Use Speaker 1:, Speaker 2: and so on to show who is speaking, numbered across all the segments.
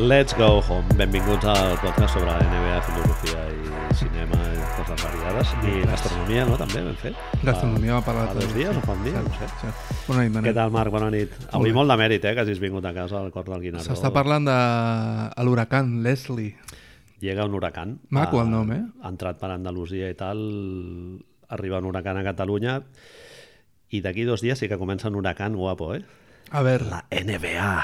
Speaker 1: Let's go home. Benvinguts al podcast sobre NBA, filosofia i cinema i coses variades. I gastronomia, no? També ben fet.
Speaker 2: Gastronomia va parlar
Speaker 1: A dos dies o fa un dia, no sé.
Speaker 2: Sí. Bona nit,
Speaker 1: Què
Speaker 2: Manel.
Speaker 1: ¿eh? tal, Marc? Bona nit. Avui molt de mèrit, eh, que hagis vingut a casa al cor del Guinardó.
Speaker 2: S'està parlant de a l'huracan Leslie.
Speaker 1: Llega un huracan.
Speaker 2: Maco
Speaker 1: Ha-
Speaker 2: el nom, eh?
Speaker 1: Ha entrat per Andalusia i tal. Arriba un huracan a Catalunya. I d'aquí dos dies sí que comença un huracan guapo, eh?
Speaker 2: A veure,
Speaker 1: La NBA.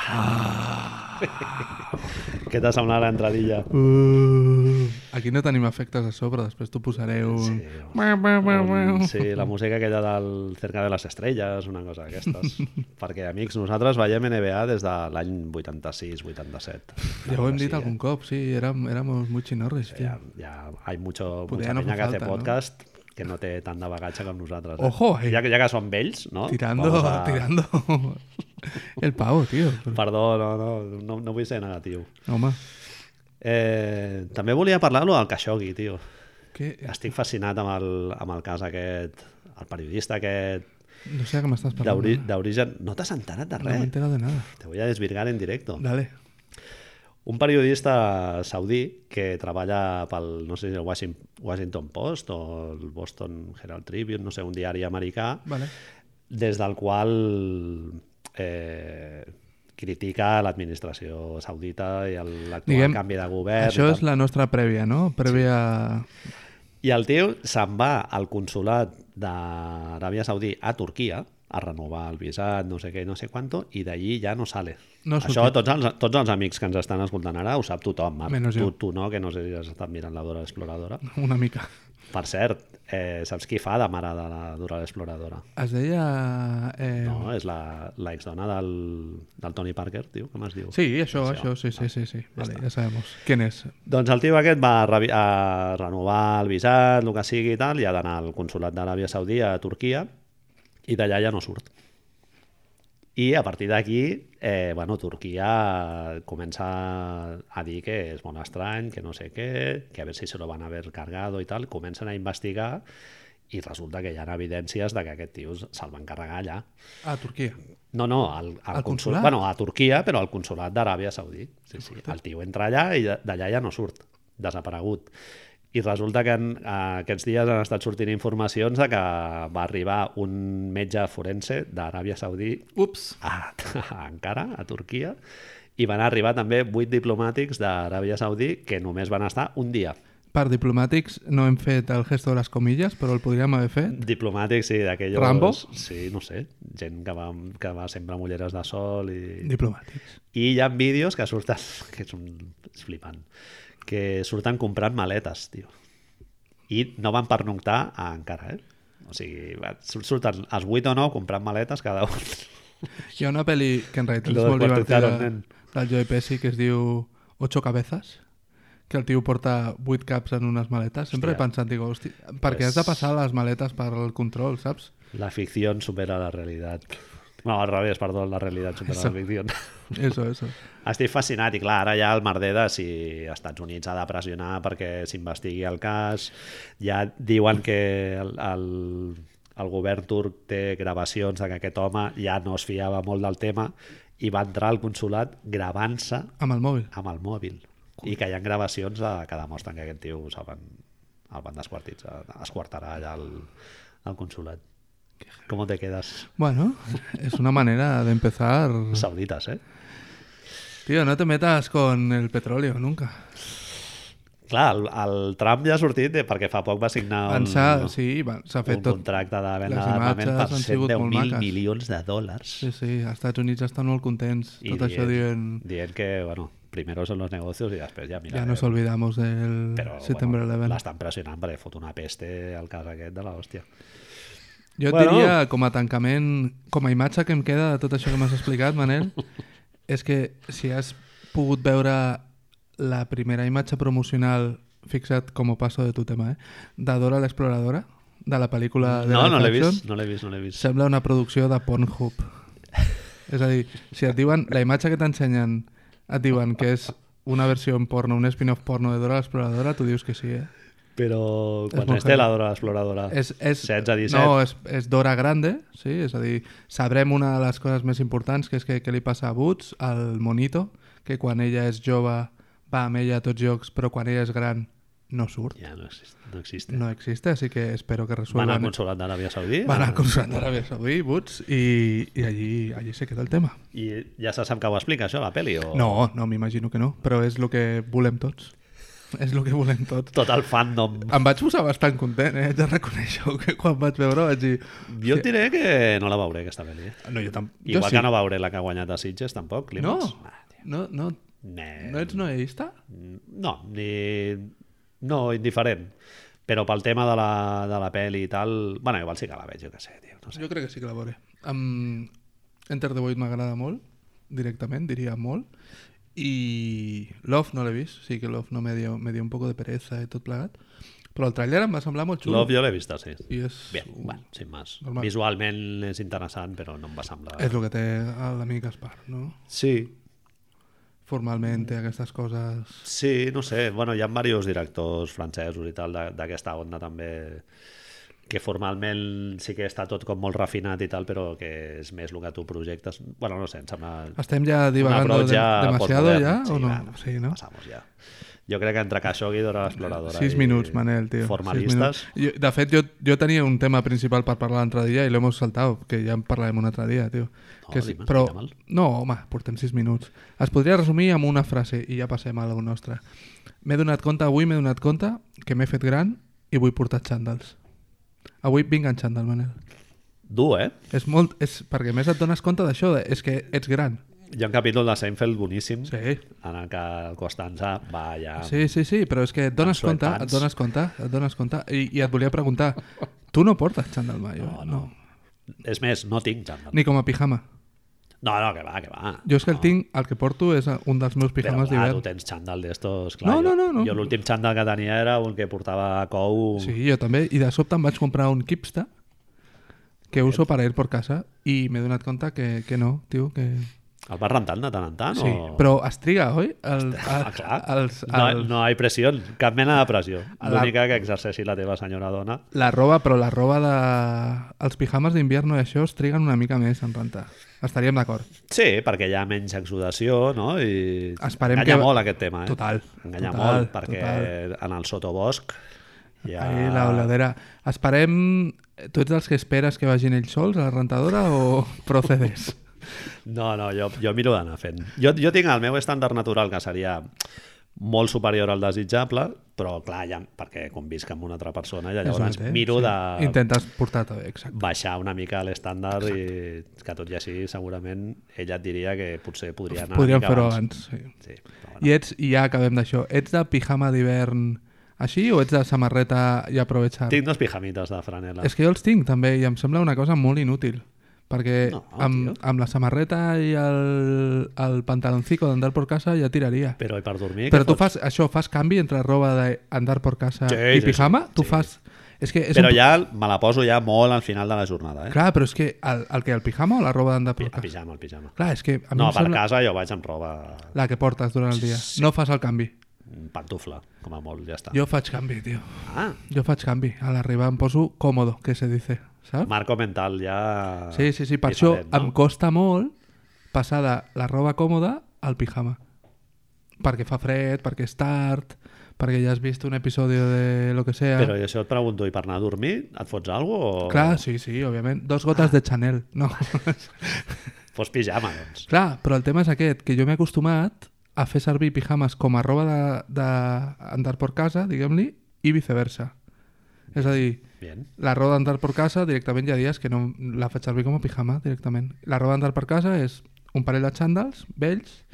Speaker 1: Què t'ha semblat l'entradilla?
Speaker 2: Uh, aquí no tenim efectes a sobre, després t'ho posaré un...
Speaker 1: Sí,
Speaker 2: Mua, mua, mua,
Speaker 1: Un-
Speaker 2: mua.
Speaker 1: Sí, la música aquella del Cerca de les Estrelles, una cosa d'aquestes. Perquè, amics, nosaltres veiem NBA des de l'any 86-87.
Speaker 2: Ja ho hem dit
Speaker 1: eh.
Speaker 2: algun cop, sí, érem, éramos muy chinorris. Sí.
Speaker 1: Ja, ja hay mucho,
Speaker 2: Poder
Speaker 1: mucha
Speaker 2: no
Speaker 1: penya
Speaker 2: fa
Speaker 1: que hace
Speaker 2: falta, no?
Speaker 1: podcast que no té tant de bagatge com nosaltres. Eh?
Speaker 2: Ojo, eh?
Speaker 1: Ja, que- ja que són vells, no?
Speaker 2: Tirando,
Speaker 1: Vamos a-
Speaker 2: tirando el pavo, tío.
Speaker 1: Perdó, no, no, no, no vull ser negatiu.
Speaker 2: Home,
Speaker 1: Eh, també volia parlar-lo del Khashoggi, tio.
Speaker 2: que... eh,
Speaker 1: Estic fascinat amb el, amb el cas aquest, el periodista aquest,
Speaker 2: No sé a què m'estàs parlant.
Speaker 1: d'ori- d'origen... No t'has enterat de
Speaker 2: No me
Speaker 1: res?
Speaker 2: entero de nada.
Speaker 1: Te voy a desvirgar en directo.
Speaker 2: Dale.
Speaker 1: Un periodista saudí que treballa pel, no sé si el Washing- Washington Post o el Boston Herald Tribune, no sé, un diari americà,
Speaker 2: Vale.
Speaker 1: des del qual eh, critica l'administració saudita i el- l'actual
Speaker 2: Diguem,
Speaker 1: canvi de govern.
Speaker 2: Això
Speaker 1: i
Speaker 2: és
Speaker 1: tal.
Speaker 2: la nostra prèvia, no? Prèvia...
Speaker 1: I el tio se'n va al consulat d'Aràbia Saudí a Turquia a renovar el visat, no sé què, no sé quanto, i d'allí ja no sale.
Speaker 2: No surt.
Speaker 1: Això tots els, tots els amics que ens estan escoltant ara ho sap tothom, Marc.
Speaker 2: Menos
Speaker 1: tu,
Speaker 2: jo.
Speaker 1: tu no, que no sé si has estat mirant la Dora l'Exploradora.
Speaker 2: Una mica.
Speaker 1: Per cert, eh, saps qui fa de mare de la Dora l'Exploradora?
Speaker 2: Es deia... Eh...
Speaker 1: No, és la, la exdona del, del Tony Parker, tio, com es diu?
Speaker 2: Sí, això, això, sí, sí, sí, sí. Vale, ja sabem. Quién és?
Speaker 1: Doncs el tio aquest va a, revi- a renovar el visat, el que sigui i tal, i ha d'anar al consulat d'Aràbia Saudí a Turquia, i d'allà ja no surt. I a partir d'aquí, eh, bueno, Turquia comença a dir que és molt estrany, que no sé què, que a veure si se lo van haver cargado i tal, comencen a investigar i resulta que hi ha evidències de que aquest tio se'l va encarregar allà.
Speaker 2: A Turquia.
Speaker 1: No, no, al, al
Speaker 2: Al
Speaker 1: consulat.
Speaker 2: consolat?
Speaker 1: Bueno, a Turquia, però al consulat d'Aràbia Saudí. Sí, sí. El tio entra allà i de- d'allà ja no surt, desaparegut. I resulta que en, eh, aquests dies han estat sortint informacions de que va arribar un metge forense d'Aràbia Saudí
Speaker 2: Ups.
Speaker 1: a, a Ankara, a Turquia, i van arribar també vuit diplomàtics d'Aràbia Saudí que només van estar un dia.
Speaker 2: Per diplomàtics no hem fet el gesto de les comilles, però el podríem haver fet.
Speaker 1: Diplomàtics, sí, d'aquells...
Speaker 2: Rambo?
Speaker 1: Sí, no sé. Gent que va, que va sempre amb ulleres de sol i...
Speaker 2: Diplomàtics.
Speaker 1: I hi ha vídeos que surten, que és, un, és flipant, que surten comprant maletes, tio. I no van pernoctar a encara, eh? O sigui, va- sur- surten els 8 o 9 comprant maletes cada un.
Speaker 2: Hi ha una pel·li que en realitat
Speaker 1: Lo
Speaker 2: és molt divertida
Speaker 1: descuartizaron, nen.
Speaker 2: del Joe Pesci que es diu Ocho cabezas que el tio porta vuit caps en unes maletes. Sempre
Speaker 1: Hòstia. Pues
Speaker 2: he pensat, digo, hosti, per què has de passar les maletes per al control, saps?
Speaker 1: La ficció supera la realitat. No, al revés, perdó, la realitat supera la ficció.
Speaker 2: Eso, eso.
Speaker 1: Estic fascinat i clar, ara hi ha el merder de si Estats Units ha de pressionar perquè s'investigui el cas. Ja diuen que el, el, el govern turc té gravacions de que aquest home ja no es fiava molt del tema i va entrar al consulat gravant-se
Speaker 2: Amb el mòbil.
Speaker 1: amb el mòbil. I que hi ha gravacions de, que demostren que aquest tio se'l van, el van desquartitzar, esquartarà allà al, al consulat. Com te quedas?
Speaker 2: Bueno, es una manera de empezar.
Speaker 1: Saudites, eh?
Speaker 2: Tío, no te metas con el petróleo nunca.
Speaker 1: Clar, el, el Trump ja ha sortit eh, perquè fa poc va signar un,
Speaker 2: Pensa, sí, va, s'ha fet
Speaker 1: un
Speaker 2: tot.
Speaker 1: contracte de
Speaker 2: les
Speaker 1: venda d'armament
Speaker 2: imatges
Speaker 1: per
Speaker 2: han sigut molt
Speaker 1: 110.000
Speaker 2: maques.
Speaker 1: milions de dòlars.
Speaker 2: Sí, sí, als Estats Units estan molt contents.
Speaker 1: I
Speaker 2: tot això dient...
Speaker 1: dient que, bueno, primero son los negocios i després ja, mira,
Speaker 2: Ja nos
Speaker 1: eh,
Speaker 2: olvidamos del
Speaker 1: però
Speaker 2: September
Speaker 1: bueno,
Speaker 2: 11.
Speaker 1: l'estan pressionant perquè fot una peste al cas aquest de l'hòstia.
Speaker 2: Jo et
Speaker 1: Bueno.
Speaker 2: diria, com a tancament, com a imatge que em queda de tot això que m'has explicat, Manel, és que si has pogut veure la primera imatge promocional, fixa't com ho passo de tu tema, eh? de Dora l'exploradora, de la pel·lícula de
Speaker 1: Mm, No, no l'he
Speaker 2: l'he
Speaker 1: vist, no l'he vist, no l'he vist.
Speaker 2: sembla una producció de Pornhub. És a dir, si et diuen, la imatge que t'ensenyen, et diuen que és una versió en porno, un spin-off porno de Dora l'exploradora, tu dius que sí, eh?
Speaker 1: Però quan
Speaker 2: molt
Speaker 1: és té
Speaker 2: heavy.
Speaker 1: la Dora l'exploradora?
Speaker 2: És, és,
Speaker 1: 16, 17?
Speaker 2: No, és, és Dora Grande, sí, és a dir, sabrem una de les coses més importants, que és que, que li passa a Boots, al monito, que quan ella és jove va amb ella a tots llocs, però quan ella és gran no surt.
Speaker 1: Ja no, exis- no existe.
Speaker 2: No existe, así que espero que
Speaker 1: Van al
Speaker 2: resuelvan.
Speaker 1: consolat d'Aràbia Saudí
Speaker 2: Van a Consulat d'Aràbia Saudí, Boots, i, i allí, allí se queda el tema.
Speaker 1: i ja se sap que ho explica, això, la pel·li? O...
Speaker 2: No, no, m'imagino que no, però és el que volem tots. És el que volem tots.
Speaker 1: Tot el fandom.
Speaker 2: Em vaig posar bastant content, eh? Haig de reconèixer que quan vaig veure vaig dir...
Speaker 1: Jo et diré que no la veuré, aquesta pel·li. eh?
Speaker 2: No, jo tampoc...
Speaker 1: Igual que no veuré la que ha guanyat a Sitges, tampoc.
Speaker 2: No,
Speaker 1: Clímax. Ah, tio.
Speaker 2: no, no,
Speaker 1: Ne-
Speaker 2: no ets noeista?
Speaker 1: No, ni... no, indiferent. Però pel tema de la, de la pel·li i tal... bueno, igual sí que la veig, jo què sé, tio. No sé.
Speaker 2: Jo crec que sí que la veuré. Um, Enter the Void m'agrada molt, directament, diria molt. I Love no l'he vist, sí que Love no me dio, me dio un poco de pereza i tot plegat. Però el trailer em va semblar molt xulo.
Speaker 1: Love jo l'he vista, sí.
Speaker 2: I és,
Speaker 1: Bé, bueno, sin más.
Speaker 2: Normal.
Speaker 1: Visualment és interessant, però no em va semblar...
Speaker 2: és el que té l'amic Gaspar, no?
Speaker 1: Sí,
Speaker 2: Formalment té aquestes coses...
Speaker 1: sí, no sé. Bueno, hi ha diversos directors francesos i tal de- d'aquesta onda també que formalment sí que està tot com molt refinat i tal, però que és més el que tu projectes. Bueno, no sé, em sembla...
Speaker 2: Estem ja divagando de, demasiado ja, o no? sí, no?
Speaker 1: Passamos ja. Jo crec que entre Khashoggi, Dora l'Exploradora...
Speaker 2: 6
Speaker 1: i
Speaker 2: minuts, Manel, tio.
Speaker 1: Formalistes.
Speaker 2: Sis minuts. Jo, de fet, jo, jo tenia un tema principal per parlar l'altre dia i l'hem saltat, que ja en parlarem un altre dia, tio.
Speaker 1: No,
Speaker 2: que és-
Speaker 1: dime,
Speaker 2: però,
Speaker 1: dime mal.
Speaker 2: no, home, portem 6 minuts. Es podria resumir amb una frase i ja passem a la nostra. M'he donat compte, avui m'he donat compte que m'he fet gran i vull portar xandals. Avui vinc en xandall, Manel.
Speaker 1: Dur, eh?
Speaker 2: És molt... És, perquè a més et dones compte d'això, de- és que ets gran.
Speaker 1: Hi ha un capítol de Seinfeld boníssim
Speaker 2: Sí.
Speaker 1: en el que el Costanza va allà...
Speaker 2: Sí, sí, sí, però és que et dones
Speaker 1: Amb
Speaker 2: compte, et
Speaker 1: sweatpants.
Speaker 2: dones compte, et dones compte. I, I et volia preguntar, tu no portes xandall mai, eh? no, no.
Speaker 1: És més, no tinc xandall.
Speaker 2: Ni com a pijama.
Speaker 1: No, no, que va, que va.
Speaker 2: Jo és que el tinc, el que porto és un dels meus
Speaker 1: Però clar,
Speaker 2: pijames
Speaker 1: tu
Speaker 2: d'hivern.
Speaker 1: tens xandall d'estos, clar.
Speaker 2: No,
Speaker 1: jo-
Speaker 2: no, no, no.
Speaker 1: Jo l'últim xandall que tenia era un que portava cou...
Speaker 2: Sí, jo també. I de sobte em vaig comprar un Kipsta que uso per ir por casa i m'he donat compte que, que no, tio, que...
Speaker 1: El vas rentant de tant en tant?
Speaker 2: Sí,
Speaker 1: o...
Speaker 2: però es triga, oi? El, el,
Speaker 1: Ah, clar.
Speaker 2: els,
Speaker 1: No,
Speaker 2: els,
Speaker 1: no hi ha pressió, cap mena de pressió.
Speaker 2: La-
Speaker 1: L'única que exerceixi la teva senyora dona
Speaker 2: La roba, però la roba de... Els pijames d'invierno i això es triguen una mica més en rentar. Estaríem d'acord.
Speaker 1: Sí, perquè hi ha menys exudació, no? I
Speaker 2: Esperem
Speaker 1: enganya
Speaker 2: que-
Speaker 1: molt aquest tema, eh?
Speaker 2: Total,
Speaker 1: Enganya
Speaker 2: total,
Speaker 1: molt, perquè en el sotobosc hi ha...
Speaker 2: Ahí, la voladera. Esperem... Tu ets dels que esperes que vagin ells sols a la rentadora o procedes?
Speaker 1: No, no, jo, jo miro d'anar fent. Jo, jo tinc el meu estàndard natural, que seria molt superior al desitjable, però clar, ja, perquè convisc amb una altra persona, ja
Speaker 2: És el
Speaker 1: llavors
Speaker 2: mateix,
Speaker 1: miro de
Speaker 2: Intentes portar tot, exacte.
Speaker 1: baixar una mica l'estàndard i que tot i així segurament ella et diria que potser podria anar una
Speaker 2: Podríem
Speaker 1: mica
Speaker 2: fer-ho abans. Sí.
Speaker 1: Sí, però bueno.
Speaker 2: I ets, i ja acabem d'això, ets de pijama d'hivern així o ets de samarreta i aprovechar?
Speaker 1: Tinc dos pijamites de franela.
Speaker 2: És que jo els tinc també i em sembla una cosa molt inútil perquè
Speaker 1: No,
Speaker 2: amb,
Speaker 1: tio.
Speaker 2: amb la samarreta i el, el pantaloncico d'andar por casa ja tiraria.
Speaker 1: Però i per dormir...
Speaker 2: Però
Speaker 1: què
Speaker 2: tu
Speaker 1: fots?
Speaker 2: fas això, fas canvi entre roba d'andar por casa
Speaker 1: Sí,
Speaker 2: i
Speaker 1: sí,
Speaker 2: pijama?
Speaker 1: sí,
Speaker 2: tu
Speaker 1: sí.
Speaker 2: fas... És que és
Speaker 1: Però
Speaker 2: un...
Speaker 1: ja me la poso ja molt al final de la jornada, eh?
Speaker 2: Clar, però és que el, el que, el pijama o la roba d'andar por
Speaker 1: El
Speaker 2: casa?
Speaker 1: pijama, el pijama.
Speaker 2: Clar, és que a mi
Speaker 1: No,
Speaker 2: em
Speaker 1: per
Speaker 2: sembla
Speaker 1: casa jo vaig amb roba mm,
Speaker 2: la que portes durant el dia. No fas el canvi.
Speaker 1: pantufla, com a molt, ja està.
Speaker 2: Jo faig canvi, tio.
Speaker 1: Ah,
Speaker 2: Jo faig canvi. A l'arribar em poso còmodo, que se dice, saps?
Speaker 1: marco mental ja...
Speaker 2: Ah. Sí, sí, sí. Per això
Speaker 1: diferent,
Speaker 2: em costa molt passar de la roba còmoda al pijama. Perquè fa fred, perquè és tard, perquè ja has vist un episodi de lo que sea.
Speaker 1: Però això et pregunto, i per anar a dormir et fots alguna cosa o
Speaker 2: Clar, sí, sí, òbviament. Dos gotes de Chanel. No.
Speaker 1: fos pijama, doncs?
Speaker 2: Clar, però el tema és aquest, que jo m'he acostumat a fer servir pijames com a roba d'andar por casa, diguem-li, i viceversa. És a dir,
Speaker 1: Bien.
Speaker 2: la roba d'andar por casa directament hi ha dies que no la faig servir com a pijama directament. La roba d'andar per casa és un parell de xandals vells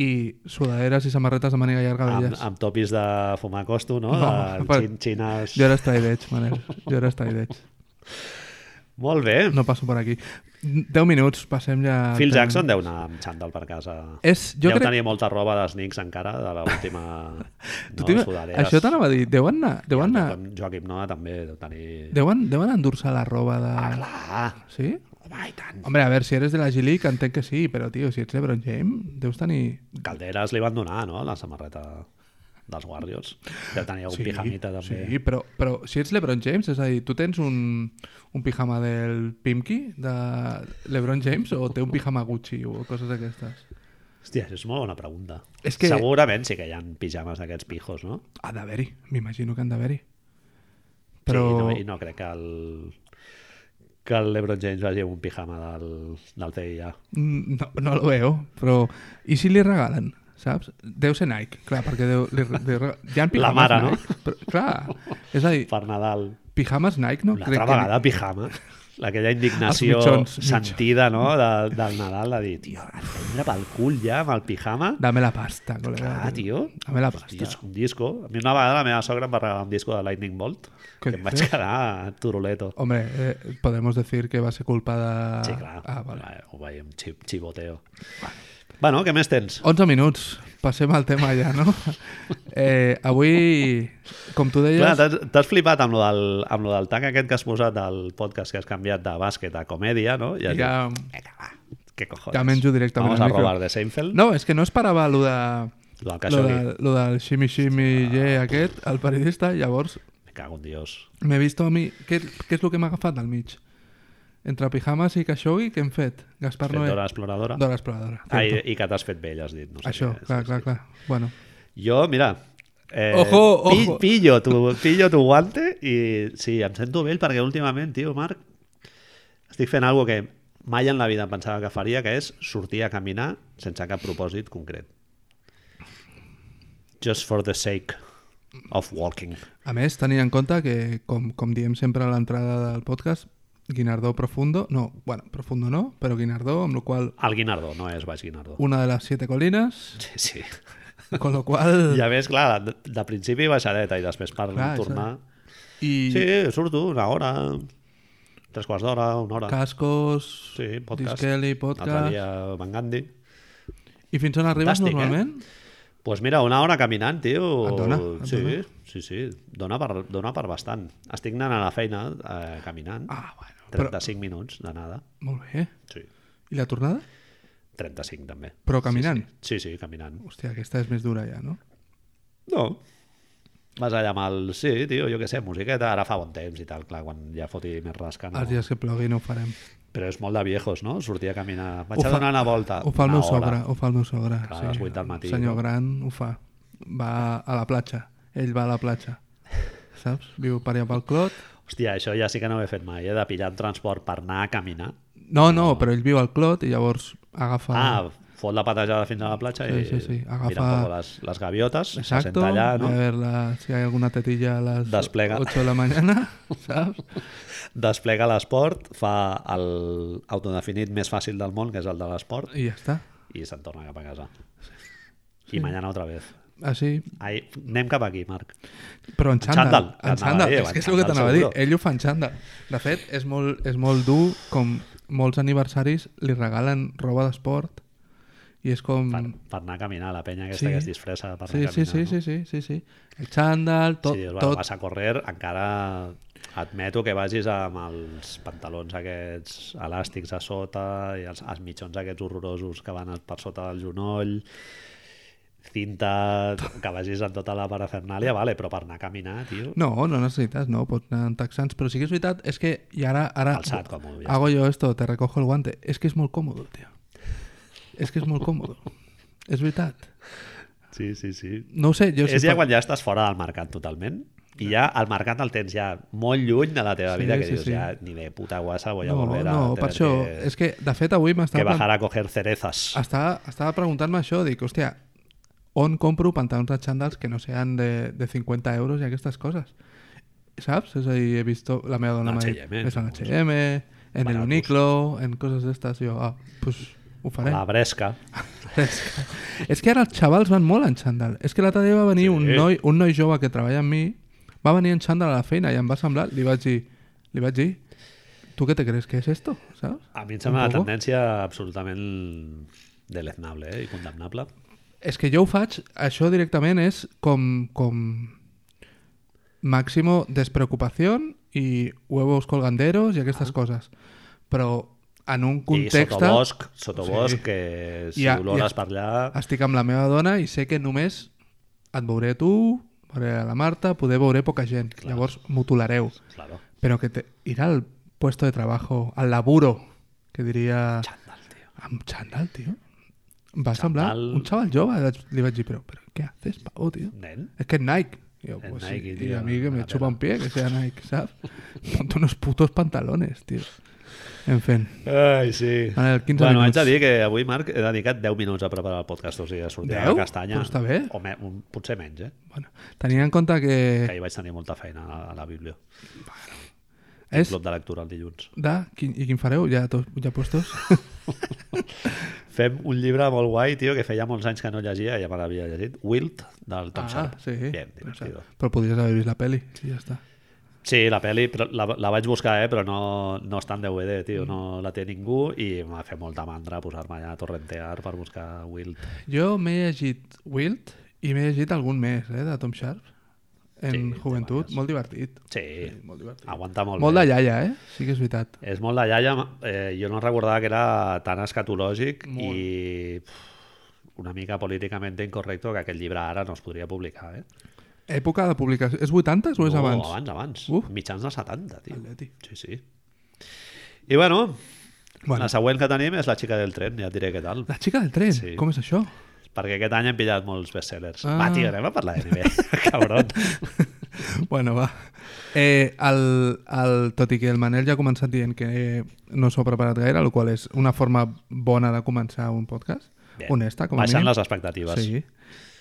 Speaker 2: i sudaderes i samarretes de màniga llarga
Speaker 1: Amb,
Speaker 2: velles.
Speaker 1: amb topis de fumar costo, no?
Speaker 2: Ah, No,
Speaker 1: de
Speaker 2: però-
Speaker 1: xin, xines...
Speaker 2: Jo ara estaré veig, Manel. Jo ara estaré veig.
Speaker 1: Molt bé.
Speaker 2: No passo per aquí. 10 minuts, passem ja... al
Speaker 1: Phil
Speaker 2: tema.
Speaker 1: Jackson deu anar amb xandall per casa.
Speaker 2: És, Eh, jo
Speaker 1: deu
Speaker 2: crec...
Speaker 1: tenir molta roba de sneaks encara, de l'última...
Speaker 2: Tu
Speaker 1: no,
Speaker 2: t'ima-
Speaker 1: sudaderes.
Speaker 2: això t'anava a dir, deuen anar, deuen anar,
Speaker 1: Joaquim, Joaquim Noa també deu tenir...
Speaker 2: deuen, deuen endur-se la roba de...
Speaker 1: Ah, Clar,
Speaker 2: Sí?
Speaker 1: home, i tant.
Speaker 2: Hombre, a veure, si eres de la G-League entenc que sí, però, tio, si ets LeBron James, deus tenir...
Speaker 1: Calderas li van donar, no?, la samarreta dels Warriors. Deu tenir un
Speaker 2: Sí,
Speaker 1: pijamita, també.
Speaker 2: sí però, però si ets LeBron James, és a dir, tu tens un, un pijama del Pimki, de LeBron James, o té un pijama Gucci o coses d'aquestes?
Speaker 1: Hòstia, és una bona pregunta.
Speaker 2: És que-
Speaker 1: Segurament sí que hi ha pijames d'aquests pijos, no?
Speaker 2: Ha d'haver-hi, m'imagino que han d'haver-hi. Però...
Speaker 1: Sí, i no, i no crec que el que el LeBron James vagi amb un pijama del, del CIA.
Speaker 2: Mm, No, no lo veo, però... I si li regalen, saps? Deu ser Nike, clar, perquè deu, li, re- li, re- ja han
Speaker 1: La mare, no?
Speaker 2: Nike, però, clar, és a dir,
Speaker 1: Per Nadal.
Speaker 2: pijames Nike no
Speaker 1: Una altra
Speaker 2: que...
Speaker 1: vegada pijama. Aquella indignació
Speaker 2: Els mitjons, mitjons.
Speaker 1: sentida no? de, del Nadal de dir, tio, a prendre pel cul ja amb el pijama.
Speaker 2: Dame la pasta, col·lega.
Speaker 1: Ah, tio.
Speaker 2: Dame la pasta.
Speaker 1: Hòstia, és un disco. A mi una vegada la meva sogra em va regalar un disco de Lightning Bolt
Speaker 2: Què
Speaker 1: que em vaig
Speaker 2: dices?
Speaker 1: quedar turuleto.
Speaker 2: Hombre, eh, podemos decir que va ser culpa de...
Speaker 1: Sí, clar.
Speaker 2: Ah, vale.
Speaker 1: Ho veiem xip, xivoteo. Bueno, què més tens?
Speaker 2: 11 minuts, passem al tema ja, no? Eh, avui, com tu deies...
Speaker 1: Clar, t'has- t'has flipat amb lo, del, amb lo del tag aquest que has posat al podcast que has canviat de bàsquet a comèdia, no? I has
Speaker 2: ja...
Speaker 1: dit, vinga, va, què cojones?
Speaker 2: Ja menjo directament
Speaker 1: Vamos a
Speaker 2: al micro.
Speaker 1: robar de Seinfeld?
Speaker 2: No, és que no esperava lo de...
Speaker 1: Lo del
Speaker 2: lo,
Speaker 1: Khashoggi.
Speaker 2: de, lo del Shimi Shimi Ye aquest, el periodista, llavors
Speaker 1: Me cago en Dios.
Speaker 2: m'he vist a mi... Què, què és el que m'ha agafat al mig? Entre pijamas i Khashoggi, què hem fet? Gaspar
Speaker 1: Fet
Speaker 2: Noé.
Speaker 1: d'hora exploradora.
Speaker 2: Dora Exploradora.
Speaker 1: Ah, i,
Speaker 2: cierto.
Speaker 1: i que t'has fet vell, has dit. No sé
Speaker 2: Això,
Speaker 1: què és.
Speaker 2: clar, clar, clar. Bueno,
Speaker 1: Jo, mira... Eh,
Speaker 2: Ojo,
Speaker 1: pi-
Speaker 2: ojo.
Speaker 1: Pillo tu, pillo tu guante i sí, em sento vell perquè últimament, tio, Marc, estic fent alguna que mai en la vida em pensava que faria, que és sortir a caminar sense cap propòsit concret. Just for the sake of walking.
Speaker 2: a més, tenint en compte que, com, com diem sempre a l'entrada del podcast, Guinardó Profundo, no, bueno, Profundo no, però Guinardó, amb la qual
Speaker 1: El Guinardó, no és Baix Guinardó.
Speaker 2: una de les siete colinas,
Speaker 1: Sí, sí.
Speaker 2: con lo qual...
Speaker 1: I a més, clar, de, de principi baixadeta i després per
Speaker 2: Clar,
Speaker 1: clar,
Speaker 2: és
Speaker 1: tornar...
Speaker 2: I
Speaker 1: Sí, surto una hora, tres quarts d'hora, una hora.
Speaker 2: cascos,
Speaker 1: Sí, podcast.
Speaker 2: Diskelly,
Speaker 1: L'altre
Speaker 2: podcast...
Speaker 1: dia Van Gandhi.
Speaker 2: I fins on arribes
Speaker 1: Fantàstic, eh?
Speaker 2: normalment?
Speaker 1: Pues mira, una hora caminant, tio.
Speaker 2: Et dona, et
Speaker 1: sí,
Speaker 2: dona.
Speaker 1: sí, sí. Dona per, dona per bastant. Estic anant a la feina eh, caminant.
Speaker 2: Ah, bueno, però...
Speaker 1: 35 minuts d'anada.
Speaker 2: Molt bé.
Speaker 1: Sí.
Speaker 2: I la tornada?
Speaker 1: 35 també.
Speaker 2: Però caminant?
Speaker 1: Sí, sí, caminant.
Speaker 2: Hòstia, aquesta és més dura ja, no?
Speaker 1: No. Vas allà amb el... Sí, tio, jo què sé, musiqueta. Ara fa bon temps i tal, clar, quan ja foti més rasca. No.
Speaker 2: Els dies que plogui no ho farem.
Speaker 1: Però és molt de viejos, no? Sortir a caminar. Vaig
Speaker 2: Ho
Speaker 1: a
Speaker 2: fa-
Speaker 1: donar una volta.
Speaker 2: Ho fa el
Speaker 1: una
Speaker 2: meu
Speaker 1: hora.
Speaker 2: sogre, ho fa el meu sogre.
Speaker 1: Clar, a les vuit del matí,
Speaker 2: El
Speaker 1: no?
Speaker 2: senyor gran ho fa. Va a la platja. Ell va a la platja. Saps? Viu per allà pel clot.
Speaker 1: Hòstia, això ja sí que no ho he fet mai, eh? De pillar un transport per anar a caminar.
Speaker 2: No, no, però ell viu al clot i llavors agafa...
Speaker 1: Ah, fot la patejada fins a la platja
Speaker 2: Sí,
Speaker 1: i
Speaker 2: sí, sí. Agafa- Eh.
Speaker 1: mira un poco les, les gaviotes, se senta allà, no?
Speaker 2: a ver la, si hay alguna tetilla a las
Speaker 1: Desplega.
Speaker 2: 8 de la mañana, saps?
Speaker 1: desplega l'esport, fa el autodefinit més fàcil del món, que és el de l'esport,
Speaker 2: I ja està.
Speaker 1: i se'n torna cap a casa. I mañana otra vez.
Speaker 2: Així,
Speaker 1: Ai, anem cap aquí, Marc.
Speaker 2: Però en
Speaker 1: xandall,
Speaker 2: xandall.
Speaker 1: anava
Speaker 2: En
Speaker 1: a
Speaker 2: xandall.
Speaker 1: dir,
Speaker 2: És
Speaker 1: en
Speaker 2: que és el que
Speaker 1: xandall,
Speaker 2: t'anava a dir.
Speaker 1: seguro.
Speaker 2: Ell ho fa en xandall. De fet, és molt, és molt dur com molts aniversaris li regalen roba d'esport i és com...
Speaker 1: Per, per anar a caminar, la penya aquesta
Speaker 2: Mm. Sí.
Speaker 1: que es disfressa per
Speaker 2: Sí,
Speaker 1: anar a
Speaker 2: sí,
Speaker 1: caminar.
Speaker 2: sí,
Speaker 1: no?
Speaker 2: sí, sí, sí, sí. El xandall, tot,
Speaker 1: sí, bueno,
Speaker 2: tot,
Speaker 1: vas a córrer, encara admeto que vagis amb els pantalons aquests elàstics a sota i els, els mitjons aquests horrorosos que van per sota del genoll cinta, que vagis amb tota la parafernàlia, vale, però per anar a caminar, tio,
Speaker 2: No, no necessitas, no, pots anar en texans, però sí que és veritat, és que, i ara, ara
Speaker 1: Calçat, com ho dius.
Speaker 2: hago yo esto, te recojo el guante, és que és molt còmode, tio. És que és molt còmode. és veritat.
Speaker 1: sí, sí, sí.
Speaker 2: No ho sé, jo...
Speaker 1: és ja quan ja estàs fora del mercat totalment i ja el mercat el tens ja molt lluny de la teva
Speaker 2: Sí,
Speaker 1: vida que
Speaker 2: sí,
Speaker 1: dius
Speaker 2: sí.
Speaker 1: ja ni de puta guasa voy a
Speaker 2: No,
Speaker 1: volver a
Speaker 2: no, per
Speaker 1: tener
Speaker 2: això,
Speaker 1: que,
Speaker 2: és que, de fet, avui
Speaker 1: que
Speaker 2: m'estava plantant-
Speaker 1: bajar a coger cerezas.
Speaker 2: Estaba, estaba preguntant-me això, dic, hòstia, on compro pantalons de xandals que no sean de, de 50 euros i aquestes coses? Saps? És a dir, he vist la meva dona... m'ha dit,
Speaker 1: H&M,
Speaker 2: És en
Speaker 1: suposo.
Speaker 2: H&M, en el
Speaker 1: Baratos.
Speaker 2: Uniqlo, en coses d'estes. Jo, ah, pues, ho faré.
Speaker 1: La bresca.
Speaker 2: És que, és que ara els xavals van molt en xandall. És que l'altre dia va venir
Speaker 1: Sí.
Speaker 2: sí. un, noi, un noi jove que treballa amb mi, va venir en xandall a la feina i em va semblar, li vaig dir, li vaig dir, tu què te crees que és esto? Saps?
Speaker 1: A mi em sembla
Speaker 2: Un
Speaker 1: una
Speaker 2: poco.
Speaker 1: tendència absolutament deleznable eh? i condemnable.
Speaker 2: És que jo ho faig, això directament és com, com màximo despreocupació i huevos colganderos i aquestes ah. coses. Però en un
Speaker 1: I
Speaker 2: context...
Speaker 1: sotobosc, sotobosc
Speaker 2: Sí.
Speaker 1: sí. que si
Speaker 2: I a-
Speaker 1: ja,
Speaker 2: i
Speaker 1: olores
Speaker 2: es-
Speaker 1: per allà...
Speaker 2: Estic amb la meva dona i sé que només et veuré tu, veuré la Marta, poder veuré poca gent. Clar. Llavors m'ho tolereu.
Speaker 1: Claro.
Speaker 2: Però que te... irà al puesto de trabajo, al laburo, que diria...
Speaker 1: Xandall, tio.
Speaker 2: Amb xandall, tio. Va semblar
Speaker 1: Xaval.
Speaker 2: un xaval jove. Vaig- Li vaig dir, però, però què haces, Pau, tio?
Speaker 1: Nen?
Speaker 2: Es que es Nike. Y yo,
Speaker 1: Es
Speaker 2: pues
Speaker 1: Nike,
Speaker 2: sí,
Speaker 1: tío,
Speaker 2: y a mí que me
Speaker 1: la
Speaker 2: chupa
Speaker 1: verdad.
Speaker 2: un pie que sea Nike, ¿sabes? Ponte unos putos pantalones, tío. En fin.
Speaker 1: Ai, sí.
Speaker 2: Manel, 15
Speaker 1: bueno,
Speaker 2: minuts.
Speaker 1: haig de dir que avui, Marc, he dedicat 10 minuts a preparar el podcast, o sigui, a sortir de
Speaker 2: Deu?
Speaker 1: la castanya.
Speaker 2: Però està bé.
Speaker 1: O me, un, potser menys, eh?
Speaker 2: Bueno, tenía en cuenta
Speaker 1: Que
Speaker 2: que
Speaker 1: ahir vaig tenir molta feina a la, a la Bíblia. És...
Speaker 2: es
Speaker 1: Club de lectura el dilluns.
Speaker 2: da quin- y Quinfareu, ya, tos- ya puestos.
Speaker 1: Fem un llibre molt guai, tio, que feia molts anys que no llegia, ja me l'havia llegit. Wilt, del Tom
Speaker 2: ah,
Speaker 1: Sharp.
Speaker 2: sí.
Speaker 1: Bien,
Speaker 2: Pero, o sea,
Speaker 1: divertido.
Speaker 2: pero podrías haber visto la peli y ya está.
Speaker 1: Sí, la pel·li, però la, la vaig buscar, eh, però no, no està en DVD, tio,
Speaker 2: Mm.
Speaker 1: no la té ningú i m'ha fet molta mandra posar-me allà a torrentear per buscar Wilt.
Speaker 2: Yo me he llegit Wilt y me he llegit algún mes, eh, de Tom Sharp. En
Speaker 1: Sí, té
Speaker 2: Juventud,
Speaker 1: diverses.
Speaker 2: molt divertit.
Speaker 1: Sí,
Speaker 2: molt divertit.
Speaker 1: aguanta molt,
Speaker 2: Molt de
Speaker 1: bé.
Speaker 2: iaia, eh? Sí que és veritat.
Speaker 1: És molt de iaia, eh, jo no recordava que era tan escatològic
Speaker 2: Molt.
Speaker 1: i pff, una mica políticament incorrecto que aquest llibre ara no es podria publicar, eh?
Speaker 2: Època de publicació. És 80 o és
Speaker 1: no,
Speaker 2: abans?
Speaker 1: abans, abans.
Speaker 2: Uf.
Speaker 1: Mitjans de 70, tio.
Speaker 2: Atleti.
Speaker 1: Sí, sí. I bueno, bueno,
Speaker 2: Bueno.
Speaker 1: la següent que tenim és La xica del tren, ja et diré què tal.
Speaker 2: La xica del tren?
Speaker 1: Sí.
Speaker 2: Com és això?
Speaker 1: Perquè aquest any hem pillat molts bestsellers. Ah.
Speaker 2: Ah.
Speaker 1: Va, tio, anem a parlar de NBA, cabron.
Speaker 2: bueno, va. Eh, el, el, tot i que el Manel ja ha començat dient que eh, no s'ho ha preparat gaire, el qual és una forma bona de començar un podcast,
Speaker 1: Bé,
Speaker 2: honesta, com a
Speaker 1: Baixant
Speaker 2: mínim.
Speaker 1: les expectatives.
Speaker 2: Sí.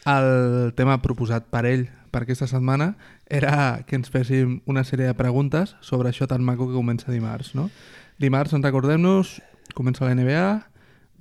Speaker 2: El tema proposat per ell per aquesta setmana era que ens féssim una sèrie de preguntes sobre això tan maco que comença dimarts, no? Dimarts, en recordem-nos, comença la NBA,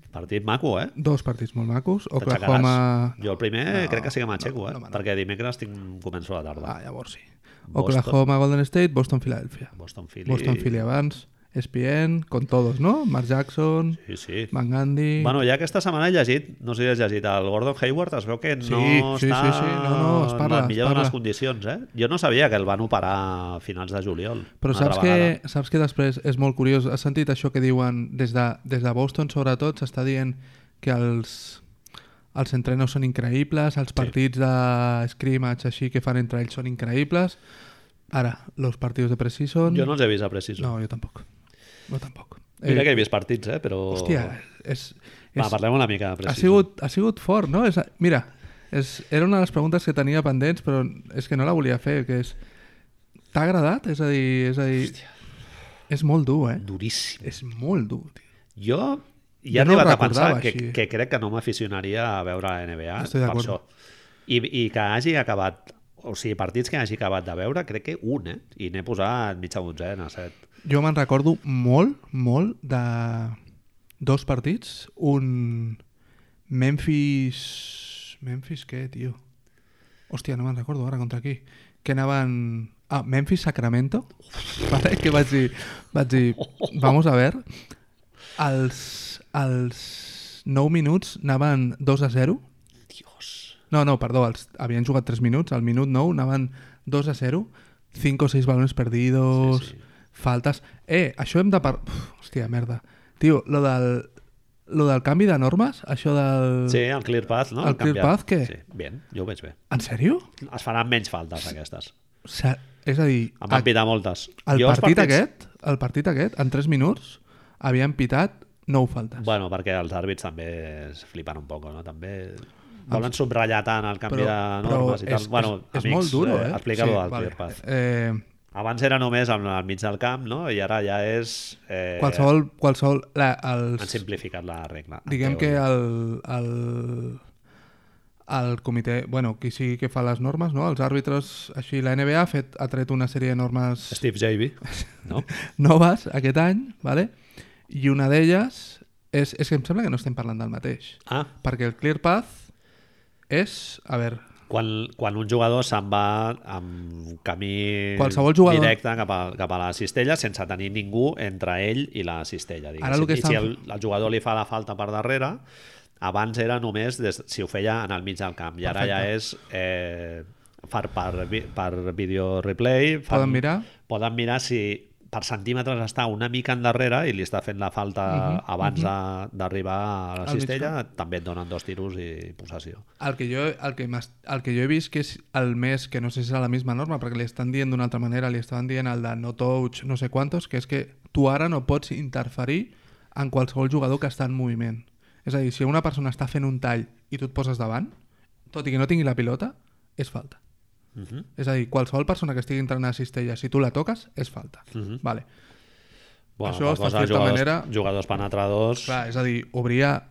Speaker 1: Partit maco, eh?
Speaker 2: dos partits molt macos,
Speaker 1: T'aixecaràs.
Speaker 2: Oklahoma...
Speaker 1: Jo el primer
Speaker 2: No,
Speaker 1: crec que sí que m'aixeco, eh?
Speaker 2: no,
Speaker 1: No,
Speaker 2: no,
Speaker 1: perquè dimecres tinc... començo la tarda.
Speaker 2: Ah, llavors sí.
Speaker 1: Boston.
Speaker 2: Oklahoma, Golden State, Boston, Filadèlfia.
Speaker 1: Boston Philly.
Speaker 2: Boston, Philly E abans, ESPN, con todos, no? Mark Jackson,
Speaker 1: Sí, sí.
Speaker 2: Van Gundy...
Speaker 1: Bueno, ja aquesta setmana he llegit, no sé si has llegit, el Gordon Hayward es veu que no
Speaker 2: Sí, sí,
Speaker 1: està
Speaker 2: sí, sí, no, no, es parla,
Speaker 1: en la
Speaker 2: es
Speaker 1: millor de les
Speaker 2: parla.
Speaker 1: condicions, eh? Jo no sabia que el van operar a finals de juliol.
Speaker 2: Però
Speaker 1: una
Speaker 2: saps
Speaker 1: altra
Speaker 2: que,
Speaker 1: vegada.
Speaker 2: saps que després és molt curiós? Has sentit això que diuen des de, des de Boston, sobretot, s'està dient que els, els entrenos són increïbles, els partits de scrimmage així que fan entre ells són increïbles. Ara, los partidos de preseason...
Speaker 1: Jo no els he vist a Preciso. No.
Speaker 2: No, jo tampoc. No, tampoc.
Speaker 1: Mira
Speaker 2: Eh,
Speaker 1: que he vist partits, eh? Però...
Speaker 2: Hòstia, és... és
Speaker 1: Va, parlem una mica de
Speaker 2: ha,
Speaker 1: Preciso.
Speaker 2: sigut, ha sigut fort, no? És, mira, és, era una de les preguntes que tenia pendents, però és que no la volia fer, que és... T'ha agradat? És a dir... És, a dir, és molt dur, eh?
Speaker 1: Duríssim.
Speaker 2: És molt dur, tio.
Speaker 1: Jo ja he
Speaker 2: Jo no ho
Speaker 1: arribat a pensar
Speaker 2: recordava
Speaker 1: que,
Speaker 2: així.
Speaker 1: que crec que no m'aficionaria a veure la NBA per
Speaker 2: Estic d'acord.
Speaker 1: això. I, I que hagi acabat, o sigui, partits que hagi acabat de veure, crec que un, eh? I n'he posat mitja dotzena, set.
Speaker 2: Jo me'n recordo molt, molt de dos partits. Un Memphis... Memphis què, tio? Hòstia, no me'n recordo ara contra qui. Que anaven... Ah, Memphis-Sacramento. Vale, que vaig dir... Vaig dir, vamos a ver. Els, els 9 minuts anaven 2 a 0.
Speaker 1: Dios.
Speaker 2: No, no, perdó, els, havien jugat 3 minuts, al minut 9 anaven 2 a 0, 5 o 6 balones perdidos,
Speaker 1: Sí,
Speaker 2: sí,
Speaker 1: sí.
Speaker 2: sí. faltes... Eh, això hem de par... Uf, hòstia, merda. Tio, lo del, lo del canvi de normes, això del...
Speaker 1: Sí, el Clear Path, no?
Speaker 2: El
Speaker 1: Han
Speaker 2: Clear
Speaker 1: canviat.
Speaker 2: Path, què?
Speaker 1: Sí, bien, jo ho veig bé.
Speaker 2: En sèrio?
Speaker 1: Es faran menys faltes, aquestes.
Speaker 2: Se... És a dir,
Speaker 1: Em van pitar moltes.
Speaker 2: el
Speaker 1: Jo els
Speaker 2: partit aquest, el partit aquest, en 3 minuts, havien pitat 9 faltes.
Speaker 1: Bueno, perquè els àrbits també es flipen un poc, no? També
Speaker 2: Ah,
Speaker 1: volen subratllar tant el canvi de normes i tal.
Speaker 2: és,
Speaker 1: bueno,
Speaker 2: és, és
Speaker 1: amics,
Speaker 2: molt duro, eh?
Speaker 1: Explica-ho del
Speaker 2: vale.
Speaker 1: Clear Path.
Speaker 2: Eh,
Speaker 1: Abans era només al, al mig del camp, no? I ara ja és... Eh,
Speaker 2: qualsevol, qualsevol, la,
Speaker 1: Han
Speaker 2: els,
Speaker 1: simplificat la regla. en
Speaker 2: Diguem que
Speaker 1: teoria.
Speaker 2: el, el, el comitè, bueno, qui sigui que fa les normes, no? els àrbitres, així la NBA ha, fet, ha tret una sèrie de normes
Speaker 1: Steve Javy, no?
Speaker 2: noves aquest any, vale? i una d'elles és, és que em sembla que no estem parlant del mateix,
Speaker 1: Ah,
Speaker 2: perquè el Clear Path és, a veure,
Speaker 1: quan, quan un jugador se'n va amb camí
Speaker 2: Qualsevol jugador.
Speaker 1: directe cap a, cap a la cistella sense tenir ningú entre ell i la cistella.
Speaker 2: Ara
Speaker 1: Diguéssim.
Speaker 2: lo que
Speaker 1: I si
Speaker 2: estan-
Speaker 1: el, el jugador li fa la falta per darrere, abans era només des, si ho feia en el mig del camp. I ara
Speaker 2: Perfecte.
Speaker 1: ja és... Eh, per, per, vi- per vídeo replay fan,
Speaker 2: Poden mirar?
Speaker 1: poden mirar si per centímetres està una mica endarrere i li està fent la falta abans de- d'arribar a la
Speaker 2: Mhm, Al mig
Speaker 1: cistella també et donen dos tiros i possessió
Speaker 2: el que jo, el que, m'has- el que jo he vist que és el més, que no sé si serà la misma norma, perquè li estan dient d'una altra manera, li estaven dient el de no touch, no sé quantos, que és que tu ara no pots interferir en qualsevol jugador que està en moviment. És a dir, si una persona està fent un tall i tu et poses davant, tot i que no tingui la pilota, és falta.
Speaker 1: Uh -huh.
Speaker 2: És a dir, qualsevol persona que estigui entrant a cistella, si tu la toques, és falta. Vale.
Speaker 1: Bueno,
Speaker 2: Això
Speaker 1: la
Speaker 2: es fa
Speaker 1: cosa,
Speaker 2: en cierta
Speaker 1: jugadors,
Speaker 2: manera-
Speaker 1: jugadors penetradors...
Speaker 2: Clar, és a dir, obria...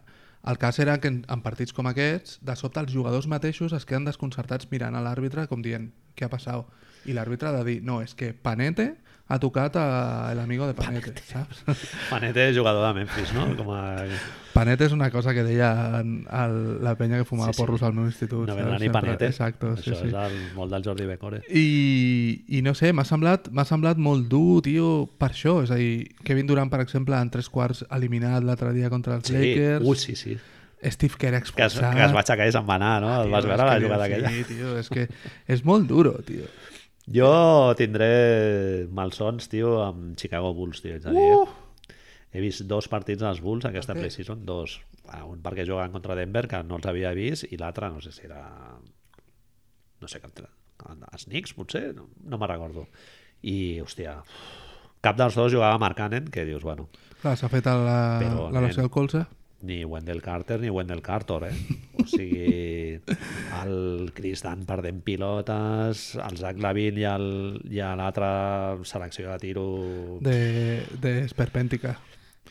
Speaker 2: El cas era que en, en partits com aquests, de sobte els jugadors mateixos es queden desconcertats mirant a l'àrbitre com dient, què ha passat? I l'àrbitre ha de dir, no, és que Panete ha tocat a l'amigo de Panete, saps?
Speaker 1: Manete, jugador de Memphis, no? Com a...
Speaker 2: Panete és una cosa que deia en- el, la penya que fumava
Speaker 1: Sí, sí.
Speaker 2: porros al meu institut.
Speaker 1: No
Speaker 2: saps?
Speaker 1: vendrà ni
Speaker 2: Sempre-
Speaker 1: Panete.
Speaker 2: Exacto, sí,
Speaker 1: Això
Speaker 2: sí.
Speaker 1: és el, molt del Jordi Becore.
Speaker 2: I, i no sé, m'ha semblat, m'ha semblat molt dur, tio, per això. És a dir, Kevin Durant, per exemple, en tres quarts eliminat l'altre dia contra els
Speaker 1: Sí,
Speaker 2: Lakers.
Speaker 1: ui, sí, sí.
Speaker 2: Steve Kerr
Speaker 1: Que es,
Speaker 2: expulsat.
Speaker 1: que es va aixecar i se'n va anar, no? El
Speaker 2: Tio,
Speaker 1: vas
Speaker 2: és
Speaker 1: veure la
Speaker 2: que-
Speaker 1: jugada aquella.
Speaker 2: Sí, tio, és que és molt duro, tio.
Speaker 1: Jo tindré malsons, tio, amb Chicago Bulls, tio. Ets a dir, eh?
Speaker 2: Uh!
Speaker 1: He vist dos partits dels Bulls aquesta
Speaker 2: Per què?
Speaker 1: okay. preseason, dos. Ah, Un perquè juguen contra Denver, que no els havia vist, i l'altre no sé si era... No sé, que el- els Knicks, potser? No, no me'n recordo. I, hòstia, cap dels dos jugava Mark Cannon, que dius, bueno,
Speaker 2: Clar, s'ha fet la,
Speaker 1: Però,
Speaker 2: la lesió
Speaker 1: nen.
Speaker 2: al colze.
Speaker 1: ni Wendell Carter ni Wendell Carter, eh? O sigui, el Chris Dunn perdent pilotes, el Zach Lavin i el- i l'altra selecció de tiro...
Speaker 2: De, de Sperpèntica.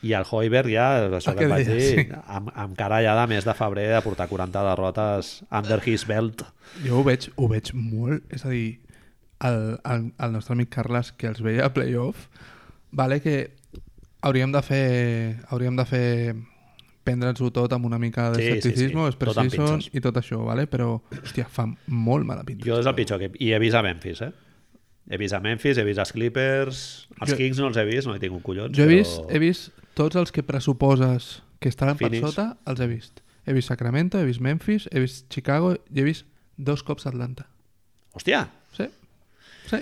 Speaker 1: I el Hoiberg ja, això
Speaker 2: Ah,
Speaker 1: que
Speaker 2: què
Speaker 1: et vaig
Speaker 2: deies,
Speaker 1: dir,
Speaker 2: sí.
Speaker 1: amb, amb cara ja de mes de febrer de portar 40 derrotes under his belt.
Speaker 2: Jo ho veig, ho veig molt, és a dir, el, el, el nostre amic Carles, que els veia a playoff, vale que hauríem de fer... Hauríem de fer prendre'ns-ho tot amb una mica de
Speaker 1: Sí, sí, sí.
Speaker 2: escepticisme, sí,
Speaker 1: Tot amb
Speaker 2: sí,
Speaker 1: pinces.
Speaker 2: i tot això, vale? però, hòstia, fa molt mala pinta.
Speaker 1: Jo és el pitjor que... I he vist a Memphis, eh? He vist a Memphis, he vist els Clippers, els
Speaker 2: Jo-
Speaker 1: Kings no els he vist, no he tingut collons.
Speaker 2: Jo he vist,
Speaker 1: però...
Speaker 2: he vist tots els que pressuposes que estaven
Speaker 1: Phoenix.
Speaker 2: per sota, els he vist. He vist Sacramento, he vist Memphis, he vist Chicago i he vist dos cops Atlanta.
Speaker 1: Hòstia,
Speaker 2: Sí, sí.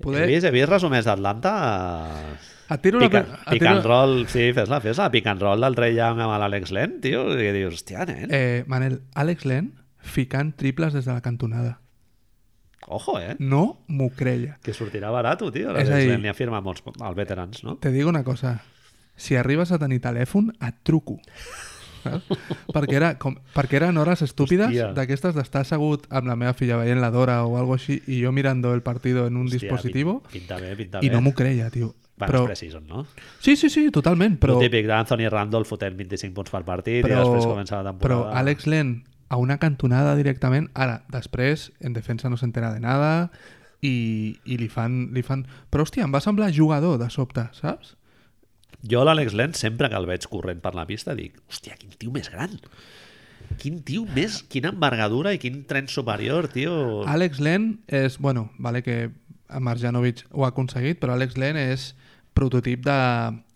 Speaker 1: Poder... he, vist, he vist resumers d'Atlanta...
Speaker 2: Et tiro la...
Speaker 1: Pica,
Speaker 2: pri- et
Speaker 1: pick
Speaker 2: tiro-
Speaker 1: and roll, sí, fes-la, fes-la, pick and roll del Trey Young amb l'Alex Len, tio, i dius, hòstia, nen,
Speaker 2: Eh, Manel, Àlex Len ficant triples des de la cantonada.
Speaker 1: ojo, eh?
Speaker 2: No m'ho creia.
Speaker 1: Que sortirà barato, tio,
Speaker 2: És
Speaker 1: l'Alex
Speaker 2: a dir-
Speaker 1: Len, li ha firmat molts els veterans, no?
Speaker 2: Te digo una cosa. Si arribes a tenir telèfon, et truco. Saps? perquè, era com, perquè eren hores estúpides
Speaker 1: Hòstia.
Speaker 2: d'aquestes d'estar assegut amb la meva filla veient la Dora o algo així i jo mirando el partido en un
Speaker 1: Hòstia,
Speaker 2: dispositivo
Speaker 1: pin- Pinta bé, pinta
Speaker 2: i
Speaker 1: bé.
Speaker 2: no m'ho creia, tio.
Speaker 1: Bueno,
Speaker 2: Però...
Speaker 1: però... preseason, no?
Speaker 2: Sí, sí, sí, totalment,
Speaker 1: Però...
Speaker 2: però...
Speaker 1: El típic d'Anthony Randolph fotent 25 punts per partit però... i
Speaker 2: però,
Speaker 1: després comença la temporada.
Speaker 2: però Alex Len a una cantonada directament, ara, després, en defensa no s'entera de nada i, i li, fan, li fan... Però, hòstia, em va semblar jugador de sobte, saps?
Speaker 1: Jo l'Alex Len, sempre que el veig corrent per la pista, dic, hòstia, quin tio més gran! Quin tio més... Quina envergadura i quin tren superior, tio! Ale...
Speaker 2: Alex Len és... Bueno, vale que Marjanovic ho ha aconseguit, però Alex Len és prototip de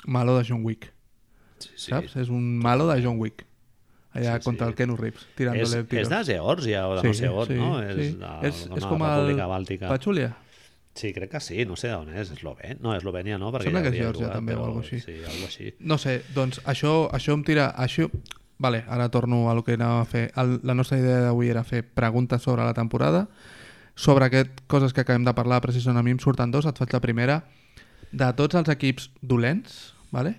Speaker 2: malo de John Wick,
Speaker 1: Sí, sí.
Speaker 2: saps? És un malo de John Wick. Allà
Speaker 1: Sí,
Speaker 2: sí, contra
Speaker 1: sí.
Speaker 2: el Kenu Reeves,
Speaker 1: És,
Speaker 2: tirant-li
Speaker 1: és de Geòrgia o de sí, no sé on, sí, no? És, sí. de,
Speaker 2: és,
Speaker 1: de
Speaker 2: és
Speaker 1: la
Speaker 2: com el
Speaker 1: República Bàltica.
Speaker 2: Pachulia.
Speaker 1: Sí, crec que sí, no sé d'on és, Eslovènia, no, Eslovènia no, perquè
Speaker 2: Sembla
Speaker 1: ja
Speaker 2: que és
Speaker 1: havia
Speaker 2: Geòrgia,
Speaker 1: jugat,
Speaker 2: també, o
Speaker 1: però
Speaker 2: algo així.
Speaker 1: Sí, algo així.
Speaker 2: No sé, doncs això, això em tira... Això... Vale, ara torno a lo que anava a fer. El, la nostra idea d'avui era fer preguntes sobre la temporada. Sobre aquest, coses que acabem de parlar, precisament a mi em surten dos, et faig la primera. De tots els equips dolents, vale?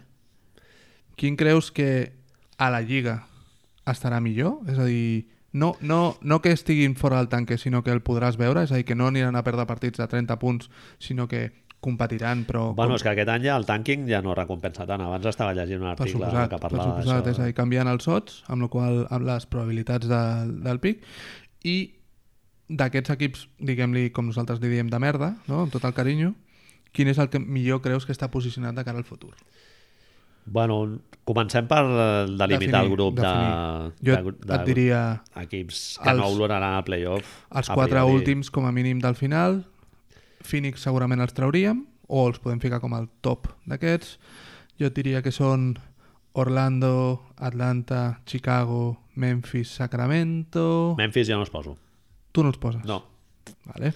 Speaker 2: quin creus que a la Lliga estarà millor? És a dir, no, no, no que estiguin fora del tanque, sinó que el podràs veure, és a dir, que no aniran a perdre partits de 30 punts, sinó que competiran, però...
Speaker 1: Bueno, és que aquest any ja el tanking ja no recompensa tant. Abans estava llegint un
Speaker 2: per
Speaker 1: article
Speaker 2: suposat,
Speaker 1: que
Speaker 2: per
Speaker 1: parlava
Speaker 2: suposat, és
Speaker 1: d'això.
Speaker 2: a dir, canviant els sots, amb la qual cosa, amb les probabilitats de, del pic, i d'aquests equips, diguem-li, com nosaltres li diem, de merda, no? amb tot el carinyo, quin és el que millor creus que està posicionat de cara al futur?
Speaker 1: Bueno, comencem per eh, delimitar el grup
Speaker 2: definir.
Speaker 1: de, de,
Speaker 2: Jo
Speaker 1: gru-
Speaker 2: et,
Speaker 1: de
Speaker 2: et diria
Speaker 1: equips que no
Speaker 2: els-
Speaker 1: oloraran al playoff.
Speaker 2: els
Speaker 1: a
Speaker 2: quatre
Speaker 1: priori.
Speaker 2: últims com a mínim del final, Phoenix segurament els trauríem, o els podem ficar com al top d'aquests. Jo et diria que són Orlando, Atlanta, Chicago, Memphis, Sacramento...
Speaker 1: Memphis jo no els poso.
Speaker 2: Tu no els poses.
Speaker 1: No,
Speaker 2: Vale.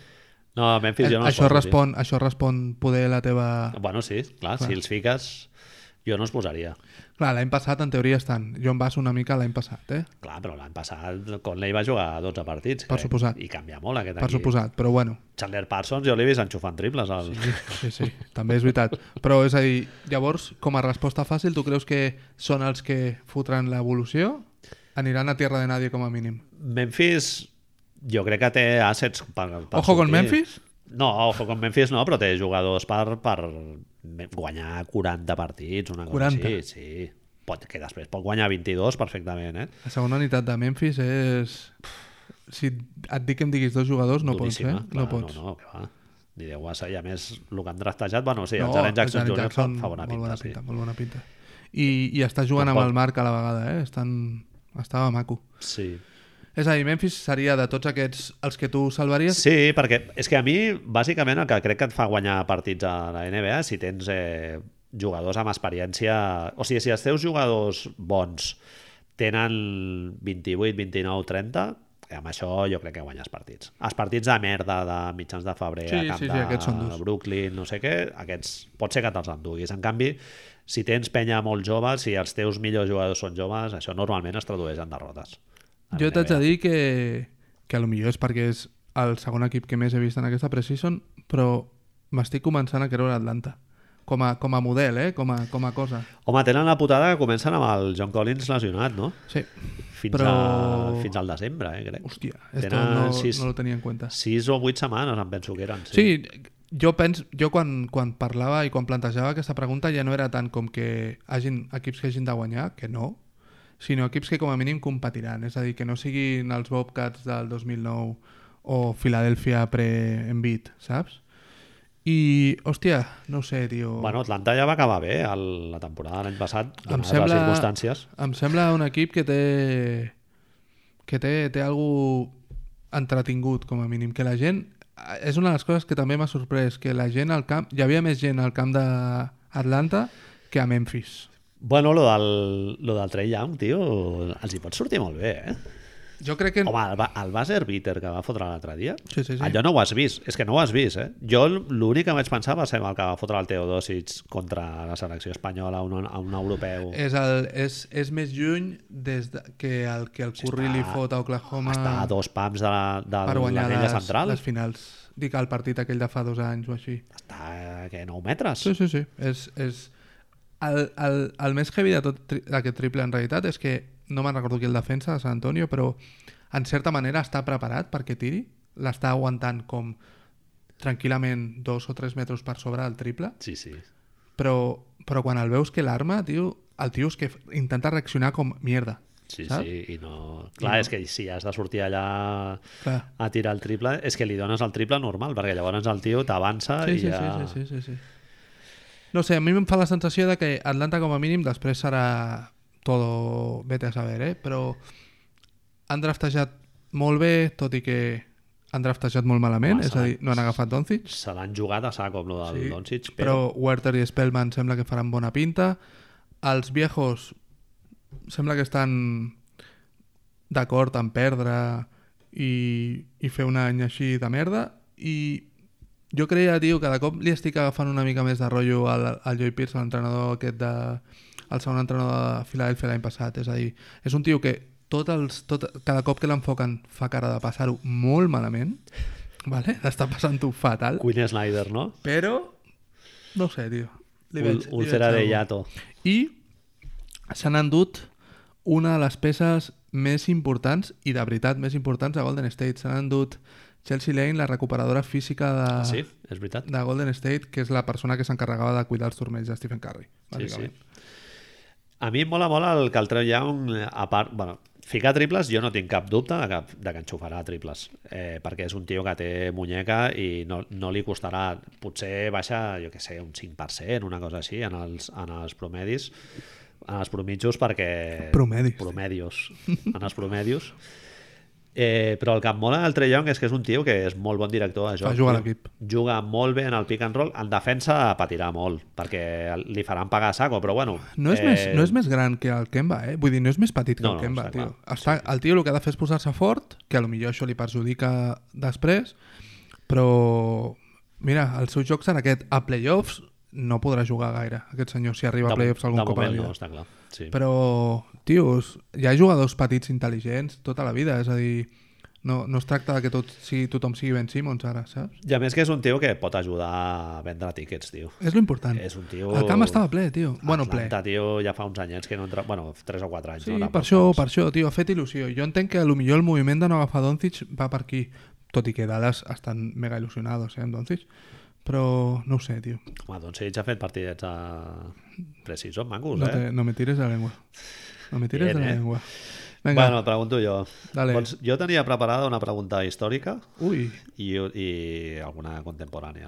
Speaker 1: no Memphis jo no els
Speaker 2: Eh, això,
Speaker 1: poso.
Speaker 2: respon, això respon poder la teva...
Speaker 1: Sí. Bueno, sí, clar, si els fiques... Jo no es posaria.
Speaker 2: Clar, l'any passat en teoria estan. Jo em baso una mica l'any passat, eh?
Speaker 1: Clar, però l'any passat Conley va jugar 12 partits.
Speaker 2: Per
Speaker 1: crec,
Speaker 2: suposat.
Speaker 1: I canvia molt aquest
Speaker 2: Per
Speaker 1: aquí.
Speaker 2: suposat, però bueno.
Speaker 1: Chandler Parsons jo l'he vist enxufant triples. Al... Sí.
Speaker 2: Sí, sí, també és veritat. Però és a dir, llavors, com a resposta fàcil, tu creus que són els que fotran l'evolució? Aniran a tierra de nadie com a mínim.
Speaker 1: Memphis jo crec que té assets per, per
Speaker 2: Ojo
Speaker 1: sortir.
Speaker 2: con Memphis?
Speaker 1: No, ojo con Memphis no, però té jugadors per, per guanyar 40 partits, una cosa
Speaker 2: 40.
Speaker 1: així. Sí, pot, que després pot guanyar 22 perfectament, eh?
Speaker 2: La segona unitat de Memphis és... Si et dic que em diguis dos jugadors, no
Speaker 1: Duríssima,
Speaker 2: pots, eh? no pots.
Speaker 1: No, no, que va. Ni Déu va ser. I a més, el que han draftejat, bueno, sí, el
Speaker 2: No,
Speaker 1: Jaren Jackson,
Speaker 2: Jaren
Speaker 1: Jr.
Speaker 2: Jackson,
Speaker 1: fa, fa bona
Speaker 2: molt
Speaker 1: pinta,
Speaker 2: bona
Speaker 1: sí.
Speaker 2: pinta, molt bona pinta. I, I està jugant
Speaker 1: Tampoc.
Speaker 2: amb el Marc a la vegada, eh? Estan... Estava maco.
Speaker 1: Sí.
Speaker 2: És a dir, Memphis seria de tots aquests els que tu salvaries?
Speaker 1: Sí, perquè és que a mi, bàsicament, el que crec que et fa guanyar partits a la NBA, si tens eh, jugadors amb experiència... O sigui, si els teus jugadors bons tenen 28, 29, 30, eh, amb això jo crec que guanyes partits. Els partits de merda de mitjans de febrer
Speaker 2: Sí,
Speaker 1: a camp
Speaker 2: sí, sí,
Speaker 1: de
Speaker 2: aquests són durs.
Speaker 1: Brooklyn, no sé què, aquests pot ser que te'ls enduguis. En canvi, si tens penya molt jove, si els teus millors jugadors són joves, això normalment es tradueix en derrotes. A
Speaker 2: Jo
Speaker 1: la
Speaker 2: t'haig de
Speaker 1: NBA.
Speaker 2: dir que, que a lo millor és perquè és el segon equip que més he vist en aquesta preseason, però m'estic començant a creure Atlanta. Com a, com a model, eh? Com a, com a cosa.
Speaker 1: Home, tenen la putada que comencen amb el John Collins lesionat, no?
Speaker 2: Sí.
Speaker 1: Fins,
Speaker 2: Però-
Speaker 1: a, fins al desembre, eh, crec.
Speaker 2: Hòstia, esto
Speaker 1: Tenen
Speaker 2: no,
Speaker 1: sis-
Speaker 2: no lo tenia en compte.
Speaker 1: Sis o vuit setmanes, em penso que eren. Sí.
Speaker 2: Sí, jo penso, jo quan, quan parlava i quan plantejava aquesta pregunta ja no era tant com que hagin equips que hagin de guanyar, que no, sinó equips que com a mínim competiran, és a dir, que no siguin els Bobcats del 2009 o Filadèlfia pre-Envit, saps? I, hòstia, no ho sé, tio...
Speaker 1: Bueno, Atlanta ja va acabar bé el, la temporada de l'any passat,
Speaker 2: em
Speaker 1: donades
Speaker 2: sembla,
Speaker 1: les circumstàncies.
Speaker 2: em sembla un equip que té que té, té algú entretingut com a mínim, que la gent és una de les coses que també m'ha sorprès que la gent al camp, hi havia més gent al camp d'Atlanta que a Memphis
Speaker 1: Bueno, lo del, lo del Trey Young, tio, els hi pot sortir molt bé, eh?
Speaker 2: jo crec que
Speaker 1: Home, el, ba- el buzzer beater que va fotre l'altre dia,
Speaker 2: sí, sí, sí.
Speaker 1: allò no ho has vist, és que no ho has vist, eh? Jo l- l'únic que vaig pensar va ser en el que va fotre el Teodosic contra la selecció espanyola a un, a un europeu.
Speaker 2: és, el, és, és més lluny des de, que el que el Curry li
Speaker 1: està-
Speaker 2: fot a Oklahoma
Speaker 1: Està a dos pams de, la-
Speaker 2: per
Speaker 1: de
Speaker 2: guanyar
Speaker 1: l'anella
Speaker 2: les,
Speaker 1: central.
Speaker 2: les finals dic el partit aquell de fa dos anys o així
Speaker 1: Està, que, 9 metres?
Speaker 2: Sí, sí, sí. És, és... El, el, el més heavy de tot tri d'aquest triple en realitat és que no me'n recordo qui el defensa de San Antonio, però en certa manera està preparat perquè tiri, l'està aguantant com tranquil·lament dos o tres metres per sobre del triple,
Speaker 1: Sí, sí.
Speaker 2: però, però quan el veus que l'arma, tio, el tio és que f- intenta reaccionar com mierda.
Speaker 1: Sí,
Speaker 2: saps?
Speaker 1: sí, i no... Clar, és que si has de sortir allà
Speaker 2: Clar.
Speaker 1: a tirar el triple, és que li dones el triple normal, perquè llavors el tio t'avança
Speaker 2: Sí,
Speaker 1: i
Speaker 2: sí,
Speaker 1: ja...
Speaker 2: sí, sí, sí, sí, sí. No sé, a mi em fa la sensació de que Atlanta com a mínim després serà todo vete a saber, eh? Però han draftejat molt bé, tot i que han draftejat molt malament,
Speaker 1: Home,
Speaker 2: és a dir, no han agafat Doncic,
Speaker 1: Se l'han jugat a sac, com lo del
Speaker 2: Sí,
Speaker 1: sí, Doncic, però...
Speaker 2: però Werther i Spellman sembla que faran bona pinta. Els viejos sembla que estan d'acord en perdre i, i fer un any així de merda i jo creia, tio, que de cop li estic agafant una mica més de rotllo al, al Joy Pierce, l'entrenador aquest de... el segon entrenador de Filadèlfia l'any passat. És a dir, és un tio que tot els, tot, cada cop que l'enfoquen fa cara de passar-ho molt malament, vale? l'està passant-ho fatal.
Speaker 1: Queen Snyder, no?
Speaker 2: Però, no ho sé, tio. Li veig, li
Speaker 1: Úlcera de
Speaker 2: veig algo.
Speaker 1: llato.
Speaker 2: I s'han endut una de les peces més importants, i de veritat més importants, de Golden State. S'han endut Chelsea Lane, la recuperadora física de,
Speaker 1: Ah, sí, és veritat.
Speaker 2: de Golden State, que és la persona que s'encarregava de cuidar els turmells de Stephen Curry,
Speaker 1: Sí,
Speaker 2: bàsicament.
Speaker 1: sí. A mi em mola molt el que el Trey Young, a part... Bueno, ficar triples jo no tinc cap dubte de que, de que enxufarà triples, eh, perquè és un tio que té muñeca i no, no li costarà... Potser baixa, jo que sé, un 5%, una cosa així, en els, en els promedis, en els promitjos perquè...
Speaker 2: Promedis.
Speaker 1: Promedios. En els promedios. Eh, però el que em mola del Trey Young és que és un tio que és molt bon director de joc.
Speaker 2: Fa jugar a l'equip.
Speaker 1: Juga molt bé en el pick and roll. En defensa patirà molt, perquè li faran pagar a saco, però bueno...
Speaker 2: No és,
Speaker 1: eh,
Speaker 2: més, no és més gran que el Kemba, eh? Vull dir, no és més petit que
Speaker 1: No,
Speaker 2: el
Speaker 1: no,
Speaker 2: Kemba,
Speaker 1: està
Speaker 2: tio.
Speaker 1: clar.
Speaker 2: Està, el tio el que ha de fer és posar-se fort, que a lo millor això li perjudica després, però mira, el seu joc serà aquest. A playoffs no podrà jugar gaire, aquest senyor, si arriba a playoffs algun
Speaker 1: de
Speaker 2: cop a la
Speaker 1: moment
Speaker 2: vida.
Speaker 1: no, està clar. Sí. Però...
Speaker 2: Però, tios, hi ha jugadors petits intel·ligents tota la vida, és a dir, no, no es tracta de que tot sigui, tothom sigui Ben Simmons ara, saps?
Speaker 1: I a més que és un tio que pot ajudar a vendre tiquets, tio.
Speaker 2: És lo important.
Speaker 1: És un tio... Ah,
Speaker 2: El camp estava ple, tio. Bueno, ple.
Speaker 1: Atlanta, tio, ja fa uns anyets que no entra... Bueno, 3 o 4 anys.
Speaker 2: Sí,
Speaker 1: no,
Speaker 2: no,
Speaker 1: Tampoc.
Speaker 2: per això, per això, tio, ha fet il·lusió. Jo entenc que a lo millor el moviment de no agafar Doncic va per aquí, tot i que Dallas estan mega il·lusionados eh, amb Doncic, però no ho sé, tio.
Speaker 1: Home, doncs ell ja ha fet partidets a... precisos, macos,
Speaker 2: No,
Speaker 1: eh?
Speaker 2: te, no me tires de la lengua. No me tires
Speaker 1: Bien,
Speaker 2: de la
Speaker 1: eh?
Speaker 2: lengua. Vinga,
Speaker 1: Bueno, et pregunto jo.
Speaker 2: Dale.
Speaker 1: Vols... Jo tenia preparada una pregunta històrica
Speaker 2: ui,
Speaker 1: i, i alguna contemporània.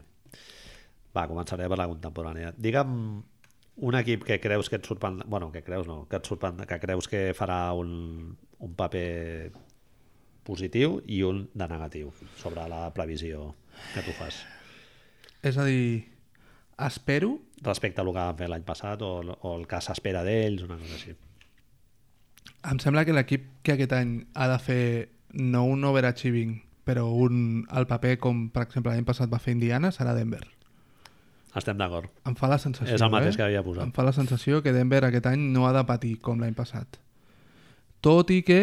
Speaker 1: Va, començaré per la contemporània. Digue'm un equip que creus que et sorprendrà... Bueno, que creus no, que, et sorprendrà, que creus que farà un, un paper positiu i un de negatiu sobre la previsió que tu fas.
Speaker 2: és a dir, espero
Speaker 1: Respecte al que van fer l'any passat o, o el que s'espera d'ells, una cosa així.
Speaker 2: Em sembla que l'equip que aquest any ha de fer no un overachieving, però un al paper com, per exemple, l'any passat va fer Indiana, serà Denver.
Speaker 1: Estem d'acord.
Speaker 2: Em fa la sensació,
Speaker 1: És el mateix
Speaker 2: eh?
Speaker 1: que havia posat.
Speaker 2: Em fa la sensació que Denver aquest any no ha de patir com l'any passat. Tot i que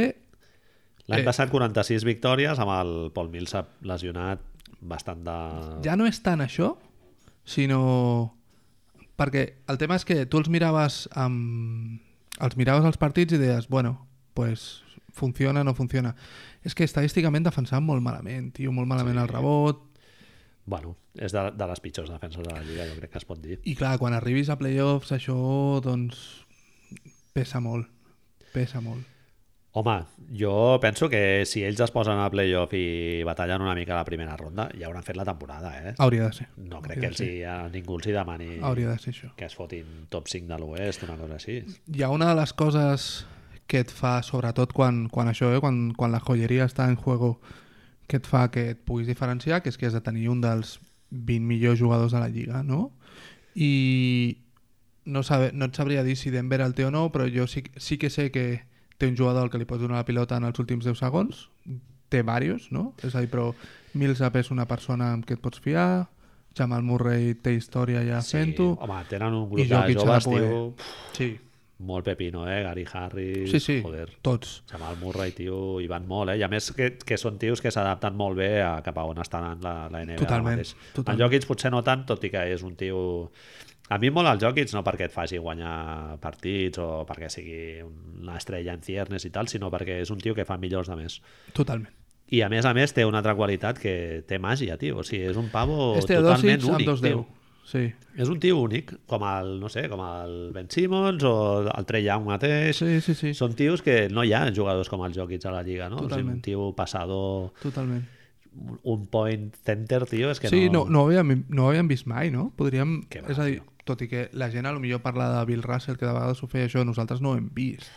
Speaker 1: L'any
Speaker 2: Eh.
Speaker 1: passat 46 victòries amb el Paul Millsap lesionat bastant de...
Speaker 2: ja no és tant això, sinó... Perquè el tema és que tu els miraves amb... els miraves als partits i deies, bueno, pues funciona, no funciona. És que estadísticament defensaven molt malament, tio, molt malament sí. el rebot,
Speaker 1: Bueno, és de, de les pitjors defenses de la Lliga, jo crec que es pot dir.
Speaker 2: I clar, quan arribis a playoffs això, doncs, pesa molt. Pesa molt.
Speaker 1: Home, jo penso que si ells es posen a playoff i batallen una mica la primera ronda, ja hauran fet la temporada, eh?
Speaker 2: Ah, Hauria de ser.
Speaker 1: No crec que els hi, a ningú els hi demani
Speaker 2: Hauria de ser això.
Speaker 1: que es fotin top 5 de l'oest, una cosa així.
Speaker 2: Hi ha una de les coses que et fa, sobretot quan, quan això, eh, quan, quan la joieria està en juego, que et fa que et puguis diferenciar, que és que has de tenir un dels 20 millors jugadors de la Lliga, no? I no, sabe, no et sabria dir si Denver el té o no, però jo sí, sí que sé que té un jugador al que li pots donar la pilota en els últims 10 segons, té varios, no? És a dir, però Millsap és una persona amb què et pots fiar, Jamal Murray té història ja fent-ho...
Speaker 1: home, tenen un
Speaker 2: I
Speaker 1: grup de
Speaker 2: Jokic ha de
Speaker 1: joves,
Speaker 2: poder.
Speaker 1: tio, pf,
Speaker 2: Sí,
Speaker 1: molt pepino, eh? Gary Harris,
Speaker 2: sí, sí,
Speaker 1: joder.
Speaker 2: tots.
Speaker 1: Jamal Murray, tio, hi van molt, eh? I a més que, que són tios que s'adapten molt bé a cap a on està anant la, la NBA. ara
Speaker 2: Totalment,
Speaker 1: mateix.
Speaker 2: totalment.
Speaker 1: En Jokic potser no tant, tot i que és un tio... A mi molt el Jokic no perquè et faci guanyar partits o perquè sigui una estrella en ciernes i tal, sinó perquè és un tio que fa millors de més.
Speaker 2: Totalment.
Speaker 1: I a més a més té una altra qualitat que té màgia, tio. O sigui, és un pavo
Speaker 2: Este
Speaker 1: totalment
Speaker 2: Dosic amb
Speaker 1: únic,
Speaker 2: dos
Speaker 1: tio.
Speaker 2: deu. Sí.
Speaker 1: És un tio únic, com el, no sé, com el Ben Simmons o el Trey Young mateix.
Speaker 2: sí, sí, sí,
Speaker 1: Són tios que no hi ha jugadors com el Jokic a la Lliga, no? O sigui,
Speaker 2: Totalment.
Speaker 1: un tio passador,
Speaker 2: totalment.
Speaker 1: un point center, tio, és que
Speaker 2: sí, no,
Speaker 1: no...
Speaker 2: no, ho havíem, no ho havíem vist mai, no? Podríem...
Speaker 1: Què va,
Speaker 2: és a dir, tot i que la gent a lo millor parla de Bill Russell, que de vegades ho feia això, nosaltres no ho hem vist.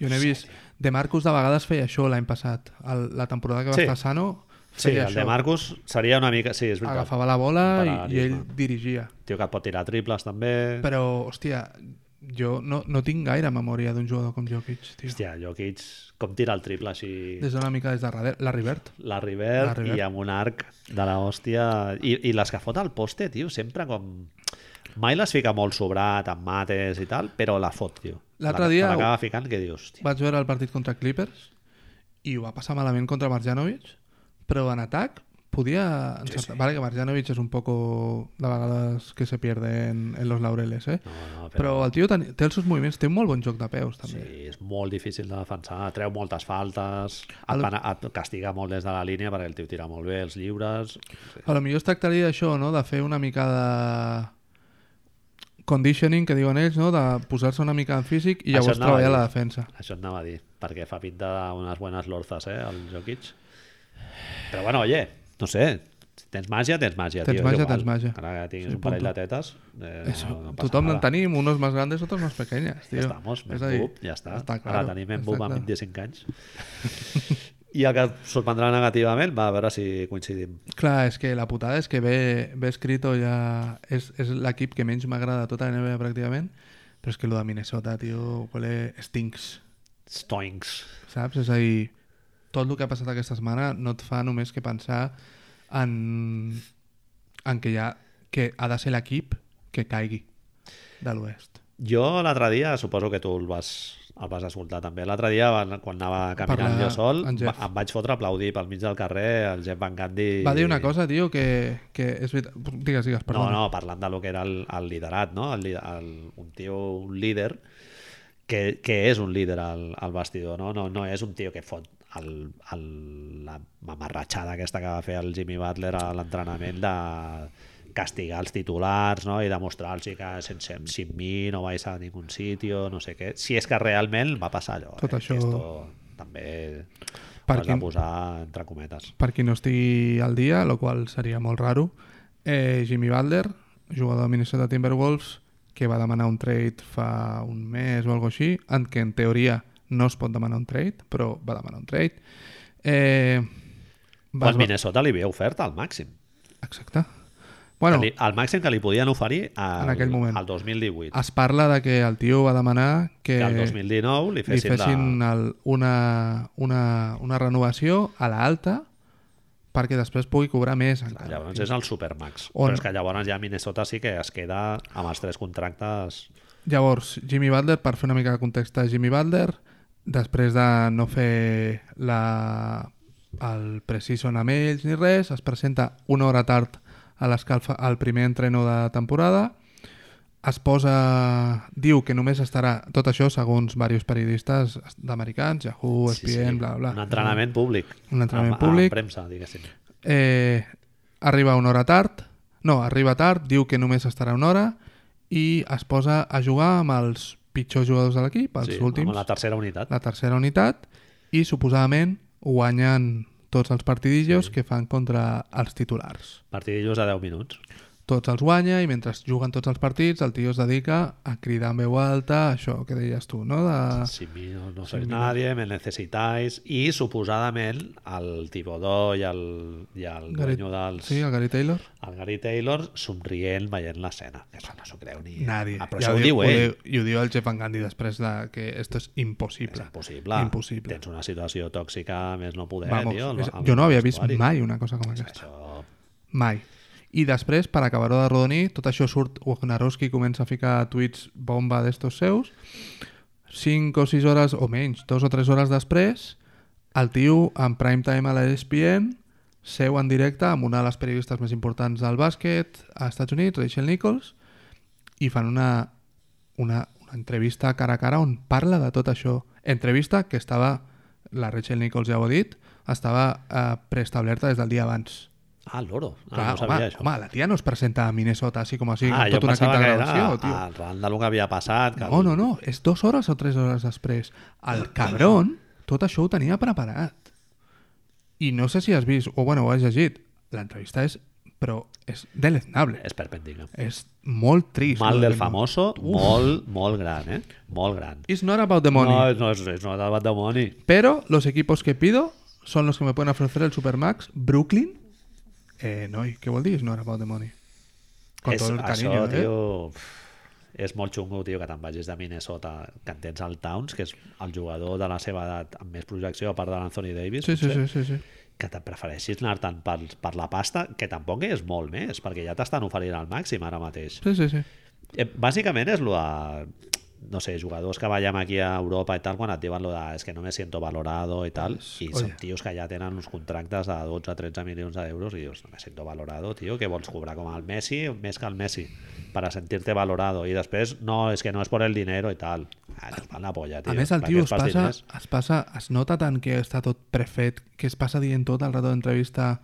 Speaker 2: Jo n'he vist... De Marcus de vegades feia això l'any passat. El, la temporada que va
Speaker 1: Sí.
Speaker 2: estar sano
Speaker 1: Sí, el
Speaker 2: feia això.
Speaker 1: de Marcus seria una mica... Sí, és veritat.
Speaker 2: Agafava la bola i, i ell
Speaker 1: Paral·lelisme.
Speaker 2: dirigia.
Speaker 1: Tio que et pot tirar triples, també... Però...
Speaker 2: Però, hòstia, jo no, no tinc gaire memòria d'un jugador com Jokic, tio.
Speaker 1: Hòstia, Jokic, com tira el triple així...
Speaker 2: Des d'una mica des de darrere. La Rivert.
Speaker 1: La River,
Speaker 2: La
Speaker 1: la
Speaker 2: River.
Speaker 1: i amb un arc de la hòstia... I, I les que fot al poste, tio, sempre com... Mai les fica molt sobrat, amb mates i tal, però la fot, tio.
Speaker 2: L'altre
Speaker 1: La-
Speaker 2: dia-
Speaker 1: Te l'acaba ficant que dius, hòstia,
Speaker 2: Vaig veure el partit contra Clippers i ho va passar malament contra Marjanovic, però en atac podia... encertar. Vale, que Marjanovic és un poco de vegades que se pierde en, en los laureles, eh?
Speaker 1: No, no, però-
Speaker 2: però... el tio ten, té els seus moviments, té un molt bon joc de peus, també.
Speaker 1: Sí, és molt difícil de defensar, treu moltes faltes,
Speaker 2: El-
Speaker 1: et, pana, et castiga molt des de la línia perquè el tio tira molt bé els llibres...
Speaker 2: A lo millor es tractaria d'això, no? De fer una mica de conditioning, que diuen ells, no? De posar-se una mica en físic i
Speaker 1: Això eh?
Speaker 2: llavors
Speaker 1: anava a
Speaker 2: treballar
Speaker 1: dir.
Speaker 2: la defensa.
Speaker 1: Això et anava a dir, perquè fa pinta d'unes bones lorzas, eh, el Jokic. Però bueno, oye, no sé, si tens màgia, tens màgia,
Speaker 2: Tens
Speaker 1: tio. és
Speaker 2: màgia,
Speaker 1: igual.
Speaker 2: tens màgia.
Speaker 1: Ara que tinguis
Speaker 2: Sí,
Speaker 1: un parell
Speaker 2: punto.
Speaker 1: de tetes, eh,
Speaker 2: Eso,
Speaker 1: no, no passa
Speaker 2: tothom en
Speaker 1: nada.
Speaker 2: tenim, unos más grandes, otros más pequeñas, tio.
Speaker 1: Ja estamos,
Speaker 2: És
Speaker 1: men
Speaker 2: a dir,
Speaker 1: bub, ja està.
Speaker 2: està
Speaker 1: Ara
Speaker 2: claro,
Speaker 1: tenim men
Speaker 2: està
Speaker 1: bub amb
Speaker 2: claro.
Speaker 1: 25 anys. I el que et sorprendrà negativament, va, a veure si coincidim.
Speaker 2: Clar, és que la putada és que ve, ve escrito ja... És, és l'equip que menys m'agrada de tota la NBA pràcticament, però és que lo de Minnesota, tio, huele stinks,
Speaker 1: Stoinks.
Speaker 2: saps? És a dir, tot el que ha passat aquesta setmana no et fa només que pensar en, en que, ja, que ha de ser l'equip que caigui de l'oest.
Speaker 1: Jo l'altre dia, suposo que tu el vas, el vas escoltar també, l'altre dia van- quan anava caminant
Speaker 2: Parlar
Speaker 1: jo sol,
Speaker 2: en Jeff.
Speaker 1: va- em vaig fotre a aplaudir pel mig del carrer el Jeff Van Gandhi.
Speaker 2: Va dir una cosa, tio, que, que és veritat... Digues, digues,
Speaker 1: No,
Speaker 2: perdona.
Speaker 1: no, parlant de lo que era el, el liderat, no? El, li- el, un tio, un líder, que, que és un líder al, al vestidor, no? no? No és un tio que fot el, el, la mamarratxada aquesta que va fer el Jimmy Butler a l'entrenament de castigar els titulars no? i demostrar-los que sense, sin mi no vais a ningún sitio, no sé què. Si és que realment va passar allò.
Speaker 2: Tot
Speaker 1: eh?
Speaker 2: això-
Speaker 1: Esto també ho
Speaker 2: Per
Speaker 1: has de
Speaker 2: quin-
Speaker 1: posar entre cometes.
Speaker 2: Per qui no estigui al dia, lo qual seria molt raro, eh, Jimmy Butler, jugador de Minnesota Timberwolves, que va demanar un trade fa un mes o alguna així, en què en teoria no es pot demanar un trade, però va demanar un trade. Eh, va-
Speaker 1: Quan Minnesota li havia ofert al màxim.
Speaker 2: Exacte.
Speaker 1: Bueno,
Speaker 2: Bueno,
Speaker 1: li, el màxim que li podien oferir al,
Speaker 2: En aquell moment.
Speaker 1: al 2018.
Speaker 2: es parla de que el tio va demanar que,
Speaker 1: que al 2019 li
Speaker 2: li
Speaker 1: fessin,
Speaker 2: fessin
Speaker 1: la...
Speaker 2: el, una, una, una renovació a l'alta perquè després pugui cobrar més encara.
Speaker 1: Llavors és el supermax.
Speaker 2: On-
Speaker 1: Però és que llavors ja Minnesota sí que es queda amb els tres contractes...
Speaker 2: Llavors, Jimmy Butler, per fer una mica de context de Jimmy Butler, després de no fer la, el precision amb ells ni res, es presenta una hora tard a l'escalfa al primer entreno de temporada, es posa... Diu que només estarà... Tot això, segons diversos periodistes d'americans, Yahoo, E ESPN, bla, bla.
Speaker 1: Un entrenament públic.
Speaker 2: Un entrenament
Speaker 1: amb,
Speaker 2: públic.
Speaker 1: Amb premsa, diguéssim.
Speaker 2: Eh, arriba una hora tard, no, arriba tard, diu que només estarà una hora i es posa a jugar amb els pitjors jugadors de l'equip, els
Speaker 1: sí,
Speaker 2: últims,
Speaker 1: Amb la tercera unitat.
Speaker 2: la tercera unitat, i suposadament guanyen tots els partidillos que fan contra els titulars.
Speaker 1: Partidillos de 10 minuts.
Speaker 2: Tots els guanya i mentre juguen tots els partits el tio es dedica a cridar en veu alta, això que deies tu, no? De...
Speaker 1: Si mi no, no sois nadie, me necessitáis... I suposadament el Tibodó i el, i el
Speaker 2: Gary-
Speaker 1: dueño dels...
Speaker 2: Sí, el Gary Taylor.
Speaker 1: el Gary Taylor somrient veient l'escena. Que Això no s'ho creu ni...
Speaker 2: Nadie.
Speaker 1: Ah, però
Speaker 2: Ja
Speaker 1: això ho diu ell.
Speaker 2: Ho diu, I ho diu el Jeff Van Gandhi després de que esto és
Speaker 1: És
Speaker 2: impossible.
Speaker 1: impossible.
Speaker 2: Impossible.
Speaker 1: Tens una situació tòxica, a més no poder,
Speaker 2: Vamos,
Speaker 1: tio.
Speaker 2: és-
Speaker 1: amb-
Speaker 2: jo no havia
Speaker 1: amb
Speaker 2: vist
Speaker 1: l'estuari.
Speaker 2: mai una cosa com aquesta.
Speaker 1: Això...
Speaker 2: Mai. I després, per acabar-ho de rodonir, tot això surt, Wojnarowski comença a ficar tuits bomba d'estos seus, 5 o 6 hores, o menys, 2 o 3 hores després, el tio, en prime time a la ESPN, seu en directe amb una de les periodistes més importants del bàsquet a Estats Units, Rachel Nichols, i fan una, una, una entrevista cara a cara on parla de tot això. Entrevista que estava, la Rachel Nichols ja ho ha dit, estava eh, preestablerta des del dia abans.
Speaker 1: Ah, l'oro. Ah,
Speaker 2: Clar,
Speaker 1: no sabia
Speaker 2: home,
Speaker 1: això.
Speaker 2: home, la tia no es presenta a Minnesota així com així,
Speaker 1: ah,
Speaker 2: amb
Speaker 1: jo
Speaker 2: tot un equip
Speaker 1: pensava
Speaker 2: de
Speaker 1: que era
Speaker 2: gravació, tio.
Speaker 1: arran del que havia passat. Que
Speaker 2: No, no, no, és dues hores o tres hores després. El cabron, tot això ho tenia preparat. I no sé si has vist, o bueno, ho has llegit, l'entrevista és, però és deleznable.
Speaker 1: És perpendicular.
Speaker 2: És molt trist.
Speaker 1: Mal
Speaker 2: no?
Speaker 1: del famoso, molt, molt gran, eh? Molt gran.
Speaker 2: It's not about the money.
Speaker 1: No, no, és, és no debat de money.
Speaker 2: Pero los equipos que pido son los que me pueden ofrecer el Supermax. Brooklyn. Eh, no, ¿y qué vol dir? It's not about the money. Con
Speaker 1: és,
Speaker 2: todo el cariño,
Speaker 1: això,
Speaker 2: eh?
Speaker 1: tio, pf, és molt xungo, tio, que te'n vagis de Minnesota, que en tens el Towns, que és el jugador de la seva edat amb més projecció, a part de l'Anthony Davis,
Speaker 2: Sí, sí,
Speaker 1: potser.
Speaker 2: sí, sí, sí.
Speaker 1: que te prefereixis anar tant per, per la pasta, que tampoc és molt més, perquè ja t'estan oferint al màxim ara mateix.
Speaker 2: Sí, sí, sí.
Speaker 1: Eh, Bàsicament és lo de no sé, jugadors que veiem aquí a Europa i tal, quan et diuen lo de és que no me siento valorado i tal, i són
Speaker 2: oye.
Speaker 1: tios que ja tenen uns contractes de 12-13 milions d'euros i dius, no me siento valorado, tio, que vols cobrar com el Messi, més que el Messi, para sentirte valorado, i després, no, és que no és por el dinero i tal. Ah, no, la polla, tio.
Speaker 2: A més, el
Speaker 1: Per
Speaker 2: tio
Speaker 1: què
Speaker 2: es
Speaker 1: fas
Speaker 2: passa,
Speaker 1: diners?
Speaker 2: es passa, es nota tant que està tot prefet, que es passa dient tot el rato d'entrevista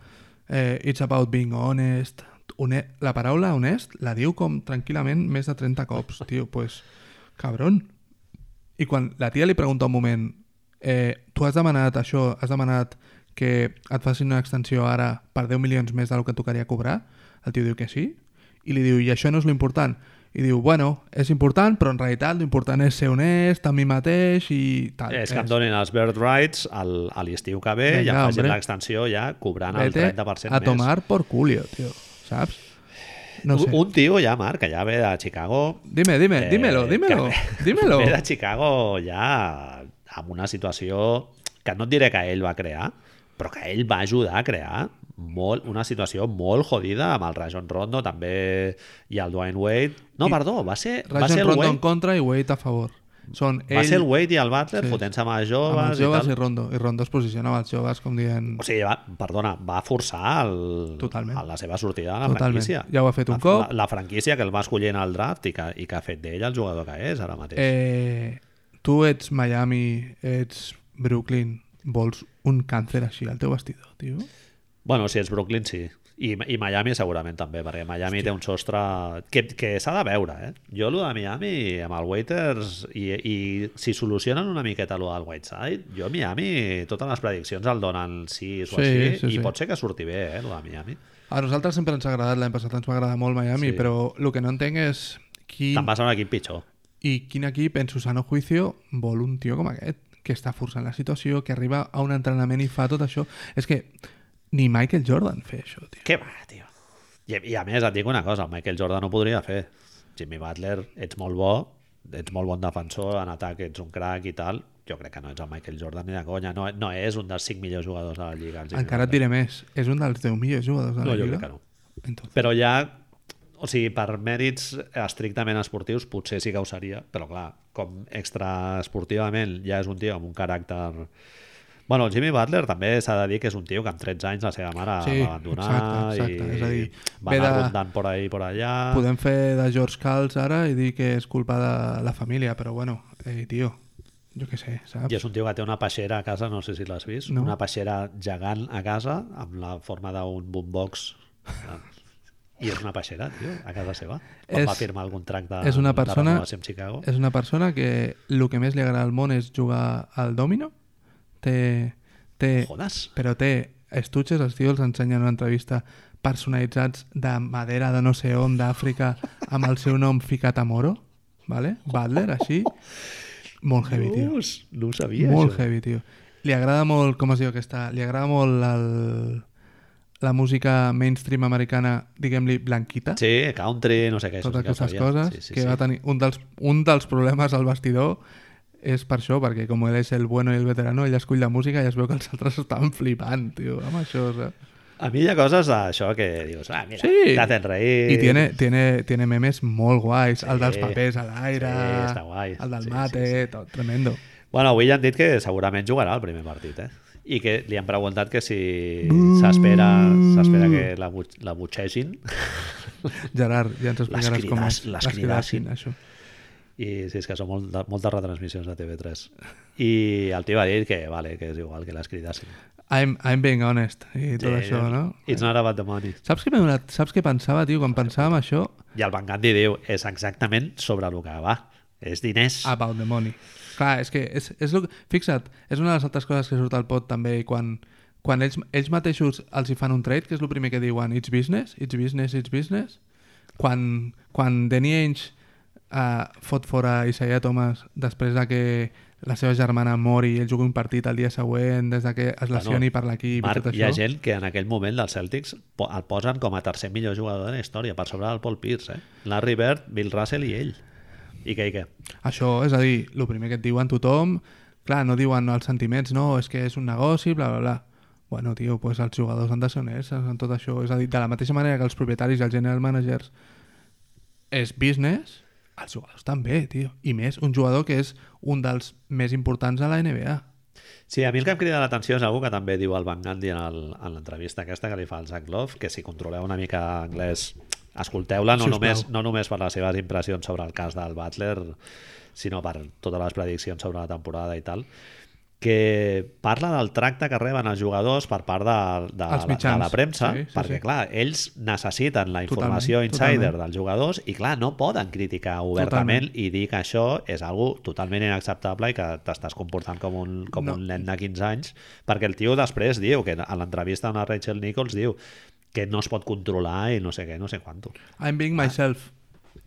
Speaker 2: eh, it's about being honest. One la paraula honest la diu com tranquil·lament més de 30 cops, tio, pues, cabron. I quan la tia li pregunta un moment eh, tu has demanat això, has demanat que et facin una extensió ara per 10 milions més del que tocaria cobrar, el tio diu que sí, i li diu, i això no és l'important. I diu, bueno, és important, però en realitat l'important és ser honest amb mi mateix i tal.
Speaker 1: És que em donin els bird rights al, a l'estiu que ve i em
Speaker 2: Vinga,
Speaker 1: facin
Speaker 2: hombre.
Speaker 1: l'extensió ja cobrant el
Speaker 2: Vete
Speaker 1: 30%
Speaker 2: a tomar por culio, tio, saps? No
Speaker 1: més.
Speaker 2: sé.
Speaker 1: Un- Un tio ja, Marc, que ja ve de Chicago...
Speaker 2: Dime, dime,
Speaker 1: eh,
Speaker 2: dímelo, dímelo,
Speaker 1: que-
Speaker 2: dímelo.
Speaker 1: Ve de Chicago ja amb una situació que no et diré que ell va crear, però que ell va ajudar a crear molt, una situació molt jodida amb el Rajon Rondo també i el Dwayne Wade. No,
Speaker 2: I-
Speaker 1: perdó, va ser, va
Speaker 2: Rajon
Speaker 1: ser el
Speaker 2: Rondo en
Speaker 1: Wade,
Speaker 2: contra i Wade a favor. Són
Speaker 1: va
Speaker 2: ell
Speaker 1: ser el Wade i el Butler
Speaker 2: Sí.
Speaker 1: fotent-se amb els
Speaker 2: amb
Speaker 1: joves,
Speaker 2: els joves
Speaker 1: i
Speaker 2: i,
Speaker 1: tal.
Speaker 2: Rondo. I Rondo es posiciona amb els joves com dient...
Speaker 1: O sigui, va, perdona, va forçar el,
Speaker 2: Totalment.
Speaker 1: a la seva sortida de la
Speaker 2: Totalment.
Speaker 1: franquícia.
Speaker 2: Ja ho ha fet un
Speaker 1: la,
Speaker 2: cop.
Speaker 1: La, la franquícia que el va escollir en el draft i que, i que ha fet d'ell el jugador que és ara mateix.
Speaker 2: Eh, tu ets Miami, ets Brooklyn, vols un càncer així al teu vestidor, tio?
Speaker 1: Bueno, si ets Brooklyn, sí. I, I Miami segurament també, perquè Miami té un sostre que, que s'ha de veure, eh? Jo, allò de Miami, amb el Waiters, i, i si solucionen una miqueta allò del Whiteside, jo a Miami totes les prediccions el donen 6 o
Speaker 2: Sí,
Speaker 1: així,
Speaker 2: sí,
Speaker 1: i
Speaker 2: sí.
Speaker 1: pot ser que surti bé, eh, allò de Miami.
Speaker 2: A nosaltres sempre ens ha agradat, l'any passat ens va agradar molt Miami,
Speaker 1: Sí.
Speaker 2: però el que no entenc és qui
Speaker 1: Te'n vas a un equip pitjor.
Speaker 2: I quin equip, en su sano juicio, vol un tio com aquest, que està forçant la situació, que arriba a un entrenament i fa tot això. És que ni Michael Jordan feia això, tio.
Speaker 1: Què va, tio? I, I a més et dic una cosa, el Michael Jordan no ho podria fer. Jimmy Butler, ets molt bo, ets molt bon defensor, en atac ets un crac i tal, jo crec que no ets el Michael Jordan ni de conya, no, no és un dels 5 millors jugadors de la Lliga. el Jimmy
Speaker 2: Encara et
Speaker 1: Butler.
Speaker 2: diré més, és un dels 10 millors jugadors de la
Speaker 1: No, jo
Speaker 2: Lliga.
Speaker 1: crec que no.
Speaker 2: Entonces,
Speaker 1: Però ja, o sigui, per mèrits estrictament esportius potser sí que ho seria, però clar, com extraesportivament ja és un tio amb un caràcter... Bueno, el Jimmy Butler també s'ha de dir que és un tio que amb 13 anys la seva mare
Speaker 2: Sí,
Speaker 1: va abandonar
Speaker 2: exacte, exacte.
Speaker 1: i
Speaker 2: És a dir,
Speaker 1: va
Speaker 2: ve
Speaker 1: anar
Speaker 2: de-
Speaker 1: rondant per ahí per allà.
Speaker 2: podem fer de George Calls ara i dir que és culpa de la família, però bueno, eh, tio, jo què sé, saps?
Speaker 1: I és un tio que té una peixera a casa, no sé si l'has vist,
Speaker 2: No.
Speaker 1: una peixera gegant a casa amb la forma d'un boombox. I és una peixera, tio, a casa seva. Quan
Speaker 2: És-
Speaker 1: va firmar el contracte
Speaker 2: és una
Speaker 1: de
Speaker 2: persona-
Speaker 1: renovació amb Chicago.
Speaker 2: És una persona que el que més li agrada al món és jugar al domino, té, té
Speaker 1: Jodes.
Speaker 2: però té estutxes, els tios ensenyen una entrevista personalitzats de madera de no sé on, d'Àfrica, amb el seu nom ficat a moro, ¿vale? Butler, així. Molt heavy, tio.
Speaker 1: Dios, no ho sabia,
Speaker 2: molt
Speaker 1: això.
Speaker 2: heavy, tio. Li agrada molt, com es diu aquesta, li agrada molt el, la música mainstream americana, diguem-li, blanquita.
Speaker 1: Sí, country, no sé què. això sí
Speaker 2: totes
Speaker 1: que ho
Speaker 2: aquestes
Speaker 1: sabia.
Speaker 2: coses,
Speaker 1: Sí, sí,
Speaker 2: que
Speaker 1: sí.
Speaker 2: va tenir un dels, un dels problemes al vestidor és per això, perquè com ell és el bueno i el veterano, ell escull la música i es veu que els altres estaven flipant, tio, amb això, eh? saps?
Speaker 1: A mi hi ha coses d'això que dius, ah, mira,
Speaker 2: Sí.
Speaker 1: t'hacen reír.
Speaker 2: Y tiene, tiene, tiene memes muy guays.
Speaker 1: Sí.
Speaker 2: al dels papers al aire,
Speaker 1: Sí, està guai.
Speaker 2: al del
Speaker 1: Sí,
Speaker 2: mate,
Speaker 1: sí,
Speaker 2: tot, tremendo.
Speaker 1: Bueno, avui ja han dit que segurament jugarà el primer partit, eh? I que li han preguntat que si s'espera s'espera que la, bu- la butxegin
Speaker 2: Gerard, ja ens explicaràs
Speaker 1: Les
Speaker 2: com
Speaker 1: cridas-
Speaker 2: és.
Speaker 1: les
Speaker 2: Les cridassin,
Speaker 1: cridassin.
Speaker 2: això.
Speaker 1: i sí, és que són molt, de- moltes retransmissions de TV3. I el tio va dir que, vale, que és igual que les cridassin.
Speaker 2: I'm, I'm being honest i tot
Speaker 1: Sí,
Speaker 2: això, no?
Speaker 1: It's not about the money.
Speaker 2: Saps què, m'he adonat? Saps què pensava, tio, quan pensàvem això?
Speaker 1: I el Van Gandhi diu, és exactament sobre el que va. És diners.
Speaker 2: About the money. Clar, és que és, és lo que... Fixa't, és una de les altres coses que surt al pot també i quan, quan ells, ells mateixos els hi fan un trade, que és el primer que diuen it's business, it's business, it's business quan, quan Danny Ainge uh, fot fora Isaiah Thomas després de que la seva germana mori i ell jugui un partit el dia següent des de que es lesioni per l'equip i
Speaker 1: Marc,
Speaker 2: tot
Speaker 1: hi ha
Speaker 2: això
Speaker 1: gent que en aquell moment dels Celtics po- el posen com a tercer millor jugador de la història, per sobre del Paul Pierce, eh? Larry Bird, Bill Russell i ell. I què, i què?
Speaker 2: Això, és a dir, el primer que et diuen tothom, clar, no diuen els sentiments, no, és que és un negoci, bla, bla, bla. Bueno, tio, pues els jugadors han de ser honestes en tot això. És a dir, de la mateixa manera que els propietaris i els general managers és business, els jugadors també, tio. I més, un jugador que és un dels més importants a la NBA.
Speaker 1: Sí, a mi el que em crida l'atenció és algú que també diu el Van Gandhi en el- en l'entrevista aquesta que li fa el Zach Love, que si controleu una mica anglès, escolteu-la, no,
Speaker 2: Sisplau.
Speaker 1: només, no només per les seves impressions sobre el cas del Butler, sinó per totes les prediccions sobre la temporada i tal, que parla del tracte que reben els jugadors per part de, de,
Speaker 2: Els
Speaker 1: la- de la
Speaker 2: mitjans.
Speaker 1: premsa,
Speaker 2: Sí, sí,
Speaker 1: perquè,
Speaker 2: sí.
Speaker 1: clar, ells necessiten la
Speaker 2: Totalment,
Speaker 1: informació insider
Speaker 2: totalment.
Speaker 1: dels jugadors i, clar, no poden criticar obertament i dir que això és algo totalment inacceptable i que t'estàs comportant com un, com
Speaker 2: No.
Speaker 1: un nen de 15 anys, perquè el tio després diu, que a l'entrevista amb la Rachel Nichols diu que no es pot controlar i no sé què, no sé quanto.
Speaker 2: I'm being myself.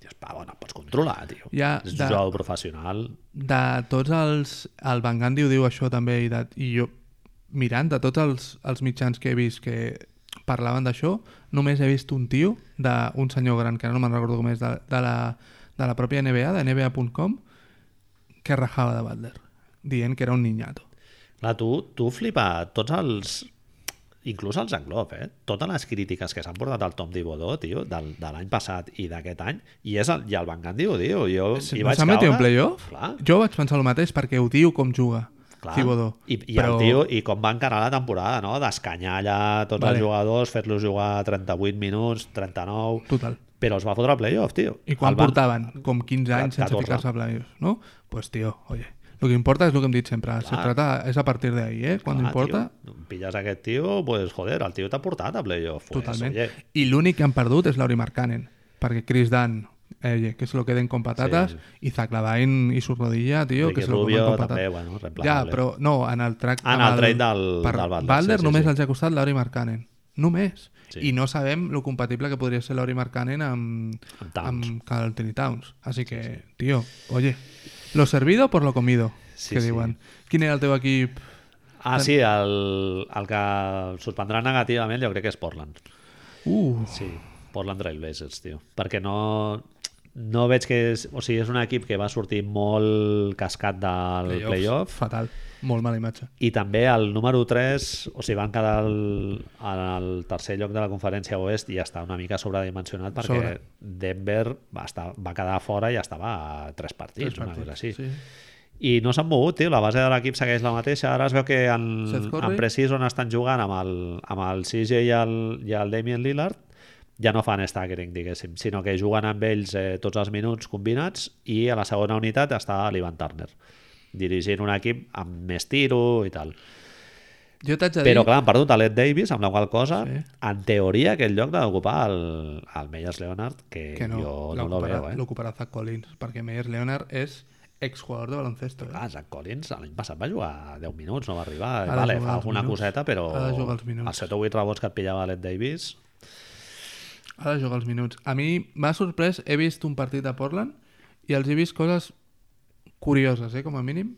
Speaker 1: Dius, pa, bueno, pots controlar, tio.
Speaker 2: Ja,
Speaker 1: és un
Speaker 2: de-
Speaker 1: jugador professional.
Speaker 2: de tots els... El Van Gandhi ho diu això també i, de, i jo mirant de tots els, els mitjans que he vist que parlaven d'això, només he vist un tio d'un senyor gran, que ara no me'n recordo com és, de, de, la, de la pròpia NBA, de NBA.com, que rajava de Butler, dient que era un niñato.
Speaker 1: Clar, tu, tu flipa tots els inclús els englob, eh? Totes les crítiques que s'han portat al Tom Dibodó, tio, del, de l'any passat i d'aquest any, i, és el, i el Van Gandhi ho diu. Jo hi
Speaker 2: no
Speaker 1: vaig
Speaker 2: s'ha metit
Speaker 1: caure...
Speaker 2: un playoff?
Speaker 1: Clar,
Speaker 2: Jo vaig pensar el mateix perquè ho diu com juga
Speaker 1: clar.
Speaker 2: Thibodeau.
Speaker 1: I, i però... el tio, i com va encarar la temporada, no? D'escanyar allà tots
Speaker 2: Vale.
Speaker 1: els jugadors, fer-los jugar 38 minuts, 39...
Speaker 2: Total.
Speaker 1: Però els va fotre al playoff, tio.
Speaker 2: I quan
Speaker 1: El van-
Speaker 2: portaven? Com 15 anys sense
Speaker 1: 14.
Speaker 2: ficar-se a playoffs, no? Pues tío, oye, lo que importa es lo que hem dit sempre. Se
Speaker 1: Clar.
Speaker 2: trata, és a partir de ahí, eh? Cuando
Speaker 1: Ah,
Speaker 2: importa,
Speaker 1: Tio, pilles aquest tio, pues, joder, el tio t'ha portat a playoff. Pues,
Speaker 2: totalment.
Speaker 1: Oye,
Speaker 2: I l'únic que han perdut és Lauri Markkanen, perquè Chris Dunn, eh, que se lo queden con patates, i Zach Lavine i su rodilla, tio,
Speaker 1: Ricky
Speaker 2: que se lo queden
Speaker 1: Rubio
Speaker 2: con patates.
Speaker 1: també, bueno,
Speaker 2: ja,
Speaker 1: reemplaçable.
Speaker 2: però no, en el track...
Speaker 1: Ah, en el trade del-
Speaker 2: per
Speaker 1: del Butler, sí, sí,
Speaker 2: només
Speaker 1: sí.
Speaker 2: els ha costat Lauri Markkanen. Només.
Speaker 1: Sí.
Speaker 2: I no sabem lo compatible que podria ser Lauri Markkanen amb,
Speaker 1: Amb Towns.
Speaker 2: amb Carlton Towns. Així que, tio, oye, lo servido por lo comido,
Speaker 1: Sí,
Speaker 2: que
Speaker 1: sí.
Speaker 2: diuen. Quin era el teu equip?
Speaker 1: Ah, sí, el, el que el sorprendrà negativament jo crec que és Portland.
Speaker 2: Uh,
Speaker 1: Sí, Portland Trailblazers, tio. Perquè no, no veig que és... O sigui, és un equip que va sortir molt cascat del
Speaker 2: playoffs.
Speaker 1: playoff.
Speaker 2: Fatal. Molt mala imatge.
Speaker 1: I també el número 3, o sigui, van quedar el, en el tercer lloc de la conferència oest i està una mica sobredimensionat perquè
Speaker 2: Sobre.
Speaker 1: Denver va, estar, va quedar fora i estava a tres partits,
Speaker 2: Tres
Speaker 1: una
Speaker 2: partits,
Speaker 1: cosa així.
Speaker 2: sí.
Speaker 1: I no s'han mogut, tio. La base de l'equip segueix la mateixa. Ara es veu que en,
Speaker 2: Seth Curry?
Speaker 1: en Precision estan jugant amb el, amb el CJ i el, i el Damien Lillard. Ja no fan staggering, diguéssim, sinó que juguen amb ells eh, tots els minuts combinats i a la segona unitat està l'Ivan Turner dirigint un equip amb més tiro i tal.
Speaker 2: Jo t'haig de dir...
Speaker 1: Però clar, han perdut a Led Davis, amb la qual cosa,
Speaker 2: Sí.
Speaker 1: sí. en teoria, aquest lloc l'ha d'ocupar el, el Meyers Leonard, que,
Speaker 2: que no,
Speaker 1: jo no lo
Speaker 2: l'ocuparà-
Speaker 1: veu, eh?
Speaker 2: L'ocuparà Zach Collins, perquè Meyer Leonard és exjugador de baloncesto. Eh?
Speaker 1: Clar, Zach Collins l'any passat va jugar 10 minuts, no va arribar.
Speaker 2: de
Speaker 1: Vale,
Speaker 2: jugar
Speaker 1: fa
Speaker 2: els
Speaker 1: alguna
Speaker 2: minuts.
Speaker 1: coseta, però...
Speaker 2: Ha de jugar els minuts.
Speaker 1: Els 7 o 8 rebots que et pillava l'Ed Davis...
Speaker 2: Ha de jugar els minuts. A mi m'ha sorprès, he vist un partit a Portland i els he vist coses curioses, eh, com a mínim.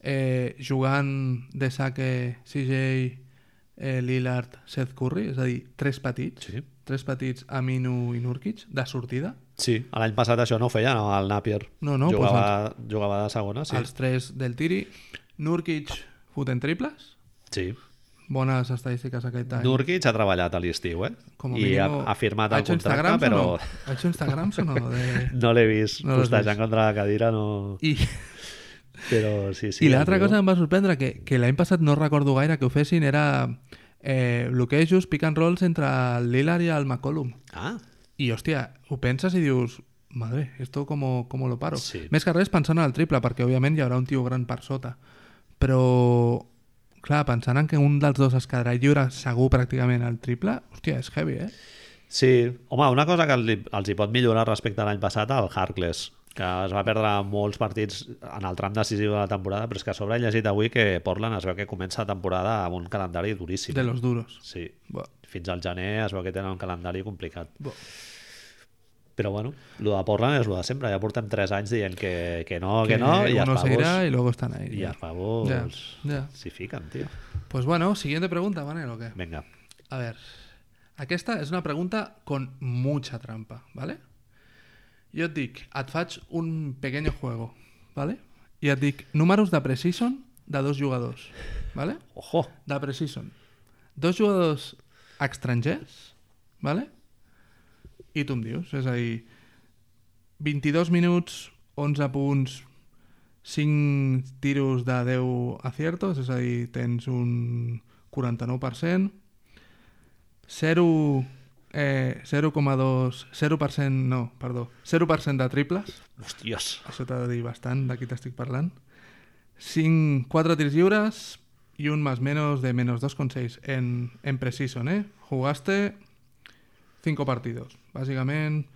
Speaker 2: Eh, jugant de saque CJ, eh, Lillard, Seth Curry, és a dir, tres petits.
Speaker 1: Sí.
Speaker 2: Tres petits Aminu i Nurkic, de sortida.
Speaker 1: Sí. L'any passat això no ho feia, no? El Napier.
Speaker 2: No, no,
Speaker 1: jugava, jugava de segona,
Speaker 2: Sí.
Speaker 1: sí.
Speaker 2: Els tres del tiri. Nurkic fotent triples.
Speaker 1: Sí.
Speaker 2: Bones estadístiques aquest any.
Speaker 1: Nurkic ha treballat a l'estiu, eh?
Speaker 2: com a
Speaker 1: I ha,
Speaker 2: mínimo,
Speaker 1: ha firmat
Speaker 2: ¿ha
Speaker 1: el
Speaker 2: hecho
Speaker 1: contracte,
Speaker 2: Instagrams
Speaker 1: però
Speaker 2: O no? ¿Ha hecho Instagrams o no? De...
Speaker 1: no l'he vist.
Speaker 2: No
Speaker 1: No
Speaker 2: l'has
Speaker 1: Postejant contra la cadira, no...
Speaker 2: I,
Speaker 1: Però sí, sí.
Speaker 2: sí, i
Speaker 1: el
Speaker 2: l'altra
Speaker 1: tio-
Speaker 2: cosa que em va sorprendre, que, que l'any passat no recordo gaire que ho fessin, era eh, bloquejos, pick and rolls entre el Lillard i el McCollum.
Speaker 1: Ah,
Speaker 2: I, hòstia, ho penses i dius... Madre, esto como, como lo paro.
Speaker 1: Sí.
Speaker 2: Més que res pensant en el triple, perquè òbviament hi haurà un tio gran per sota. Però, clar, pensant en que un dels dos es quedarà lliure segur pràcticament al triple, hòstia, és heavy, eh?
Speaker 1: Sí, home, una cosa que els, hi- els hi pot millorar respecte a l'any passat, el Harkless, que es va perdre molts partits en el tram decisiu de la temporada, però és que a sobre he llegit avui que Portland es veu que comença la temporada amb un calendari duríssim.
Speaker 2: De los duros.
Speaker 1: Sí,
Speaker 2: Bo,
Speaker 1: fins al gener es veu que tenen un calendari complicat.
Speaker 2: bo.
Speaker 1: Però bueno, el de Portland és el de sempre, ja portem 3 anys dient que, que no, que,
Speaker 2: que
Speaker 1: no, i els
Speaker 2: uno se irá
Speaker 1: pavos,
Speaker 2: y luego están ahí.
Speaker 1: i
Speaker 2: ya.
Speaker 1: els pavos
Speaker 2: Ya, ya.
Speaker 1: s'hi fiquen, tio.
Speaker 2: Pues bueno, siguiente pregunta, Manel, ¿o qué?
Speaker 1: Vinga,
Speaker 2: A ver, aquesta és una pregunta con mucha trampa, ¿vale? Jo et dic, et faig un pequeño juego, ¿vale? I et dic números de precision de dos jugadors, ¿vale?
Speaker 1: ojo,
Speaker 2: De precision. Dos jugadors estrangers, ¿vale? I tu em dius, és a dir, 22 minuts, 11 punts, 5 tiros de 10 aciertos, és a dir, tens un 49%, 0, eh, 0,2, 0%, no, perdó, 0% de triples,
Speaker 1: hòsties,
Speaker 2: això t'ha de dir bastant de qui t'estic parlant. 5, 4 tirs lliures i un más menos de menos 2,6 en, en precision, eh? Jugaste 5 partidos, bàsicament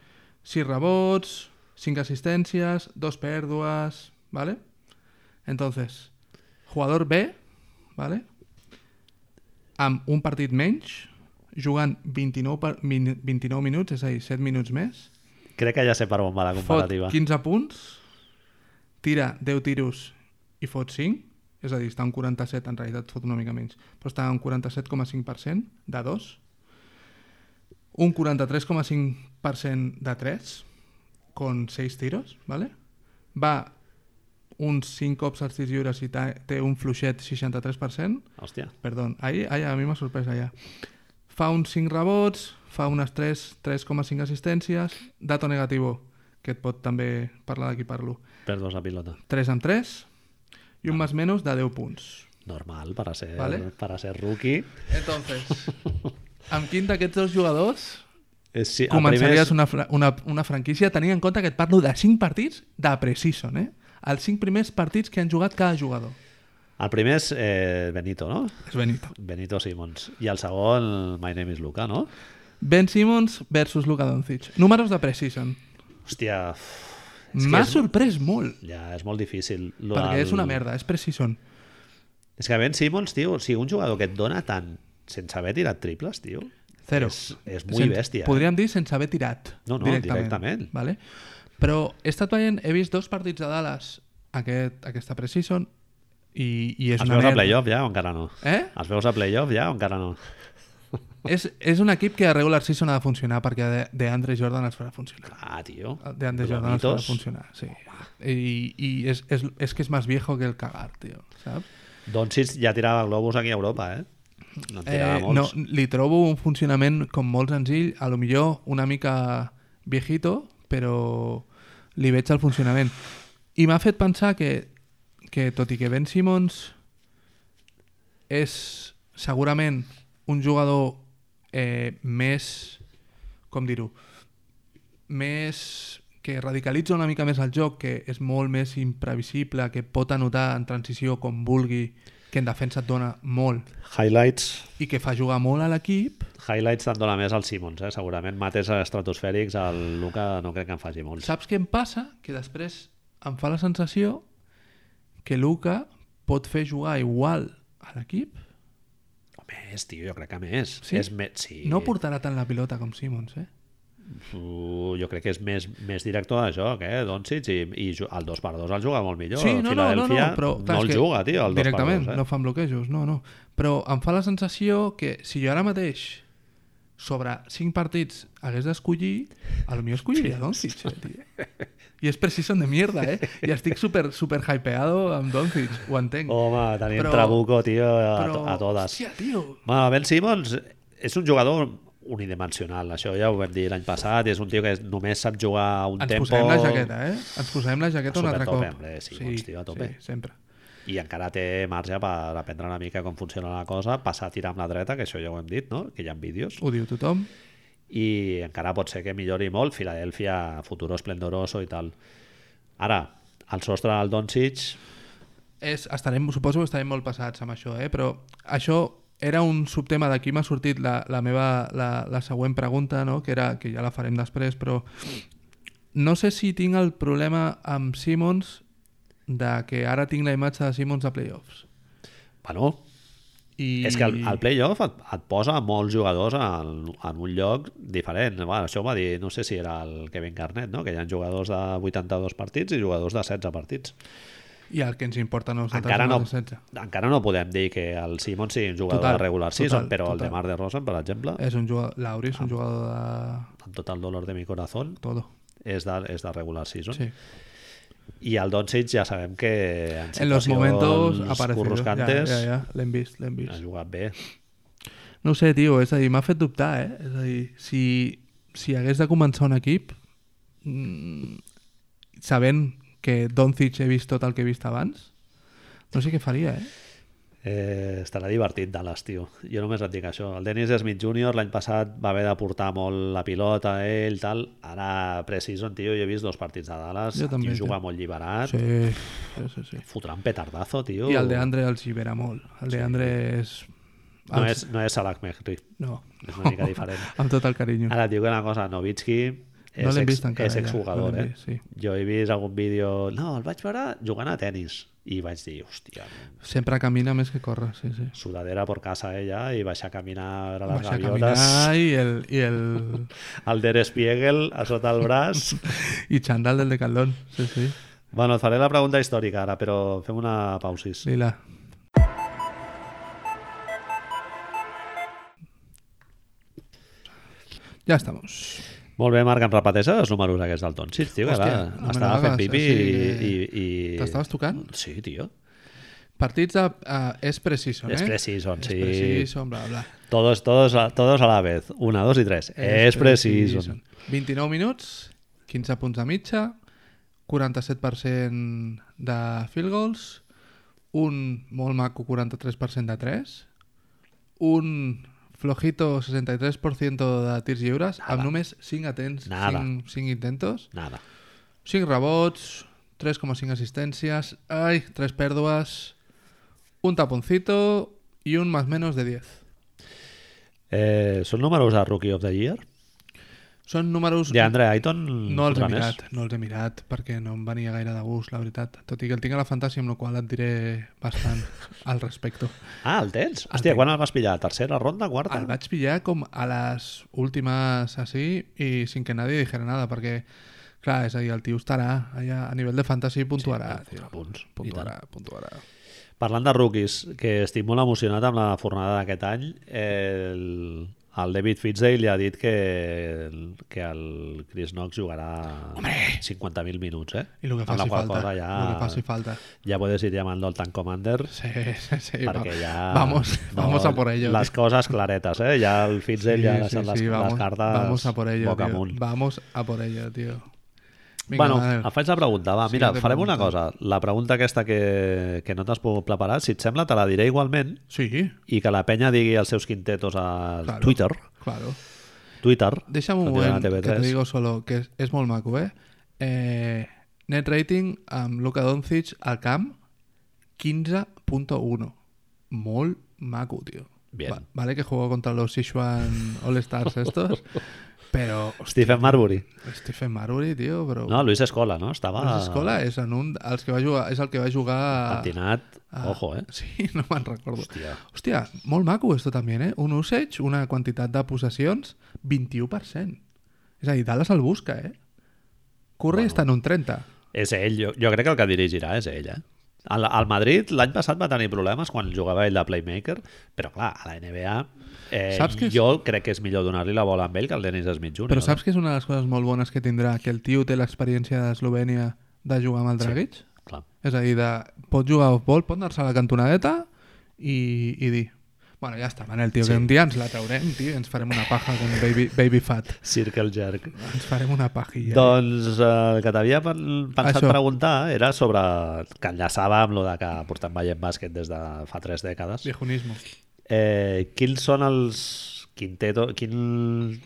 Speaker 2: 6 rebots, 5 assistències, 2 pèrdues, ¿vale? Entonces, jugador B, ¿vale? Amb un partit menys, jugant 29, par- min- 29 minuts, és a dir, 7 minuts més,
Speaker 1: crec que ja sé per on va la
Speaker 2: fot
Speaker 1: comparativa.
Speaker 2: 15 punts, tira 10 tiros i fot 5, és a dir, està un 47, en realitat fot una mica menys, però està un 47,5% de 2, un 43,5% de 3, con 6 tiros, ¿vale? Va uns 5 cops als 6 lliures i ta- té un fluixet 63%,
Speaker 1: Hòstia.
Speaker 2: perdó, ahir, ahir a mi m'ha sorprès allà, fa uns 5 rebots, fa unes 3, 3,5 assistències, dato negativo, que et pot també parlar d'aquí parlo,
Speaker 1: Perds la pilota.
Speaker 2: 3 amb 3 i
Speaker 1: Ah.
Speaker 2: un més menys de 10 punts.
Speaker 1: Normal, para ser,
Speaker 2: Vale.
Speaker 1: para ser rookie.
Speaker 2: Entonces, amb quin d'aquests dos jugadors
Speaker 1: És, sí, el primer
Speaker 2: començaries
Speaker 1: és-
Speaker 2: una, fra- una, una franquícia tenint en compte que et parlo de 5 partits de preseason, eh? Els 5 primers partits que han jugat cada jugador.
Speaker 1: El primer és eh, Benito, no?
Speaker 2: És Benito.
Speaker 1: Benito Simons. I el segon, My Name is Luca, no?
Speaker 2: Ben Simmons versus Luka Doncic. Números de preseason.
Speaker 1: Hòstia, És que
Speaker 2: M'ha
Speaker 1: és-
Speaker 2: sorprès molt,
Speaker 1: ja és molt difícil. Lo
Speaker 2: perquè
Speaker 1: del-
Speaker 2: és una merda, és preseason.
Speaker 1: És que Ben Simmons, tio, o sigui, un jugador que et dona tant sense haver tirat triples, tio,
Speaker 2: Zero.
Speaker 1: És- és muy bèstia, eh?
Speaker 2: Podríem dir sense haver tirat.
Speaker 1: No, no, directament.
Speaker 2: Vale? Però he estat veient, he vist dos partits de Dallas aquest, aquesta preseason i, i és
Speaker 1: Els
Speaker 2: una
Speaker 1: veus a
Speaker 2: merda.
Speaker 1: playoff ja o encara no?
Speaker 2: Eh?
Speaker 1: Els veus a playoff ja o encara no?
Speaker 2: És, és un equip que a regular season ha de funcionar perquè de, de Andre Jordan els farà funcionar.
Speaker 1: Ah, tio.
Speaker 2: De Andre Jordan els farà
Speaker 1: Bromitos.
Speaker 2: funcionar, sí. I, i és, és, és que és més viejo que el cagar, tio, saps?
Speaker 1: Doncic ja tirava globus aquí a Europa, eh? No en tirava
Speaker 2: Eh, no,
Speaker 1: molts.
Speaker 2: li trobo un funcionament com molt senzill, a lo millor una mica viejito, però li veig el funcionament. I m'ha fet pensar que, que tot i que Ben Simmons és segurament un jugador eh, més, com dir-ho, més que radicalitza una mica més el joc, que és molt més imprevisible, que pot anotar en transició com vulgui, que en defensa et dona molt
Speaker 1: Highlights.
Speaker 2: i que fa jugar molt a l'equip,
Speaker 1: Highlights te'n dona més al Simons, eh? Segurament mates estratosfèrics, el Luca no crec que en faci molts.
Speaker 2: saps què em passa? Que després em fa la sensació que Luca pot fer jugar igual a l'equip.
Speaker 1: Més, tio, jo crec que més.
Speaker 2: Sí?
Speaker 1: És més, sí.
Speaker 2: No portarà tant la pilota com Simons, eh?
Speaker 1: Uh, jo crec que és més, més director de joc, eh? Doncic, i, i ju- el 2x2 el juga molt millor. El Philadelphia
Speaker 2: clar,
Speaker 1: no
Speaker 2: és
Speaker 1: el
Speaker 2: que
Speaker 1: juga, tio, el 2x2.
Speaker 2: Directament,
Speaker 1: eh?
Speaker 2: no fan bloquejos, no, no. Però em fa la sensació que si jo ara mateix sobre 5 partits hagués d'escollir, a lo millor escolliria Doncic, eh, tio. I és precision de mierda, eh? I estic super, super hypeado amb Doncic, ho entenc.
Speaker 1: Home, tenim
Speaker 2: Però-
Speaker 1: Trabuco, tio, a,
Speaker 2: però,
Speaker 1: a totes.
Speaker 2: Hòstia, tio.
Speaker 1: Bueno, ben Simmons és un jugador unidimensional, això ja ho vam dir l'any passat, és un tio que només sap jugar a un
Speaker 2: Ens
Speaker 1: tempo
Speaker 2: posarem la jaqueta, eh? Ens posarem la jaqueta un
Speaker 1: Super
Speaker 2: altre
Speaker 1: tope,
Speaker 2: cop.
Speaker 1: hombre, Simons, tio, a tope.
Speaker 2: Sí, sempre.
Speaker 1: i encara té marge per aprendre una mica com funciona la cosa, passar a tirar amb la dreta, que això ja ho hem dit, no? que hi ha vídeos,
Speaker 2: Ho diu tothom.
Speaker 1: i encara pot ser que millori molt Filadèlfia, futuro esplendoroso i tal. Ara, el sostre del Doncic,
Speaker 2: És, estarem, suposo que estarem molt passats amb això, eh? però això era un subtema d'aquí m'ha sortit la, la meva la, la següent pregunta, no? que, era, que ja la farem després, però no sé si tinc el problema amb Simons de que ara tinc la imatge de Simons a playoffs.
Speaker 1: bueno,
Speaker 2: I...
Speaker 1: És que el, el playoff et, et posa molts jugadors en, en un lloc diferent. Bueno, això ho va dir, no sé si era el Kevin Garnett, no? que hi ha jugadors de 82 partits i jugadors de 16 partits.
Speaker 2: I el que ens importa a nosaltres
Speaker 1: Encara no,
Speaker 2: és el 16.
Speaker 1: encara no podem dir que el Simon sigui un jugador
Speaker 2: Total,
Speaker 1: de regular season,
Speaker 2: total,
Speaker 1: però el
Speaker 2: total. Eh.
Speaker 1: de Mar de Rosen, per exemple,
Speaker 2: És un jugador... Lauri
Speaker 1: Ah.
Speaker 2: és un jugador de...
Speaker 1: amb tot el dolor de mi corazón,
Speaker 2: Todo.
Speaker 1: és de, és de regular season.
Speaker 2: Sí.
Speaker 1: I el Doncic ja sabem que en,
Speaker 2: En los momentos
Speaker 1: situacions
Speaker 2: aparecidos. Ya,
Speaker 1: corroscantes
Speaker 2: ya, ya. L'hem vist, l'hem vist.
Speaker 1: ha jugat bé.
Speaker 2: No ho sé, tio, és a dir, m'ha fet dubtar, eh? És a dir, si, si hagués de començar un equip, mm, sabent que Doncic he vist tot el que he vist abans, no sé què faria, eh?
Speaker 1: Eh, estarà divertit Dallas, tio. Jo només et dic això. El Dennis Smith Jr. l'any passat va haver de portar molt la pilota, ell, tal. Ara, preseason, tio, jo he vist dos partits de Dallas.
Speaker 2: Jo
Speaker 1: El
Speaker 2: també,
Speaker 1: tio juga
Speaker 2: tio.
Speaker 1: molt lliberat.
Speaker 2: Sí,
Speaker 1: Sí.
Speaker 2: sí, sí. sí.
Speaker 1: Fotrà un petardazo, tio.
Speaker 2: I el d'Andre els libera molt. El d'Andre és...
Speaker 1: No és, no és Salak Mehri.
Speaker 2: No.
Speaker 1: És una mica Ah. diferent.
Speaker 2: Amb tot el carinyo.
Speaker 1: Ara et dic una cosa, Novitski és,
Speaker 2: No l'hem
Speaker 1: ex,
Speaker 2: vist encara,
Speaker 1: és
Speaker 2: ja.
Speaker 1: exjugador,
Speaker 2: No l'hem
Speaker 1: eh?
Speaker 2: vist, sí.
Speaker 1: Jo he vist algun vídeo... No, el vaig veure jugant a tennis i vaig dir, hòstia,
Speaker 2: Sempre camina més que corre, sí, sí.
Speaker 1: sudadera por casa ella i baixar a caminar a les
Speaker 2: Baixa a
Speaker 1: gaviotes.
Speaker 2: caminar i el, i el,
Speaker 1: el Der Spiegel a sota el braç.
Speaker 2: I xandall del Decathlon, sí, sí.
Speaker 1: bueno, et faré la pregunta històrica ara, però fem una pausis.
Speaker 2: Lila. Ya estamos.
Speaker 1: Molt bé, Marc, em repeteixes els números aquests del Ton? Sí, tio, que
Speaker 2: Hòstia,
Speaker 1: va,
Speaker 2: no me
Speaker 1: estava
Speaker 2: n'agaves,
Speaker 1: fent pipi
Speaker 2: o sigui
Speaker 1: i...
Speaker 2: que
Speaker 1: i, i...
Speaker 2: T'estaves tocant?
Speaker 1: Sí, tio.
Speaker 2: Partits de... Uh, és preciso, eh?
Speaker 1: És preciso, sí.
Speaker 2: És preciso, bla, bla.
Speaker 1: Todos, todos, a- todos a la vez. Una, dos i tres.
Speaker 2: Este,
Speaker 1: És, preciso.
Speaker 2: 29 minuts, 15 punts de mitja, 47% de field goals, un molt maco 43% de 3, un flojito 63% de tirs lliures, Nada. amb només 5 atents,
Speaker 1: Nada.
Speaker 2: 5, 5 intentos,
Speaker 1: Nada.
Speaker 2: 5 rebots, 3,5 assistències, ai, 3 pèrdues, un taponcito i un más menos de 10.
Speaker 1: Eh, són números de Rookie of the Year?
Speaker 2: Són números
Speaker 1: De Andre Ayton?
Speaker 2: No els he
Speaker 1: fotrà més?
Speaker 2: mirat, no els he mirat, perquè no em venia gaire de gust, la veritat. Tot i que el tinc a la fantàsia, amb la qual cosa et diré bastant al respecte.
Speaker 1: Ah, el tens? Hòstia, quan el vas pillar? Tercera ronda, quarta?
Speaker 2: El vaig pillar com a les últimes així i sin que nadie dijera nada, perquè, clar, és a dir, el tio estarà allà a nivell de fantasy i puntuarà. Sí, tio.
Speaker 1: punts.
Speaker 2: Puntuarà, puntuarà.
Speaker 1: Parlant de rookies, que estic molt emocionat amb la fornada d'aquest any, el, el David Fitzdale li ha dit que, el- que el Chris Knox jugarà 50.000 minuts, eh?
Speaker 2: I el que
Speaker 1: Amb la
Speaker 2: faci
Speaker 1: qual
Speaker 2: falta.
Speaker 1: cosa
Speaker 2: Ja...
Speaker 1: Ja,
Speaker 2: El que faci falta.
Speaker 1: ja puedes ir llamando al tank commander
Speaker 2: Sí, sí, sí.
Speaker 1: perquè
Speaker 2: va-
Speaker 1: ja...
Speaker 2: Vamos, vamos a por ello.
Speaker 1: Les
Speaker 2: tio.
Speaker 1: coses claretes, eh? Ja el Fitzdale ja ha deixat les, les cartes
Speaker 2: vamos a por ello,
Speaker 1: boca
Speaker 2: tío.
Speaker 1: amunt.
Speaker 2: Vamos a por ello, tío. Vinga,
Speaker 1: Bueno,
Speaker 2: va,
Speaker 1: em faig la pregunta, va,
Speaker 2: Sí,
Speaker 1: mira,
Speaker 2: jo te
Speaker 1: farem una
Speaker 2: pregunto.
Speaker 1: cosa. La pregunta aquesta que, que no t'has pogut preparar, si et sembla, te la diré igualment
Speaker 2: Sí,
Speaker 1: i que la penya digui els seus quintetos a
Speaker 2: Claro.
Speaker 1: Pues Twitter.
Speaker 2: claro.
Speaker 1: Twitter.
Speaker 2: Déjame un
Speaker 1: No tiene nada
Speaker 2: moment que
Speaker 1: TV3.
Speaker 2: te digo solo que es, es molt maco, eh? eh net rating amb Luka Doncic al camp 15.1. Molt maco, tío.
Speaker 1: Bien.
Speaker 2: vale que juego contra los Sichuan All-Stars estos, pero
Speaker 1: Stephen Marbury.
Speaker 2: Stephen Marbury, tío, però...
Speaker 1: No, Luis Escola, no? Estava...
Speaker 2: Luis Escola ah. és, en un, els que va jugar, és el que va jugar...
Speaker 1: Patinat. Ojo, eh?
Speaker 2: Sí, no me'n recordo.
Speaker 1: Hòstia.
Speaker 2: Hòstia, molt maco esto també, eh? Un usage, una quantitat de possessions, 21%. És a dir, Dallas el busca, eh? Curry bueno. està en un 30.
Speaker 1: És ell, jo, jo crec que el que dirigirà és ell, eh? Al, al Madrid l'any passat va tenir problemes quan jugava ell de playmaker, però clar, a la NBA eh,
Speaker 2: Saps que és-
Speaker 1: jo crec que és millor donar-li la bola amb ell que al Dennis Smith Jr.
Speaker 2: Però saps que és una de les coses molt bones que tindrà? Que el tio té l'experiència d'Eslovènia de jugar amb el Dragic? Sí.
Speaker 1: eh? Clar.
Speaker 2: És a dir, de, pot jugar a off-ball, pot anar-se a la cantonadeta i, i dir... Bueno, ja està, Manel, tio, sí. que un dia ens la traurem, tio, i ens farem una paja com baby, baby fat.
Speaker 1: Circle jerk.
Speaker 2: Ens farem una pajilla.
Speaker 1: Doncs eh, el que t'havia pen- pensat
Speaker 2: Això.
Speaker 1: Això. preguntar era sobre... que enllaçava amb lo de que portem veient bàsquet des de fa tres dècades.
Speaker 2: Viejunismo.
Speaker 1: Eh, quins són els quinteto, quin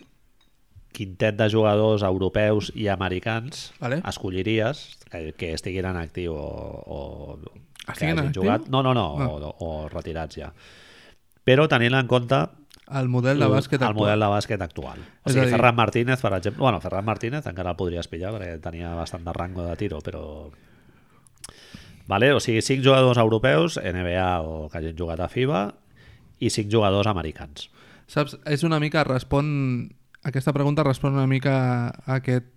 Speaker 1: quintet de jugadors europeus i americans
Speaker 2: Vale.
Speaker 1: escolliries que, que estiguin en actiu o, o que
Speaker 2: Estiguin
Speaker 1: hagin
Speaker 2: en actiu?
Speaker 1: No, no, no,
Speaker 2: Ah.
Speaker 1: no. O, o retirats ja. Però tenint en compte
Speaker 2: El model de
Speaker 1: el,
Speaker 2: bàsquet
Speaker 1: Mm, el model de bàsquet actual. O
Speaker 2: És a
Speaker 1: sigui,
Speaker 2: dir-
Speaker 1: Ferran Martínez, per exemple... Bueno, Ferran Martínez encara el podries pillar perquè tenia bastant de rango de tiro, però... Vale? O sigui, 5 jugadors europeus, NBA o que hagin jugat a FIBA, i 5 jugadors americans.
Speaker 2: Saps, és una mica, respon... Aquesta pregunta respon una mica a aquest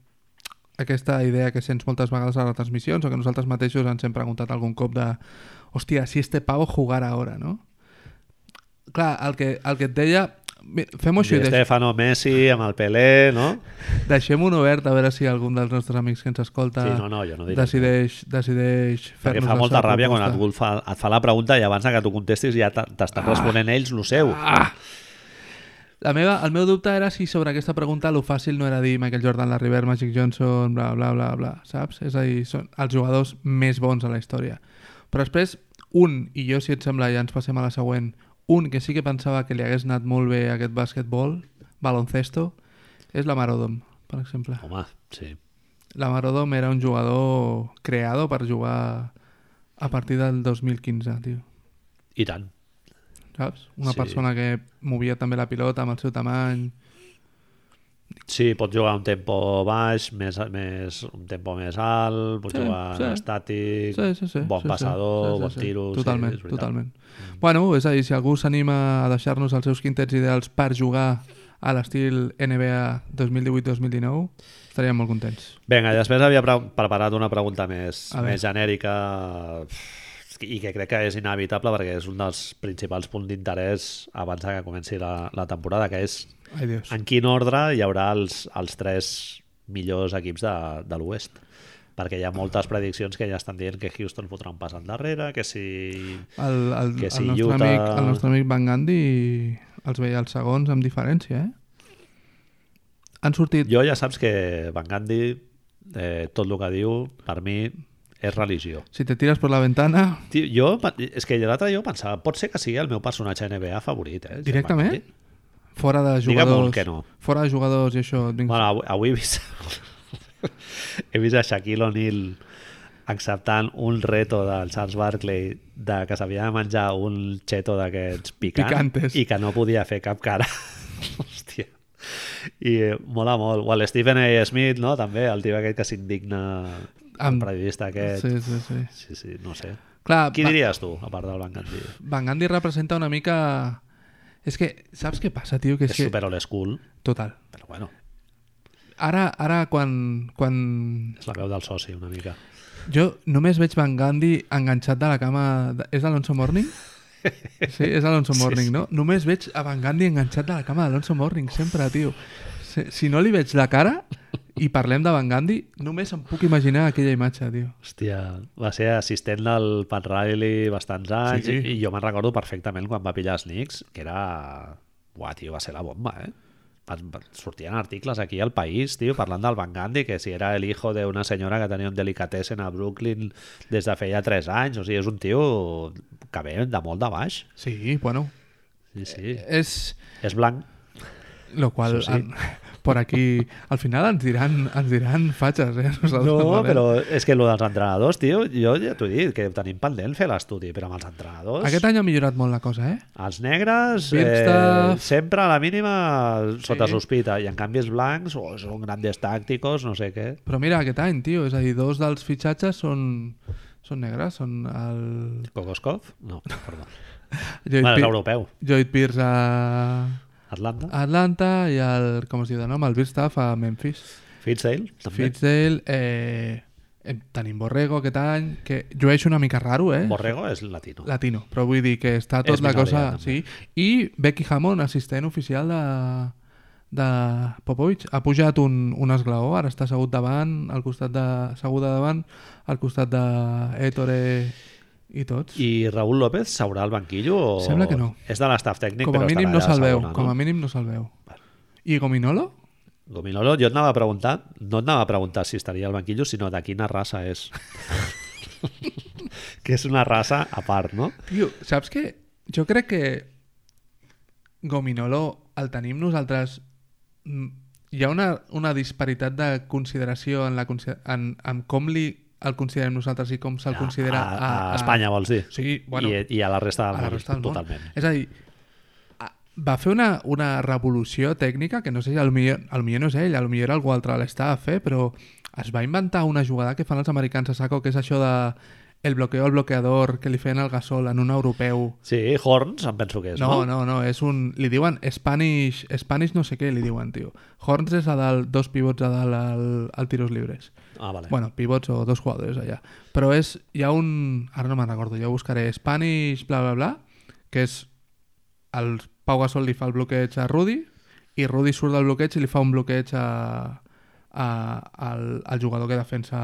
Speaker 2: aquesta idea que sents moltes vegades a les transmissions o que nosaltres mateixos ens hem preguntat algun cop de hòstia, si este pavo jugara ara, no? Clar, el que, el que et deia... mi- Fem-ho
Speaker 1: Di
Speaker 2: així, deix,
Speaker 1: Stefano Messi, amb el Pelé, no?
Speaker 2: deixem-ho obert a veure si algun dels nostres amics que ens escolta
Speaker 1: Sí, no, no, jo no diré.
Speaker 2: decideix, decideix
Speaker 1: Perquè
Speaker 2: fer-nos
Speaker 1: fa
Speaker 2: la
Speaker 1: molta
Speaker 2: seva
Speaker 1: ràbia quan et,
Speaker 2: proposta.
Speaker 1: vol fa, et fa la pregunta i abans de que tu contestis ja t- t'estan
Speaker 2: Ah.
Speaker 1: responent ells lo seu. Ah,
Speaker 2: La meva, el meu dubte era si sobre aquesta pregunta lo fàcil no era dir Michael Jordan, Larry Bird, Magic Johnson, bla, bla, bla, bla, saps? És a dir, són els jugadors més bons a la història. Però després, un, i jo si et sembla ja ens passem a la següent, un que sí que pensava que li hagués anat molt bé a aquest bàsquetbol, baloncesto, és la Marodom, per exemple.
Speaker 1: Home, sí.
Speaker 2: La Marodom era un jugador creado per jugar a partir del 2015, tio.
Speaker 1: I tant.
Speaker 2: Saps? Una
Speaker 1: Sí.
Speaker 2: persona que movia també la pilota amb el seu tamany,
Speaker 1: Sí, pot jugar a un tempo baix, més, més, un tempo més alt, pot
Speaker 2: Sí,
Speaker 1: sí, jugar
Speaker 2: sí.
Speaker 1: sí. estàtic,
Speaker 2: Sí, sí, sí.
Speaker 1: bon
Speaker 2: sí,
Speaker 1: passador, sí, sí, bon tiro...
Speaker 2: Totalment,
Speaker 1: sí, és
Speaker 2: sí,
Speaker 1: veritat. Mm.
Speaker 2: totalment. Bueno, és a dir, si algú s'anima a deixar-nos els seus quintets ideals per jugar a l'estil NBA 2018-2019, estaríem molt contents.
Speaker 1: Vinga, i després havia pre preparat una pregunta més,
Speaker 2: A veure.
Speaker 1: més genèrica pff, que- i que crec que és inevitable perquè és un dels principals punts d'interès abans de que comenci la, la temporada, que és
Speaker 2: Ai, Dios.
Speaker 1: en quin ordre hi haurà els, els tres millors equips de, de l'Oest perquè hi ha moltes prediccions que ja estan dient que Houston fotrà un pas endarrere, que si...
Speaker 2: El, el,
Speaker 1: que si
Speaker 2: el, nostre
Speaker 1: Utah-
Speaker 2: amic, el nostre amic Van Gandhi els veia els segons amb diferència, eh? Han sortit...
Speaker 1: Jo ja saps que Van Gandhi, eh, tot el que diu, per mi, és religió.
Speaker 2: Si te tires per la ventana...
Speaker 1: Tio, jo, pe- és que l'altre jo pensava, pot ser que sigui el meu personatge NBA favorit, eh?
Speaker 2: Directament?
Speaker 1: Van Gundy.
Speaker 2: Fora de
Speaker 1: Digue'm un
Speaker 2: jugadors...
Speaker 1: que no.
Speaker 2: Fora de jugadors i això... Vinc...
Speaker 1: Bueno, avui, avui he vist... he vist a Shaquille O'Neal acceptant un reto del Charles Barkley de que s'havia de menjar un xeto d'aquests picant
Speaker 2: Picantes.
Speaker 1: i que no podia fer cap cara. Hòstia. I eh, mola molt. O l'Stephen A. Smith, no? També, el tio aquest que s'indigna...
Speaker 2: Amb-
Speaker 1: El periodista aquest.
Speaker 2: Sí, sí, sí.
Speaker 1: Sí, sí, no sé.
Speaker 2: Clar,
Speaker 1: Qui
Speaker 2: Va-
Speaker 1: diries tu, a part del Van Gandhi?
Speaker 2: Van Gandhi representa una mica... És que, saps què passa, tio? Que és,
Speaker 1: És
Speaker 2: que...
Speaker 1: super old school,
Speaker 2: Total.
Speaker 1: però bueno,
Speaker 2: Ara, ara quan, quan...
Speaker 1: és la veu del soci una mica.
Speaker 2: Jo només veig Van Gandhi enganxat de la cama... De... És Alonso Morning? Sí, és Alonso Morning, no? Només veig a Van Gandhi enganxat de la cama d'Alonso Morning, sempre, tio. Si, si no li veig la cara i parlem de Van Gandhi, només em puc imaginar aquella imatge, tio.
Speaker 1: Hòstia, va ser assistent del Pat Riley bastants anys
Speaker 2: Sí.
Speaker 1: sí. i jo me'n recordo perfectament quan va pillar els Knicks, que era... Buah, tio, va ser la bomba, eh? Van- van- Sortien articles aquí al país, tio, parlant del Van Gandhi, que si era el hijo d'una senyora que tenia un delicatessen a Brooklyn des de feia 3 anys, o sigui, és un tio que ve de molt de baix.
Speaker 2: Sí, bueno,
Speaker 1: Sí, sí.
Speaker 2: és...
Speaker 1: És blanc.
Speaker 2: Lo qual,
Speaker 1: Això sí.
Speaker 2: sí. an, per aquí... Al final ens diran, ens diran fatxes, eh? Nosaltres,
Speaker 1: No,
Speaker 2: Manel.
Speaker 1: però és que lo dels entrenadors, tio, jo ja t'ho he dit, que tenim pendent fer l'estudi, però amb els entrenadors...
Speaker 2: Aquest any ha millorat molt la cosa, eh?
Speaker 1: Els negres eh,
Speaker 2: Birkstaff.
Speaker 1: sempre a la mínima sota
Speaker 2: Sí.
Speaker 1: sospita i en canvi els blancs oh, són grandes tàctics, no sé què.
Speaker 2: Però mira, aquest any, tio, és a dir, dos dels fitxatges són, són negres, són el...
Speaker 1: Kokoskov? No, perdó.
Speaker 2: Lloyd,
Speaker 1: bueno, és
Speaker 2: Pier-
Speaker 1: europeu.
Speaker 2: Lloyd Pierce a
Speaker 1: Atlanta.
Speaker 2: a Atlanta i el, com es diu de nom, el Birstaff a Memphis.
Speaker 1: Fitzdale, també.
Speaker 2: Fitzdale, eh, em- tenim Borrego aquest any, que llueix una mica raro, eh?
Speaker 1: Borrego és latino.
Speaker 2: Latino, però vull dir que està tot
Speaker 1: És
Speaker 2: la
Speaker 1: minoria,
Speaker 2: cosa...
Speaker 1: també.
Speaker 2: Sí. I Becky Hammond, assistent oficial de, de Popovich, ha pujat un, un esglaó, ara està assegut davant, al costat de, asseguda davant, al costat de Ettore i tots.
Speaker 1: I Raúl López seurà al banquillo o...
Speaker 2: Sembla que no.
Speaker 1: És de l'estaf tècnic,
Speaker 2: com a
Speaker 1: però
Speaker 2: mínim
Speaker 1: estarà
Speaker 2: no
Speaker 1: allà
Speaker 2: se'l
Speaker 1: a
Speaker 2: veu,
Speaker 1: segona,
Speaker 2: com a
Speaker 1: no?
Speaker 2: mínim no se'l veu. I Gominolo?
Speaker 1: Gominolo, jo et anava a preguntar, no et anava a preguntar si estaria al banquillo, sinó de quina raça és. que és una raça a part, no?
Speaker 2: Tio, saps què? Jo crec que Gominolo el tenim nosaltres... Mm, Hi ha una, una disparitat de consideració en, la, consi- en, en com li el considerem nosaltres i com se'l considera
Speaker 1: Ah, a, a, a Espanya, vols dir?
Speaker 2: Sí, bueno,
Speaker 1: I, I a la resta del,
Speaker 2: a la resta del món.
Speaker 1: totalment.
Speaker 2: És a dir, a- va fer una, una revolució tècnica que no sé si al millor, al millor no és ell, al millor algú altre l'està a fer, però es va inventar una jugada que fan els americans a saco, que és això de el bloqueo al bloqueador que li feien al Gasol en un europeu.
Speaker 1: Sí, Horns, em penso que és,
Speaker 2: No,
Speaker 1: no?
Speaker 2: no, no, és un... Li diuen Spanish, Spanish no sé què, li diuen, tio. Horns és a dalt, dos pivots a dalt al, al tiros libres.
Speaker 1: Ah, vale.
Speaker 2: Bueno, pivots o dos jugadors allà. Però és, hi ha un... Ara no me'n recordo, jo buscaré Spanish, bla, bla, bla, que és... El Pau Gasol li fa el bloqueig a Rudy i Rudy surt del bloqueig i li fa un bloqueig a, a, al, al jugador que defensa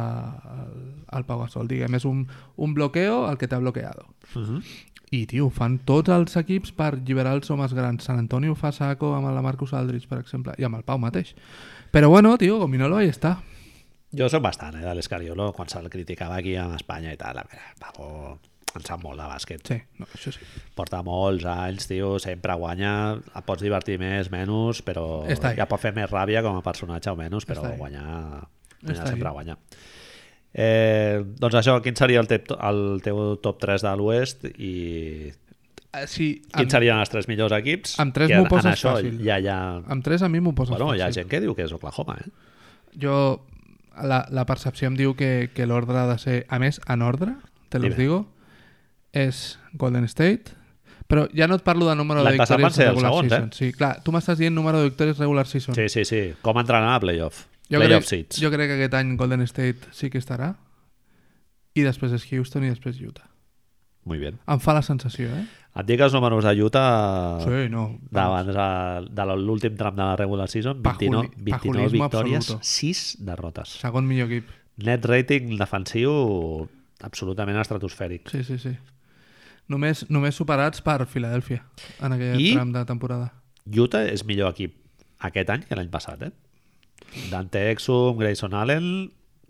Speaker 2: el, el Pau Gasol. Diguem, és un, un bloqueo al que t'ha bloqueado.
Speaker 1: Uh -huh.
Speaker 2: I, tio, ho fan tots els equips per alliberar els homes grans. Sant Antonio ho fa Saco amb la Marcus Aldridge, per exemple, i amb el Pau mateix. Però bueno, tio, Gominolo ahí està.
Speaker 1: Jo soc bastant, eh, de l'Escariolo, quan se'l criticava aquí a Espanya i tal. A veure, Paco en sap molt de bàsquet.
Speaker 2: Sí, no, això sí.
Speaker 1: Porta molts anys, tio, sempre guanya. Et pots divertir més, menys, però...
Speaker 2: Està ahí.
Speaker 1: Ja pot fer més ràbia com a personatge o menys, però
Speaker 2: Està ahí.
Speaker 1: guanyar...
Speaker 2: Està
Speaker 1: guanyar
Speaker 2: ahí.
Speaker 1: sempre guanya. Eh, doncs això, quin seria el, tep, el teu top 3 de l'Oest i
Speaker 2: Ah, Sí,
Speaker 1: quins
Speaker 2: amb,
Speaker 1: serien els tres millors equips?
Speaker 2: amb tres
Speaker 1: Que en-
Speaker 2: m'ho poses
Speaker 1: en això
Speaker 2: fàcil.
Speaker 1: Ja, ja...
Speaker 2: amb tres a mi m'ho poses
Speaker 1: Bueno, hi ha
Speaker 2: fàcil.
Speaker 1: gent que diu que és Oklahoma, eh?
Speaker 2: Jo, la, la percepció em diu que, que l'ordre ha de ser, a més, en ordre, te los
Speaker 1: Dime.
Speaker 2: digo, és Golden State, però ja no et parlo de número de
Speaker 1: L'any passat van
Speaker 2: victòries
Speaker 1: ser els
Speaker 2: regular
Speaker 1: segons, eh?
Speaker 2: season. Sí, clar, tu m'estàs dient número de victòries regular season.
Speaker 1: Sí, sí, sí. Com entrenar a playoff.
Speaker 2: Doncs. Jo
Speaker 1: playoff
Speaker 2: crec,
Speaker 1: seats.
Speaker 2: jo crec que aquest any Golden State sí que estarà i després és Houston i després Utah.
Speaker 1: Muy bien.
Speaker 2: Em fa la sensació, eh?
Speaker 1: Et dic els números de Utah
Speaker 2: Sí, no.
Speaker 1: d'abans de, de l'últim tram de la regular season, 29,
Speaker 2: Pajuli-
Speaker 1: 29
Speaker 2: pajulisme
Speaker 1: victòries,
Speaker 2: absoluto.
Speaker 1: 6 derrotes.
Speaker 2: Segon millor equip.
Speaker 1: Net rating defensiu absolutament estratosfèric.
Speaker 2: Sí, sí, sí. Només, només superats per Filadèlfia en aquell
Speaker 1: I-
Speaker 2: tram de temporada.
Speaker 1: Utah és millor equip aquest any que l'any passat, eh? Dante Exum, Grayson Allen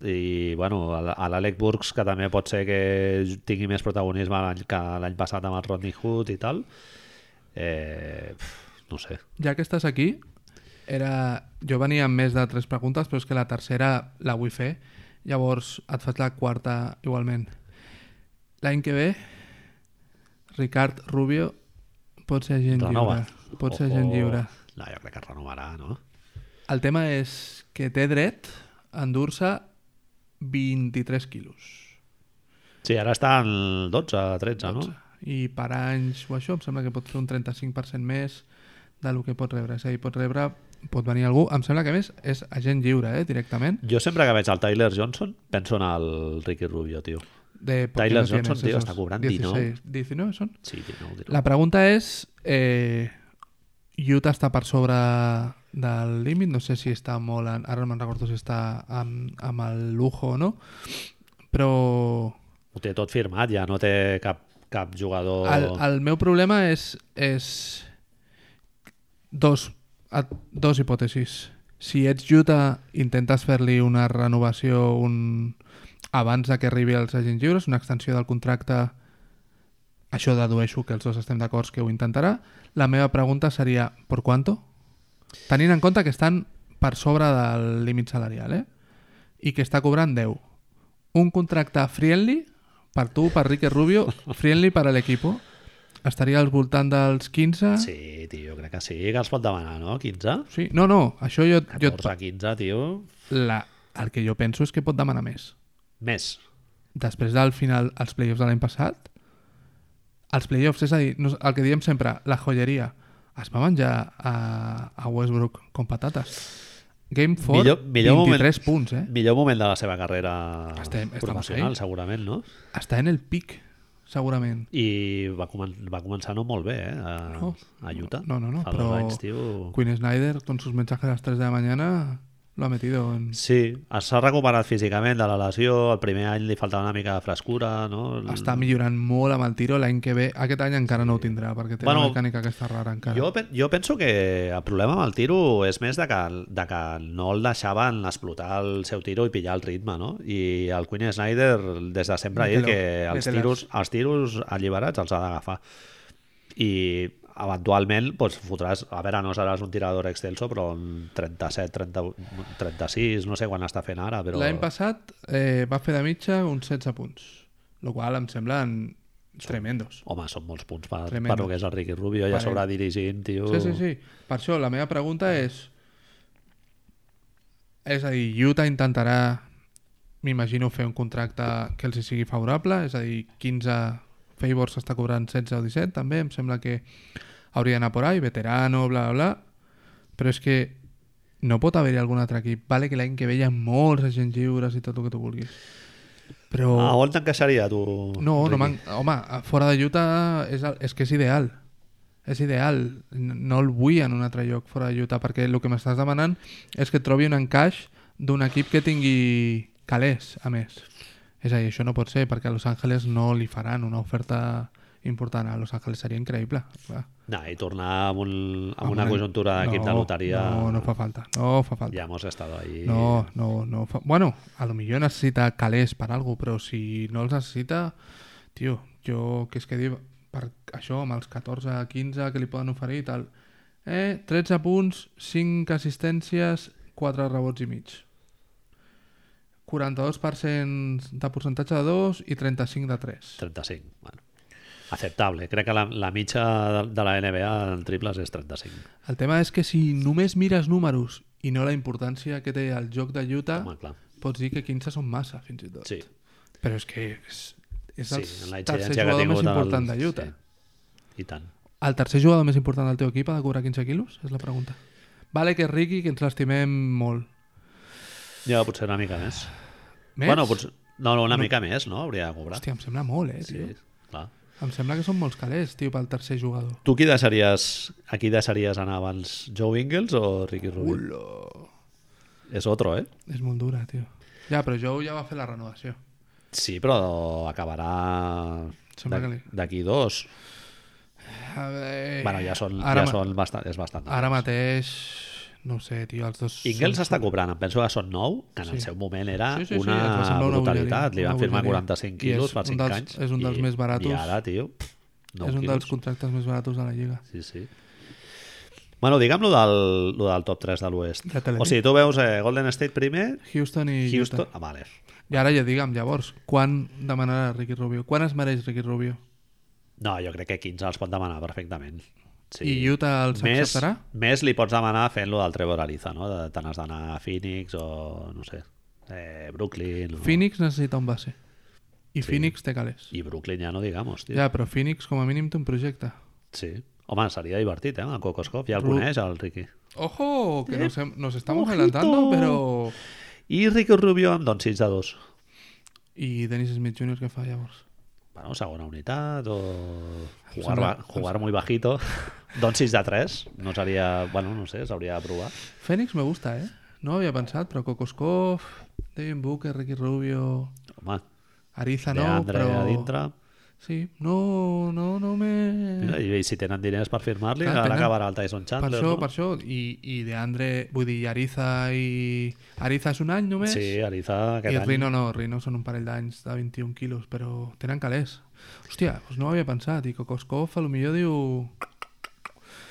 Speaker 1: i, bueno, a l- a l'Alec Burks, que també pot ser que tingui més protagonisme l'any que l'any passat amb el Rodney Hood i tal. Eh, pf, no sé.
Speaker 2: Ja que estàs aquí, era... jo venia amb més de tres preguntes, però és que la tercera la vull fer. Llavors et faig la quarta igualment. L'any que ve, Ricard Rubio pot ser agent
Speaker 1: Renova.
Speaker 2: lliure. Pot ser agent lliure.
Speaker 1: No, jo crec que renovarà, no?
Speaker 2: El tema és que té dret a endur-se 23 quilos.
Speaker 1: Sí, ara està en 12, 13, 12. no?
Speaker 2: I per anys o això, em sembla que pot fer un 35% més del que pot rebre. És a dir, pot rebre, pot venir algú. Em sembla que a més és agent lliure, eh, directament.
Speaker 1: Jo sempre que veig el Tyler Johnson penso en el Ricky Rubio, tio.
Speaker 2: De ¿por qué
Speaker 1: Tyler
Speaker 2: no tienes
Speaker 1: Johnson, tío,
Speaker 2: esos
Speaker 1: está cobrando,
Speaker 2: 16, 19 son.
Speaker 1: Sí, tio, no, tio.
Speaker 2: La pregunta es, eh, Utah està per sobre del límit, no sé si està molt... En, ara no me'n recordo si està amb, amb el lujo o no, però
Speaker 1: Ho té tot firmat, ja no té cap, cap jugador...
Speaker 2: el, el meu problema és, és dos, a- dos hipòtesis. Si ets Utah, intentes fer-li una renovació un, abans de que arribi als agents lliures, una extensió del contracte, això dedueixo que els dos estem d'acord que ho intentarà. La meva pregunta seria, ¿por cuánto? Tenint en compte que estan per sobre del límit salarial, eh? I que està cobrant 10. Un contracte friendly per tu, per Ricky Rubio, friendly per a l'equipo, estaria al voltant dels 15...
Speaker 1: Sí, tio, jo crec que sí, que els pot demanar, no? 15?
Speaker 2: Sí, no, no, això jo... jo
Speaker 1: 14, 15, tio.
Speaker 2: la, el que jo penso és que pot demanar més.
Speaker 1: Més.
Speaker 2: Després del final, als playoffs de l'any passat, els playoffs, és a dir, no, el que diem sempre, la joieria, es va menjar a, a Westbrook com patates. Game 4,
Speaker 1: Millor- millor
Speaker 2: 23 punts, eh?
Speaker 1: Millor moment de la seva carrera
Speaker 2: Estem- estem
Speaker 1: professional,
Speaker 2: ahí.
Speaker 1: segurament, no?
Speaker 2: Està en el pic, segurament.
Speaker 1: I va, comen va començar no molt bé, eh? A,
Speaker 2: No.
Speaker 1: a Utah.
Speaker 2: No, no, no,
Speaker 1: Fa
Speaker 2: però-
Speaker 1: dos anys, tio...
Speaker 2: Quinn Snyder, con sus mensajes a las 3 de la mañana, lo ha metido en...
Speaker 1: Sí, s'ha recuperat físicament de la lesió, el primer any li faltava una mica de frescura, no? El-
Speaker 2: Està millorant molt amb el tiro l'any que ve. Aquest any encara no ho tindrà, perquè té bueno,
Speaker 1: Bueno,
Speaker 2: la mecànica aquesta rara encara.
Speaker 1: Jo, pe- jo penso que el problema amb el tiro és més de que, de que no el deixaven explotar el seu tiro i pillar el ritme, no? I el Queen Snyder des de sempre ha dit
Speaker 2: Mételo,
Speaker 1: que els
Speaker 2: mételas.
Speaker 1: tiros, els tiros alliberats els ha d'agafar. I eventualment doncs, fotràs, a veure, no seràs un tirador excelso, però un 37, 30, 36, no sé quan està fent ara, però...
Speaker 2: L'any passat eh, va fer de mitja uns 16 punts, el qual em semblen tremendos.
Speaker 1: Home, són molts punts per, per
Speaker 2: Tremendo.
Speaker 1: lo que és el Ricky Rubio, ja
Speaker 2: Vale.
Speaker 1: s'haurà dirigint, tio...
Speaker 2: Sí, sí, sí. Per això la meva pregunta és... És a dir, Utah intentarà, m'imagino, fer un contracte que els hi sigui favorable, és a dir, 15 favors està cobrant 16 o 17, també, em sembla que hauria d'anar por ahí, veterano, bla, bla, bla, però és que no pot haver-hi algun altre equip. Vale que l'any que ve hi ha molts agents lliures i tot el que tu vulguis. Però...
Speaker 1: Ah, on t'encaixaria, tu?
Speaker 2: No, no
Speaker 1: Ricky?
Speaker 2: man... home, fora de Utah és, el... és que és ideal. És ideal. N- No el vull en un altre lloc fora de Utah, perquè el que m'estàs demanant és que trobi un encaix d'un equip que tingui calés, a més. És a dir, això no pot ser, perquè a Los Angeles no li faran una oferta important. A Los Angeles seria increïble. Clar.
Speaker 1: No, i tornar amb, un, amb una conjuntura d'equip de loteria...
Speaker 2: No, no fa falta. No fa falta.
Speaker 1: Ja hemos estado ahí...
Speaker 2: No, no, no. Fa... Bueno, a lo millor necessita calés per algo, però si no els necessita, tio, jo, que és que dir, per això, amb els 14, 15 que li poden oferir i tal, eh, 13 punts, 5 assistències, 4 rebots i mig. 42% de percentatge de 2 i 35 de 3.
Speaker 1: 35, bueno. Acceptable. Crec que la, la mitja de, de la NBA en triples és 35.
Speaker 2: El tema és que si només mires números i no la importància que té el joc de Utah,
Speaker 1: Home, clar.
Speaker 2: pots dir que 15 són massa, fins i tot.
Speaker 1: Sí.
Speaker 2: Però Ah. és que és, és
Speaker 1: Sí,
Speaker 2: el
Speaker 1: en la
Speaker 2: tercer
Speaker 1: incidència que ha
Speaker 2: jugador més
Speaker 1: tingut el-
Speaker 2: important de Utah.
Speaker 1: I tant.
Speaker 2: El tercer jugador més important del teu equip ha de cobrar 15 quilos? És la pregunta. Vale que és Ricky, que ens l'estimem molt.
Speaker 1: Ja, potser una mica més.
Speaker 2: Més?
Speaker 1: Bueno, potser... No, no, una mica més, no? Hauria de cobrar.
Speaker 2: Hòstia, em sembla molt, eh,
Speaker 1: sí,
Speaker 2: tio.
Speaker 1: clar.
Speaker 2: Em sembla que són molts calés, tio, pel tercer jugador.
Speaker 1: Tu qui deixaries, a qui deixaries anar abans, Joe Ingles o Ricky Rubin?
Speaker 2: Ulo.
Speaker 1: És otro, eh?
Speaker 2: És molt dura, tio. Ja, però Joe ja va fer la renovació.
Speaker 1: Sí, però acabarà
Speaker 2: Sembla que
Speaker 1: d'ac-
Speaker 2: li-
Speaker 1: d'aquí dos.
Speaker 2: A veure...
Speaker 1: Bueno, ja són,
Speaker 2: Ara
Speaker 1: ja
Speaker 2: ma-
Speaker 1: són bastant, és bastant.
Speaker 2: Ara mateix, no ho sé, tio, els dos...
Speaker 1: Ingles
Speaker 2: són-
Speaker 1: està cobrant, em penso que són 9, que en el
Speaker 2: Sí.
Speaker 1: seu moment era
Speaker 2: Sí, sí, sí,
Speaker 1: una,
Speaker 2: et va semblar una
Speaker 1: brutalitat.
Speaker 2: bogeria,
Speaker 1: Li van
Speaker 2: una
Speaker 1: firmar
Speaker 2: bogeria.
Speaker 1: 45
Speaker 2: I és
Speaker 1: quilos fa
Speaker 2: un
Speaker 1: 5
Speaker 2: dels-
Speaker 1: anys.
Speaker 2: és un dels
Speaker 1: i-
Speaker 2: més baratos.
Speaker 1: I ara, tio, pff, 9
Speaker 2: És un
Speaker 1: quilos.
Speaker 2: dels contractes més baratos de la Lliga.
Speaker 1: Sí, sí. Bueno, digue'm lo del, lo del top 3 de l'oest.
Speaker 2: De Televisió.
Speaker 1: O sigui, tu veus eh, Golden State primer,
Speaker 2: Houston i
Speaker 1: Houston...
Speaker 2: Houston.
Speaker 1: Ah, vale.
Speaker 2: Utah. I ara ja digue'm, llavors, quan demanarà Ricky Rubio? Quan es mereix Ricky Rubio?
Speaker 1: No, jo crec que 15 els pot demanar perfectament. Sí.
Speaker 2: I Utah els
Speaker 1: més,
Speaker 2: acceptarà?
Speaker 1: més li pots demanar fent lo del Trevor Ariza, no? De, tant has d'anar a Phoenix o, no sé, eh, Brooklyn... O...
Speaker 2: Phoenix necessita un base. I
Speaker 1: Sí.
Speaker 2: Phoenix té calés.
Speaker 1: I Brooklyn ja no digamos, tio.
Speaker 2: Ja, però Phoenix com a mínim té un projecte.
Speaker 1: Sí. Home, seria divertit, eh? El Kokoskov ja el
Speaker 2: Ru-
Speaker 1: coneix, el Ricky.
Speaker 2: Ojo, que nos, hem- nos estamos
Speaker 1: Ojito.
Speaker 2: adelantando, pero...
Speaker 1: I Ricky Rubio amb Doncic de dos.
Speaker 2: I Dennis Smith Jr. què fa llavors?
Speaker 1: Bueno, segona unitat o... Jugar,
Speaker 2: sembla-
Speaker 1: ba- jugar muy bajito. Doncic de tres. No seria... Bueno, no sé, s'hauria de provar.
Speaker 2: Fènix me gusta, eh? No havia pensat, però Kokoskov, Devin Booker, Ricky Rubio,
Speaker 1: Home,
Speaker 2: Ariza
Speaker 1: de
Speaker 2: no,
Speaker 1: Andre
Speaker 2: però...
Speaker 1: a dintre...
Speaker 2: Sí, no, no, no me...
Speaker 1: Mira, i, si tenen diners per firmar-li,
Speaker 2: Mm. Clar,
Speaker 1: ara
Speaker 2: tenen-
Speaker 1: acabarà el Tyson
Speaker 2: per
Speaker 1: Chandler,
Speaker 2: això,
Speaker 1: no?
Speaker 2: per això, i, i de Andre, vull dir, i Ariza i... Ariza és un any només,
Speaker 1: Sí, Ariza
Speaker 2: i
Speaker 1: aquest any.
Speaker 2: Rino no, Rino són un parell d'anys de 21 quilos, però tenen calés. Hòstia, doncs no ho havia pensat, i Kokoskov a lo millor diu...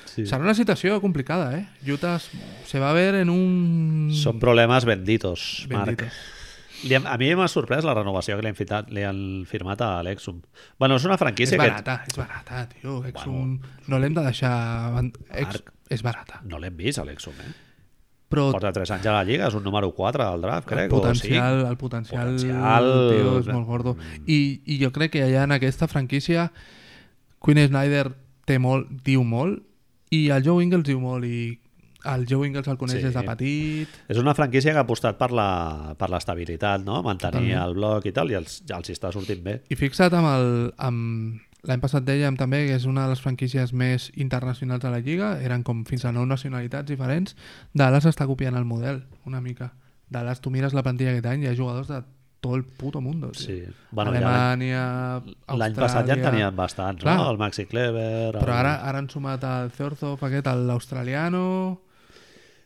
Speaker 1: Sí.
Speaker 2: Serà una situació complicada, eh? Utah es- se va a ver en un...
Speaker 1: Són problemes benditos,
Speaker 2: Bendito.
Speaker 1: Marc. Li, a mi m'ha sorprès la renovació que li han, fitat, li han firmat a l'Exum. Bueno, és una
Speaker 2: És
Speaker 1: franquícia que...
Speaker 2: barata, és barata, tio. Exum... No l'hem de deixar... ban- Ex...
Speaker 1: Marc.
Speaker 2: És barata.
Speaker 1: No l'hem vist, a l'Exum, eh?
Speaker 2: Però
Speaker 1: Porta 3 anys a la Lliga, és un número 4 al draft, crec,
Speaker 2: el
Speaker 1: o 5.
Speaker 2: potencial, el potencial,
Speaker 1: Potencial. Mm.
Speaker 2: tio, és molt gordo. I, I jo crec que allà en aquesta franquícia Queen Snyder té molt, diu molt i el Joe Ingles diu molt i el Joe Ingles el coneix
Speaker 1: Sí.
Speaker 2: sí. des de petit.
Speaker 1: És una franquícia que ha apostat per la- per l'estabilitat, no? Mantenir el bloc i tal, i els, ja els hi està sortint bé.
Speaker 2: I fixa't amb el... Amb... L'any passat dèiem també que és una de les franquícies més internacionals de la Lliga, eren com fins a nou nacionalitats diferents. Dallas està copiant el model, una mica. Dallas, tu mires la plantilla aquest any, hi ha jugadors de tot el puto mundo. tio.
Speaker 1: Sí. Bueno, ja
Speaker 2: Alemanya, ja
Speaker 1: L'any passat ja en tenien bastants,
Speaker 2: Clar.
Speaker 1: no? El Maxi Clever... El...
Speaker 2: Però ara, ara han sumat el Zorzov aquest, l'australiano...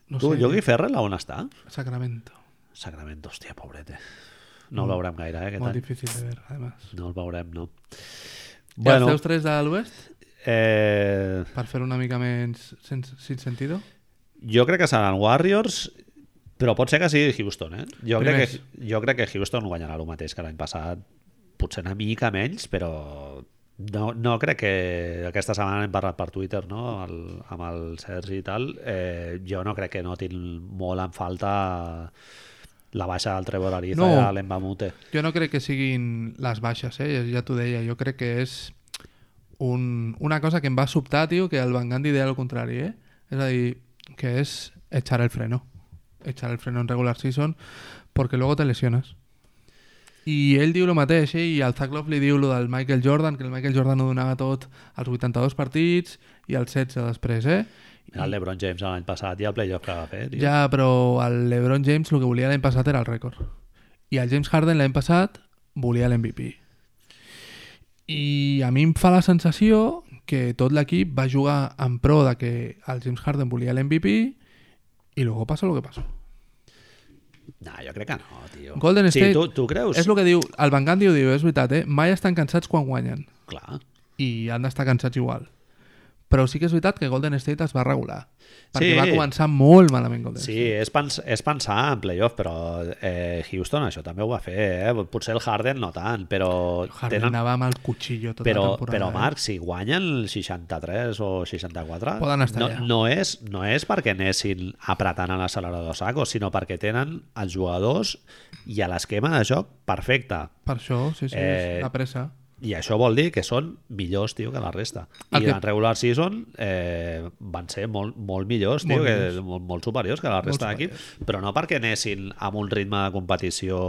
Speaker 2: No
Speaker 1: Tu,
Speaker 2: sé,
Speaker 1: Yogi Ferrell, on està?
Speaker 2: Sacramento.
Speaker 1: Sacramento, hòstia, pobrete. No el veurem gaire, eh, aquest
Speaker 2: Mm. Molt
Speaker 1: any.
Speaker 2: difícil de veure, además.
Speaker 1: No el veurem, no.
Speaker 2: Bueno.
Speaker 1: Bueno,
Speaker 2: els teus tres de l'oest,
Speaker 1: eh,
Speaker 2: per fer una mica menys sense, sin sentido?
Speaker 1: jo crec que seran Warriors, però pot ser que sigui Houston, eh? Jo, crec
Speaker 2: Primers.
Speaker 1: que, jo crec que Houston guanyarà el mateix que l'any passat, potser una mica menys, però no, no crec que aquesta setmana hem parlat per Twitter no? amb, el, amb el Sergi i tal eh, jo no crec que notin molt en falta la baixa del Trevor Ariza
Speaker 2: No.
Speaker 1: no. i de l'Embamute
Speaker 2: Jo no crec que siguin les baixes, eh? ja t'ho deia, jo crec que és un, una cosa que em va sobtar, tio, que el Van Gandhi deia el contrari, eh? és a dir, que és echar el freno, echar el freno en regular season, perquè luego te lesiones. I ell diu el mateix, eh? i al Zach Lofley diu lo del Michael Jordan, que el Michael Jordan ho donava tot als 82 partits i als 16 després, eh?
Speaker 1: el LeBron James l'any passat i el playoff que va fer tio.
Speaker 2: Ja, però el LeBron James el que volia l'any passat era el rècord. I el James Harden l'any passat volia l'MVP. I a mi em fa la sensació que tot l'equip va jugar en pro de que el James Harden volia l'MVP i luego passa el que passa.
Speaker 1: no, jo crec que no tio.
Speaker 2: Golden
Speaker 1: sí,
Speaker 2: State
Speaker 1: tu, tu creus?
Speaker 2: És el que diu, el Van Gandhi ho diu, és veritat, eh? Mai estan cansats quan guanyen
Speaker 1: clar
Speaker 2: i han d'estar cansats igual. Però sí que és veritat que Golden State es va regular. Perquè
Speaker 1: Sí.
Speaker 2: va començar molt malament Golden
Speaker 1: Sí, és, pens és pensar en playoff, però eh, Houston això també ho va fer, eh? potser el Harden no tant, però
Speaker 2: Harden
Speaker 1: tenen...
Speaker 2: anava amb el cuchillo tota
Speaker 1: Però,
Speaker 2: la temporada.
Speaker 1: però
Speaker 2: eh?
Speaker 1: Marc, si guanyen el 63 o 64,
Speaker 2: Poden estar
Speaker 1: no,
Speaker 2: allà.
Speaker 1: no, és, no és perquè anessin apretant a l'accelerador saco, sinó perquè tenen els jugadors i a l'esquema de joc perfecte.
Speaker 2: Per això, sí, sí,
Speaker 1: Eh,
Speaker 2: eh... la pressa.
Speaker 1: I això vol dir que són millors, tio, que la resta. I
Speaker 2: El Ah, que-
Speaker 1: en regular season eh, van ser molt, molt millors, tio,
Speaker 2: Molt
Speaker 1: molt,
Speaker 2: millors.
Speaker 1: que, molt, molt superiors que la resta d'equips, però no perquè anessin amb un ritme de competició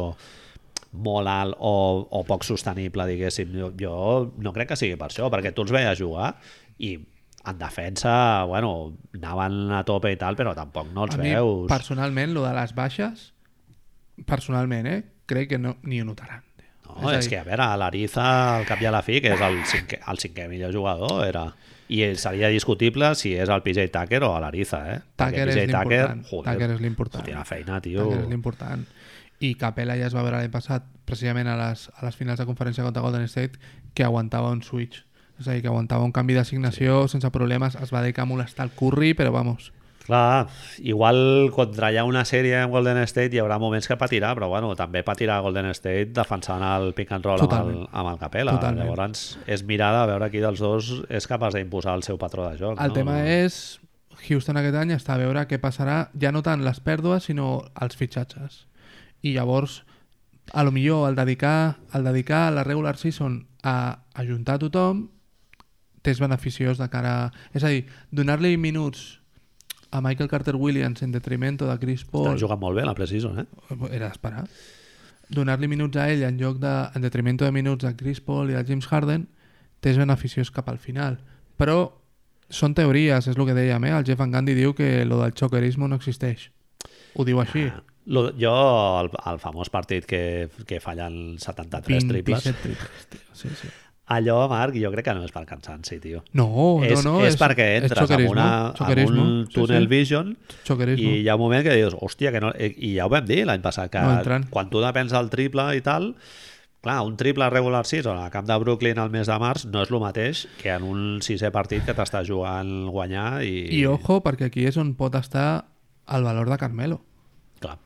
Speaker 1: molt alt o, o poc sostenible, diguéssim. Jo, jo no crec que sigui per això, perquè tu els veies jugar i en defensa, bueno, anaven a tope i tal, però tampoc no els
Speaker 2: A mi,
Speaker 1: veus.
Speaker 2: personalment, lo de les baixes, personalment, eh, crec que no, ni ho notaran. tio.
Speaker 1: No,
Speaker 2: a
Speaker 1: és,
Speaker 2: dir,
Speaker 1: que, a veure, l'Ariza, al cap i a la fi, que és el cinquè, el cinquè millor jugador, era... I ell seria discutible si és el PJ Tucker o l'Ariza, eh?
Speaker 2: Tucker és l'important. Tucker és l'important.
Speaker 1: Hòstia, la feina, tio.
Speaker 2: Tucker és l'important. I Capella ja es va veure l'any passat, precisament a les, a les finals de conferència contra Golden State, que aguantava un switch. És a dir, que aguantava un canvi d'assignació sí. sense problemes. Es va dedicar a molestar el Curry, però vamos...
Speaker 1: Clar, igual contra hi ha una sèrie amb Golden State hi haurà moments que patirà, però bueno, també patirà Golden State defensant el pick and roll amb el,
Speaker 2: Totalment.
Speaker 1: amb el Capela.
Speaker 2: Totalment.
Speaker 1: Llavors és mirada a veure qui dels dos és capaç d'imposar el seu patró de joc.
Speaker 2: El
Speaker 1: no?
Speaker 2: tema és... Houston aquest any està a veure què passarà, ja no tant les pèrdues, sinó els fitxatges. I llavors, a lo millor, el dedicar, el dedicar la regular season a ajuntar tothom t'és beneficiós de cara... A... És a dir, donar-li minuts a Michael Carter Williams en detrimento de Chris
Speaker 1: Està
Speaker 2: Paul
Speaker 1: jugant molt bé la Precision, eh?
Speaker 2: era d'esperar. Donar-li minuts a ell en lloc de, en detrimento de minuts a Chris Paul i a James Harden t'és beneficiós cap al final. Però són teories, és el que dèiem, eh? El Jeff Van Gundy diu que lo del xoquerisme no existeix. Ho diu així.
Speaker 1: Ah, Lo, jo, el, el famós partit que, que fallen 73 triples,
Speaker 2: 27 triples, tio. Sí, sí.
Speaker 1: allò, Marc, jo crec que no és per cansanci, tio.
Speaker 2: No,
Speaker 1: és,
Speaker 2: no, no.
Speaker 1: és, perquè entres en,
Speaker 2: xoquerisme,
Speaker 1: una, en
Speaker 2: xoquerisme.
Speaker 1: un tunnel
Speaker 2: sí,
Speaker 1: vision
Speaker 2: sí. Xoquerisme.
Speaker 1: I hi ha un moment que dius, hòstia, que no... I i ja ho vam dir l'any passat, que
Speaker 2: No entren.
Speaker 1: quan tu depens del triple i tal, clar, un triple regular season al camp de Brooklyn al mes de març no és el mateix que en un sisè partit que t'està jugant guanyar i...
Speaker 2: I ojo, perquè aquí és on pot estar el valor de Carmelo.
Speaker 1: Clar,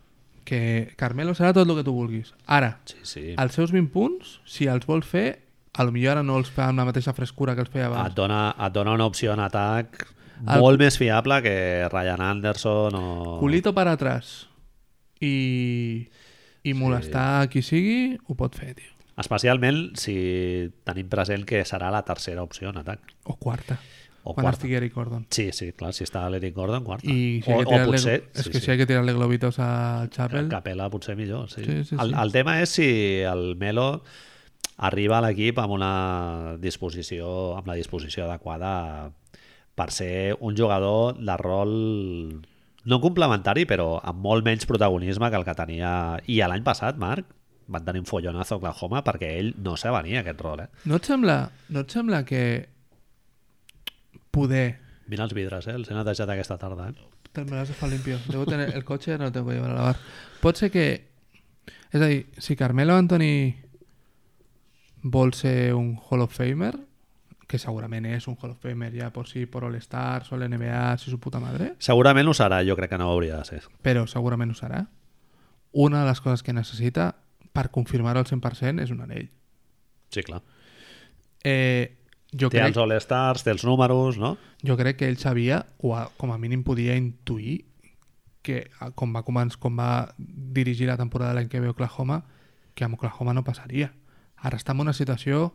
Speaker 2: Que Carmelo serà tot el que tu vulguis. Ara,
Speaker 1: sí, sí. El...
Speaker 2: els seus 20 punts, si els vol fer, a lo millor ara no els fa amb la mateixa frescura que els feia
Speaker 1: Et,
Speaker 2: abans.
Speaker 1: dona, et dona una opció en atac
Speaker 2: El-
Speaker 1: molt més fiable que Ryan Anderson o...
Speaker 2: Culito per atrás i, i molestar qui sigui, ho pot fer, tio.
Speaker 1: Especialment si tenim present que serà la tercera opció en atac.
Speaker 2: O quarta.
Speaker 1: O
Speaker 2: quan
Speaker 1: quarta.
Speaker 2: estigui Eric Gordon.
Speaker 1: Sí, sí, clar, si està l'Eric Gordon, quarta.
Speaker 2: I si
Speaker 1: o,
Speaker 2: hay que
Speaker 1: o
Speaker 2: tirarle-
Speaker 1: potser...
Speaker 2: és que si hay que tirarle globitos al Chapel...
Speaker 1: Capela potser millor, sí.
Speaker 2: Sí, sí,
Speaker 1: el,
Speaker 2: sí.
Speaker 1: el tema és si el Melo arriba a l'equip amb una disposició amb la disposició adequada per ser un jugador de rol no complementari, però amb molt menys protagonisme que el que tenia... I a l'any passat, Marc, van tenir un follonazo a Oklahoma perquè ell no se venia aquest rol, eh?
Speaker 2: No et sembla, no et sembla que poder
Speaker 1: Mira els vidres, eh? Els he netejat aquesta tarda, eh?
Speaker 2: Te- Me lo has dejado limpio. Debo tener el coche, no lo tengo que llevar a lavar. Pot ser que... És a dir, si Carmelo Anthony vol ser un Hall of Famer, que segurament és un Hall of Famer ja por si, por All-Star, sol NBA, si su puta madre,
Speaker 1: Segurament ho serà, jo crec que no hauria de ser.
Speaker 2: però segurament ho serà, una de les coses que necessita per confirmar-ho al 100% és un anell.
Speaker 1: Sí, clar.
Speaker 2: Eh, jo,
Speaker 1: Té els
Speaker 2: crec,
Speaker 1: All-Stars, té els números, no?
Speaker 2: jo crec que ell sabia, o a- com a mínim podia intuir, que a- com va, començ, com va dirigir la temporada l'any que ve a Oklahoma, que amb Oklahoma no passaria. Ara està en una situació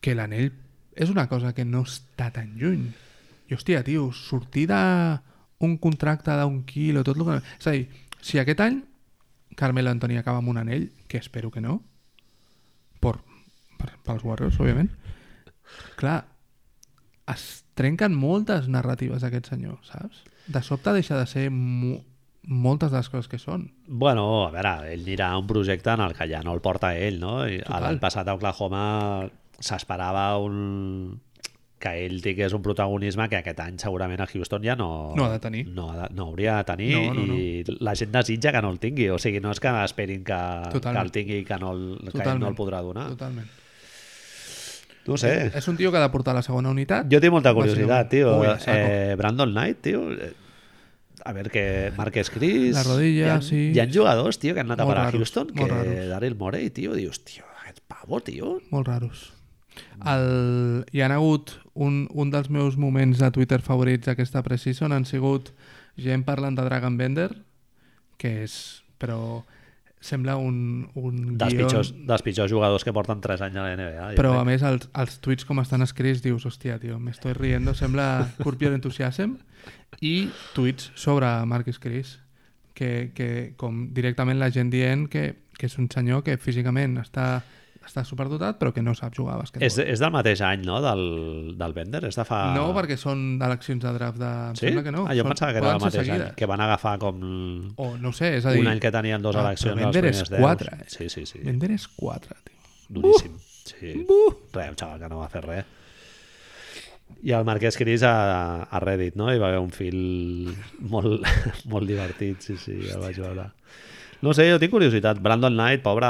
Speaker 2: que l'anell és una cosa que no està tan lluny. I hòstia, tio, sortir d'un contracte d'un quilo, tot el que... És a dir, si aquest any Carmelo Antoni acaba amb un anell, que espero que no, per, per, pels Warriors, òbviament, clar, es trenquen moltes narratives d'aquest senyor, saps? De sobte deixa de ser mo moltes de les coses que són.
Speaker 1: Bueno, a veure, ell anirà a un projecte en el que ja no el porta ell, no? I
Speaker 2: Total.
Speaker 1: L'any passat a Oklahoma s'esperava un que ell tingués un protagonisme que aquest any segurament a Houston ja no...
Speaker 2: No ha de tenir.
Speaker 1: No, ha de, no hauria de tenir
Speaker 2: No, no,
Speaker 1: i la gent desitja que no el tingui. O sigui, no és que esperin que, que
Speaker 2: Totalment.
Speaker 1: el tingui i que no el, que ell
Speaker 2: Totalment.
Speaker 1: no el podrà donar.
Speaker 2: Totalment.
Speaker 1: No ho sé.
Speaker 2: És un tio que ha de portar la segona unitat.
Speaker 1: Jo tinc molta
Speaker 2: Va ser
Speaker 1: curiositat,
Speaker 2: un-
Speaker 1: tio.
Speaker 2: Ui, a saco.
Speaker 1: eh, Brandon Knight, tio... eh, A veure, que Marques Cris...
Speaker 2: La rodilla,
Speaker 1: hi ha,
Speaker 2: sí.
Speaker 1: Hi ha jugadors, tio, que han anat
Speaker 2: Molt
Speaker 1: a parar a
Speaker 2: raros,
Speaker 1: Houston, que
Speaker 2: molt raros.
Speaker 1: Daryl Morey, tio, dius, tio, aquest pavo, tio...
Speaker 2: Molt raros. El... Hi ha hagut un, un dels meus moments de Twitter favorits d'aquesta preseason han sigut gent parlant de Dragon Bender, que és... però sembla un, un
Speaker 1: Dels
Speaker 2: guion...
Speaker 1: pitjors, dels pitjors jugadors que porten 3 anys a la NBA. jo
Speaker 2: Però a
Speaker 1: crec.
Speaker 2: més els, els tuits com estan escrits dius, hòstia, tio, m'estoy riendo, sembla Curb Your Enthusiasm i tuits sobre Marcus Cris que, que com directament la gent dient que que és un senyor que físicament està, està superdotat però que no sap jugar a bàsquet.
Speaker 1: És, eh, és del mateix any, no?, del, del Bender? És de fa...
Speaker 2: No, perquè són eleccions de draft de... Em
Speaker 1: Sí?
Speaker 2: sembla que no.
Speaker 1: Ah, jo
Speaker 2: Són-
Speaker 1: pensava que era
Speaker 2: poden
Speaker 1: del
Speaker 2: ser
Speaker 1: mateix any,
Speaker 2: seguides.
Speaker 1: que van agafar com
Speaker 2: O no ho sé, és a dir...
Speaker 1: un any que tenien dos
Speaker 2: ah, però
Speaker 1: eleccions dels
Speaker 2: Bender és
Speaker 1: primers 10.
Speaker 2: quatre, eh?
Speaker 1: Sí, sí, sí.
Speaker 2: Bender és 4, tio.
Speaker 1: Duríssim. Sí. Res, un xaval que no va fer res. I el Marquès Cris a, a Reddit, no? Hi va haver un fil molt, molt divertit, sí, sí, el vaig veure. No sé, jo tinc curiositat. Brandon Knight, pobre,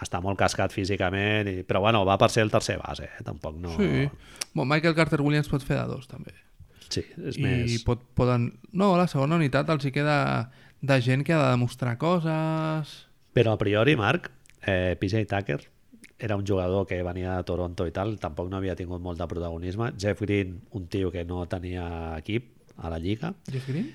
Speaker 1: està molt cascat físicament, i... però bueno, va per ser el tercer base, eh? tampoc no...
Speaker 2: Sí. Bon, Michael Carter Williams pot fer de dos, també.
Speaker 1: Sí, és
Speaker 2: I
Speaker 1: més...
Speaker 2: pot, poden... No, a la segona unitat els hi queda de gent que ha de demostrar coses...
Speaker 1: Però a priori, Marc, eh, PJ Tucker era un jugador que venia de Toronto i tal, tampoc no havia tingut molt de protagonisme. Jeff Green, un tio que no tenia equip a la lliga.
Speaker 2: Jeff Green?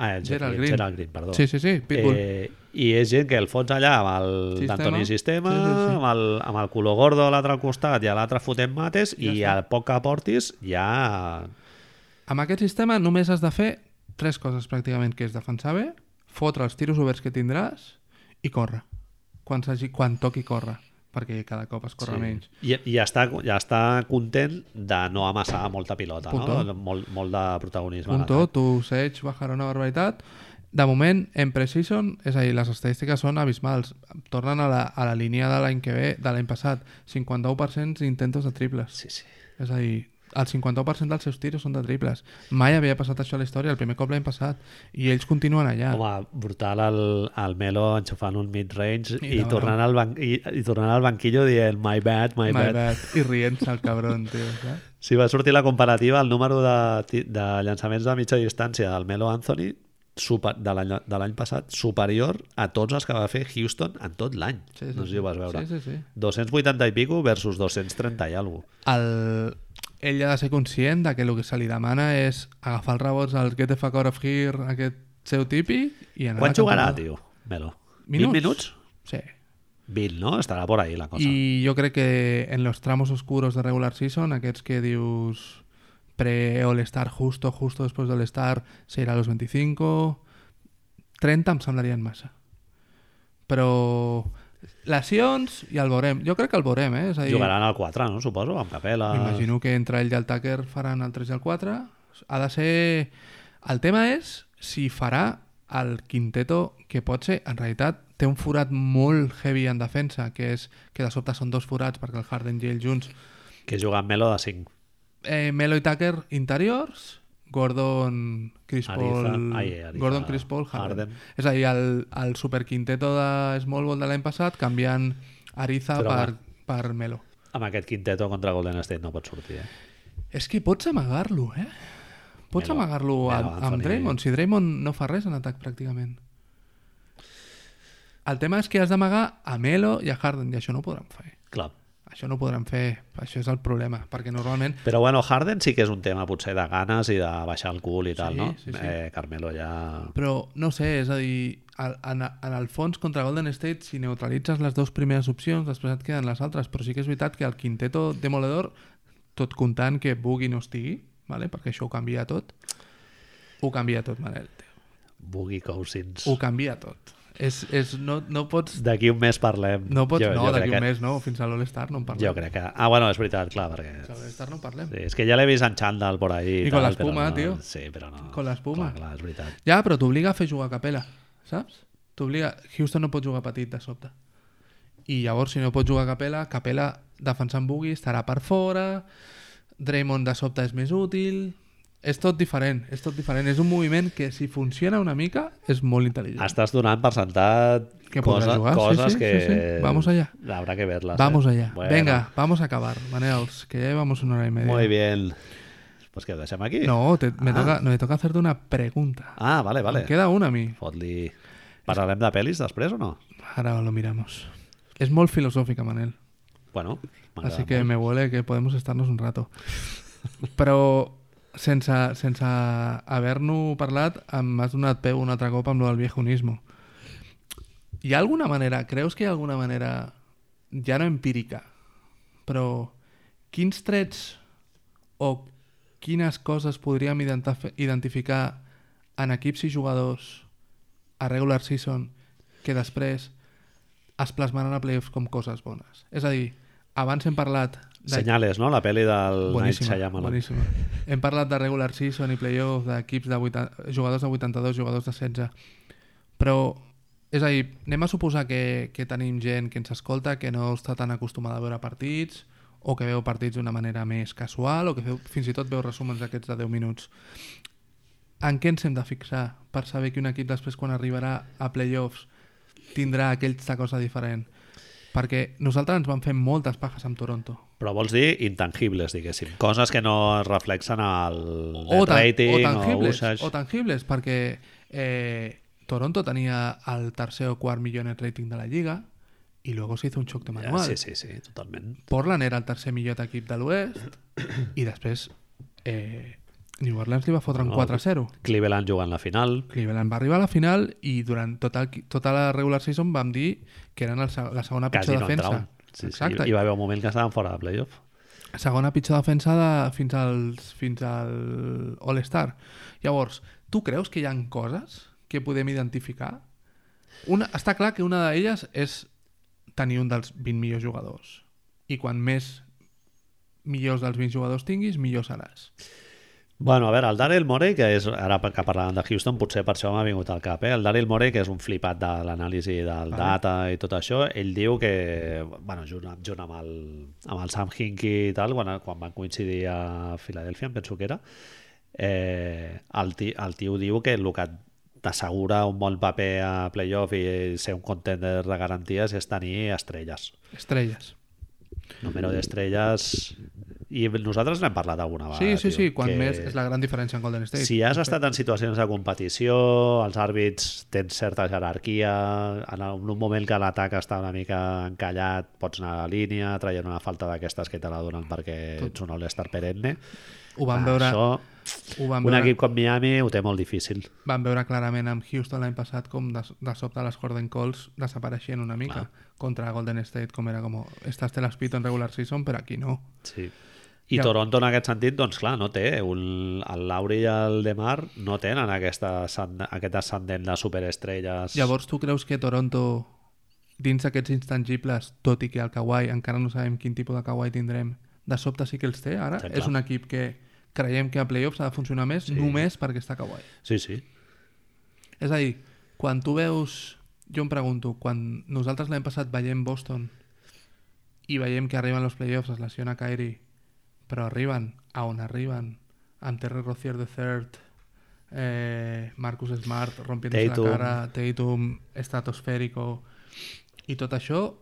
Speaker 1: Ah, el Gerald
Speaker 2: Gerald
Speaker 1: Green.
Speaker 2: Green.
Speaker 1: Gerald Green, perdó.
Speaker 2: Sí, sí, sí, Pitbull.
Speaker 1: Eh, I és gent que el fots allà amb el
Speaker 2: Sistema.
Speaker 1: d'Antoni Sistema,
Speaker 2: Sí, sí, sí.
Speaker 1: Amb, el, amb el color gordo a l'altre costat i a l'altre fotent mates
Speaker 2: Ja
Speaker 1: i
Speaker 2: està.
Speaker 1: al poc que aportis ja...
Speaker 2: Amb aquest sistema només has de fer tres coses pràcticament, que és defensar bé, fotre els tiros oberts que tindràs i córrer. Quan, s'hagi- quan toqui, córrer, perquè cada cop es corre sí. menys.
Speaker 1: I, i ja, està, ja està content de no amassar molta pilota, no?
Speaker 2: Punto.
Speaker 1: Molt, molt de protagonisme. a
Speaker 2: Punto, tu Sage bajarà una barbaritat. De moment, en precision, és a dir, les estadístiques són abismals. Tornen a la, a la línia de l'any que ve, de l'any passat. 51% d'intentos de triples.
Speaker 1: Sí, sí.
Speaker 2: És a dir, el 51% dels seus tiros són de triples. Mai havia passat això a la història, el primer cop l'any passat. I ells continuen allà.
Speaker 1: Home, brutal el, el Melo enxufant un mid-range i,
Speaker 2: I no,
Speaker 1: tornant al ban i, i tornant al banquillo dient my bad, my,
Speaker 2: My
Speaker 1: bad.
Speaker 2: bad. I rient-se el cabron, tio. saps?
Speaker 1: Si va sortir la comparativa, el número de, ti- de llançaments de mitja distància del Melo Anthony super, de l'any de l'any passat superior a tots els que va fer Houston en tot l'any.
Speaker 2: Sí, sí,
Speaker 1: no sé
Speaker 2: sí.
Speaker 1: si ho vas veure.
Speaker 2: Sí, sí, sí.
Speaker 1: 280 i pico versus 230 i alguna cosa.
Speaker 2: El... Ell ha de ser conscient de que el que se li demana és agafar els rebots al Get the fuck out of here, aquest seu tipi, i anar... a
Speaker 1: Quan
Speaker 2: la
Speaker 1: jugarà,
Speaker 2: campanada.
Speaker 1: tio, Melo? 20
Speaker 2: Minuts.
Speaker 1: minuts?
Speaker 2: Sí.
Speaker 1: 20, no? Estarà por ahí la cosa.
Speaker 2: I jo crec que en los tramos oscuros de regular season, aquests que dius pre-All-Star, justo, justo després de All-Star, se irà a los 25... 30 em semblarien massa. Però... Lesions, i el veurem. Jo crec que el veurem, eh? És a dir,
Speaker 1: Jugaran al 4, no? Suposo, amb Capela.
Speaker 2: M'imagino que entre ell i el Tucker faran el 3 i el 4. Ha de ser... El tema és si farà el quinteto que pot ser, en realitat, té un forat molt heavy en defensa, que és que de sobte són dos forats perquè el Harden i ell junts.
Speaker 1: Que juga amb Melo de 5.
Speaker 2: Eh, Melo i Tucker interiors, Gordon, Chris
Speaker 1: Ariza-
Speaker 2: Paul,
Speaker 1: ai, Ariza-
Speaker 2: Gordon, Chris Paul, Harden.
Speaker 1: Harden.
Speaker 2: És a dir, el, el superquinteto de Small Ball de l'any passat canviant Ariza
Speaker 1: Però,
Speaker 2: per, per Melo.
Speaker 1: Amb aquest quinteto contra Golden State no pot sortir, eh?
Speaker 2: És que pots amagar-lo, eh? Pots
Speaker 1: Melo-
Speaker 2: amagar-lo
Speaker 1: Melo
Speaker 2: amb, amb
Speaker 1: Anthony.
Speaker 2: Draymond, si Draymond no fa res en atac pràcticament. El tema és que has d'amagar a Melo i a Harden, i això no ho podran fer.
Speaker 1: Clar.
Speaker 2: Això no ho podran fer, això és el problema, perquè normalment...
Speaker 1: Però bueno, Harden sí que és un tema potser de ganes i de baixar el cul i tal, no?
Speaker 2: sí, sí.
Speaker 1: Eh, Carmelo ja...
Speaker 2: Però, no sé, és a dir, al- en, en el fons contra Golden State, si neutralitzes les dues primeres opcions, després et queden les altres, però sí que és veritat que el quinteto demoledor, tot comptant que Boogie no estigui, vale? perquè això ho canvia tot, ho canvia tot, Manel, tio.
Speaker 1: Boogie Cousins.
Speaker 2: ho canvia tot. És, és, no, no pots...
Speaker 1: D'aquí un mes parlem.
Speaker 2: No, pots, jo, no
Speaker 1: crec
Speaker 2: d'aquí un
Speaker 1: que-
Speaker 2: mes no, fins a l'All-Star no en parlem.
Speaker 1: Jo crec que... Ah, bueno, és veritat, clar,
Speaker 2: Fins
Speaker 1: perquè...
Speaker 2: a l'All-Star no en parlem.
Speaker 1: Sí, és que ja l'he vist en xandall por ahí.
Speaker 2: I con
Speaker 1: tal, però
Speaker 2: l'espuma,
Speaker 1: no...
Speaker 2: tio.
Speaker 1: Sí, però no.
Speaker 2: Con l'espuma.
Speaker 1: Clar, clar, és veritat.
Speaker 2: Ja, però t'obliga a fer jugar a capella, saps? T'obliga... Houston no pot jugar petit de sobte. I llavors, si no pot jugar a capella, capella defensant Boogie estarà per fora, Draymond de sobte és més útil... És tot diferent, és tot diferent. És un moviment que, si funciona una mica, és molt intel·ligent.
Speaker 1: Estàs donant per sentat
Speaker 2: Que podrà
Speaker 1: coses,
Speaker 2: jugar, sí,
Speaker 1: coses
Speaker 2: sí,
Speaker 1: que...
Speaker 2: sí, sí. Vamos allá.
Speaker 1: Habrá que verlas.
Speaker 2: Vamos
Speaker 1: eh?
Speaker 2: allá.
Speaker 1: Bueno,
Speaker 2: Venga, vamos a acabar, Manels, que ya llevamos una hora y media.
Speaker 1: Muy bien. Pues que ho deixem aquí.
Speaker 2: No, te- me, toca, no, me toca hacerte una pregunta.
Speaker 1: Ah, vale, vale.
Speaker 2: Me queda una a mí.
Speaker 1: Fot-li... Parlarem de pel·lis després o no?
Speaker 2: Ahora lo miramos. Es muy filosófica, Manel.
Speaker 1: Bueno, m'agrada
Speaker 2: Así que me huele que podemos estarnos un rato. Però sense, sense haver-nos parlat, m'has donat peu un altre cop amb lo del viejunismo. Hi ha alguna manera, creus que hi ha alguna manera, ja no empírica, però quins trets o quines coses podríem identif identificar en equips i jugadors a regular season que després es plasmaran a playoffs com coses bones. És a dir, abans hem parlat... De...
Speaker 1: Senyales, no? La pel·li del Night
Speaker 2: Boníssima,
Speaker 1: Shyamalan.
Speaker 2: boníssima. Hem parlat de regular season i playoff, d'equips de 80, jugadors de 82, jugadors de 16, però, és a dir, anem a suposar que, que tenim gent que ens escolta, que no està tan acostumada a veure partits, o que veu partits d'una manera més casual, o que veu, fins i tot veu resumens d'aquests de 10 minuts. En què ens hem de fixar per saber que un equip després quan arribarà a playoffs tindrà aquesta cosa diferent? Perquè nosaltres ens vam fer moltes pajes amb Toronto.
Speaker 1: Però vols dir intangibles, diguéssim. Coses que no es reflexen al net
Speaker 2: tan-
Speaker 1: rating
Speaker 2: o tangibles,
Speaker 1: usage.
Speaker 2: o tangibles, perquè eh, Toronto tenía al tercer o cuarto millón en rating de la liga y luego se hizo un choque de
Speaker 1: Ja,
Speaker 2: manual.
Speaker 1: Eh, sí, sí, sí, totalment.
Speaker 2: Portland era el tercer millor equip de l'oest i després eh, New Orleans li va fotre un
Speaker 1: No.
Speaker 2: 4-0.
Speaker 1: Cleveland jugant la final.
Speaker 2: Cleveland va arribar a la final i durant tota, el, tota la regular season vam dir que eren el, se- la segona
Speaker 1: Quasi
Speaker 2: pitjor
Speaker 1: no
Speaker 2: defensa.
Speaker 1: entraven. Sí, sí.
Speaker 2: Exacte.
Speaker 1: Hi va haver un moment que estaven fora de playoff.
Speaker 2: segona pitjor defensa de, fins, als, fins al All-Star. Llavors, tu creus que hi han coses que podem identificar? Una, està clar que una d'elles és tenir un dels 20 millors jugadors. I quan més millors dels 20 jugadors tinguis, millor seràs.
Speaker 1: Bueno, a veure, el Daryl Morey, que és, ara que parlàvem de Houston, potser per això m'ha vingut al cap, eh? el Daryl Morey, que és un flipat de l'anàlisi del
Speaker 2: Vale.
Speaker 1: data i tot això, ell diu que, bueno, junt, amb- junt amb, el, amb el Sam Hinkie i tal, quan, quan van coincidir a Filadèlfia, em penso que era, eh, el, ti, el tio diu que el que t'assegura un bon paper a playoff i ser un contender de garanties és tenir estrelles.
Speaker 2: Estrelles.
Speaker 1: Número d'estrelles... I nosaltres n'hem parlat alguna vegada.
Speaker 2: sí, sí,
Speaker 1: tio,
Speaker 2: sí, quan
Speaker 1: que-
Speaker 2: més és la gran diferència en Golden State.
Speaker 1: si has estat en situacions de competició, els àrbits tens certa jerarquia, en un moment que l'atac està una mica encallat, pots anar a la línia, traient una falta d'aquestes que te la donen perquè ets un all-star perenne.
Speaker 2: Ho van veure,
Speaker 1: Ah, Això,
Speaker 2: ho van
Speaker 1: un
Speaker 2: veure,
Speaker 1: equip com Miami ho té molt difícil.
Speaker 2: van veure clarament amb Houston l'any passat com de, de sobte les Jordan Calls desapareixien una mica contra Golden State com era com estàs te l'espito en regular season però aquí no
Speaker 1: Sí. I
Speaker 2: Ja.
Speaker 1: Toronto en aquest sentit, doncs clar, no té. Un, el Lauri i el Demar no tenen aquesta, ascend- aquest ascendent de superestrelles.
Speaker 2: llavors tu creus que Toronto dins d'aquests intangibles tot i que el Kawhi encara no sabem quin tipus de Kawhi tindrem de sobte sí que els té ara
Speaker 1: Està clar.
Speaker 2: és un equip que creiem que a playoffs ha de funcionar més només perquè està Kawhi
Speaker 1: Sí, sí.
Speaker 2: És a dir, quan tu veus... Jo em pregunto, quan nosaltres l'any passat veiem Boston i veiem que arriben els playoffs, es lesiona Kyrie, però arriben a on arriben, amb Terry Rozier de third, eh, Marcus Smart rompent la
Speaker 1: Tatum.
Speaker 2: cara, Tatum estratosfèrico, i tot això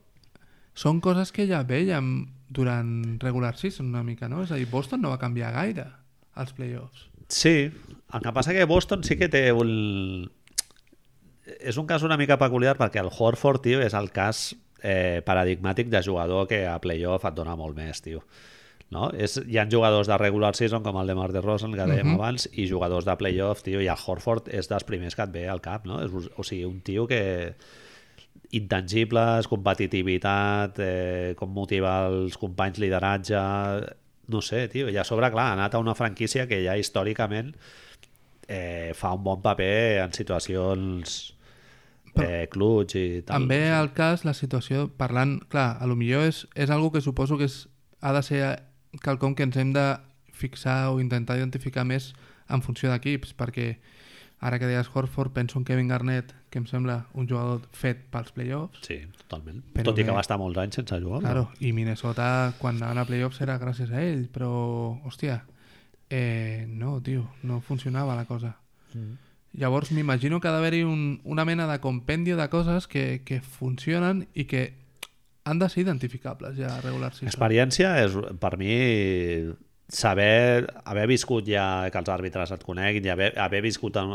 Speaker 2: són coses que ja veiem durant regular season una mica, no? És a dir, Boston no va canviar gaire als playoffs.
Speaker 1: Sí, el que passa que Boston sí que té un... És un cas una mica peculiar perquè el Horford, tio, és el cas eh, paradigmàtic de jugador que a playoff et dona molt més, tio. No? És, hi ha jugadors de regular season com el de Mar de Rosen, que dèiem uh -huh.
Speaker 2: Mhm.
Speaker 1: abans, i jugadors de playoff, tio, i el Horford és dels primers que et ve al cap, no? És, un- o sigui, un tio que intangibles, competitivitat, eh, com motivar els companys, lideratge... No sé, tio. I a sobre, clar, ha anat a una franquícia que ja històricament eh, fa un bon paper en situacions eh, clutch i tal.
Speaker 2: Em ve al cas la situació parlant... Clar, a lo millor és, és algo que suposo que és, ha de ser quelcom que ens hem de fixar o intentar identificar més en funció d'equips, perquè ara que deies Horford, penso en Kevin Garnett, que em sembla un jugador fet pels playoffs.
Speaker 1: Sí, totalment.
Speaker 2: Però
Speaker 1: Però Tot i
Speaker 2: bé.
Speaker 1: que va estar molts anys sense jugar.
Speaker 2: Claro, i Minnesota quan anaven a playoffs era gràcies a ell, però, hòstia, eh, no, tio, no funcionava la cosa.
Speaker 1: Mm.
Speaker 2: Llavors m'imagino que ha d'haver-hi un, una mena de compendio de coses que, que funcionen i que han de ser identificables ja a regular season.
Speaker 1: Experiència és, per mi, saber, haver viscut ja que els àrbitres et coneguin i haver, haver viscut, en,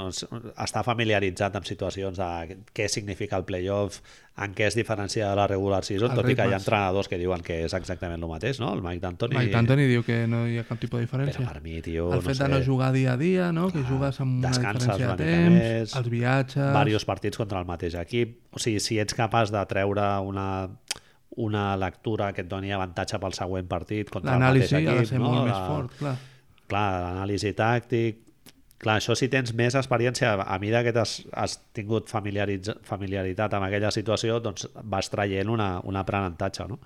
Speaker 1: estar familiaritzat amb situacions de què significa el playoff, en què es diferencia de la regular season,
Speaker 2: Els
Speaker 1: tot i que hi ha
Speaker 2: ritmes.
Speaker 1: entrenadors que diuen que és exactament el mateix, no? El Mike D'Antoni...
Speaker 2: Mike D'Antoni diu que no hi ha cap tipus de
Speaker 1: Però
Speaker 2: diferència.
Speaker 1: per mi, tio,
Speaker 2: el fet de no
Speaker 1: sé,
Speaker 2: jugar dia a dia, no? que jugues amb una
Speaker 1: descanses
Speaker 2: diferència
Speaker 1: una
Speaker 2: de
Speaker 1: mica
Speaker 2: temps,
Speaker 1: més,
Speaker 2: els viatges...
Speaker 1: varios partits contra el mateix equip. O sigui, si ets capaç de treure una, una lectura que et doni avantatge pel següent partit contra el mateix
Speaker 2: L'anàlisi
Speaker 1: equip,
Speaker 2: ha de ser
Speaker 1: no?
Speaker 2: molt
Speaker 1: La-
Speaker 2: més fort, clar.
Speaker 1: clar, l'anàlisi tàctic Clar, això si tens més experiència, a mesura que has, has tingut familiaritz- familiaritat amb aquella situació, doncs vas traient una, un aprenentatge, no?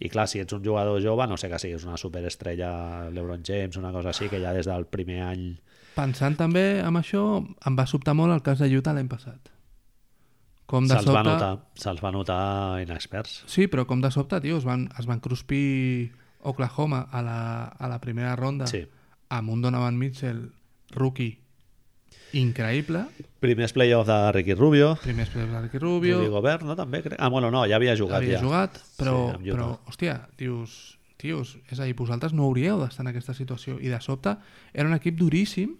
Speaker 1: I clar, si ets un jugador jove, no sé que siguis una superestrella, l'Ebron James, una cosa així, que ja des del primer any...
Speaker 2: Pensant també en això, em va sobtar molt el cas de Utah l'any passat. Com de
Speaker 1: Se'ls va,
Speaker 2: sobte...
Speaker 1: notar, se'ls va notar inexperts.
Speaker 2: Sí, però com de sobte, tio, es van, es van cruspir Oklahoma a la, a la primera ronda
Speaker 1: Sí.
Speaker 2: amb un Donovan Mitchell, rookie, increïble.
Speaker 1: Primers playoff de Ricky Rubio,
Speaker 2: Primers playoffs de Ricky Rubio,
Speaker 1: Rudy Gobert, no? També, crec. Ah, bueno, no, ja havia jugat.
Speaker 2: havia
Speaker 1: ja.
Speaker 2: jugat, però,
Speaker 1: Sí, amb
Speaker 2: sí,
Speaker 1: Utah.
Speaker 2: però hòstia, dius, tios, és a dir, vosaltres no hauríeu d'estar en aquesta situació. I de sobte era un equip duríssim,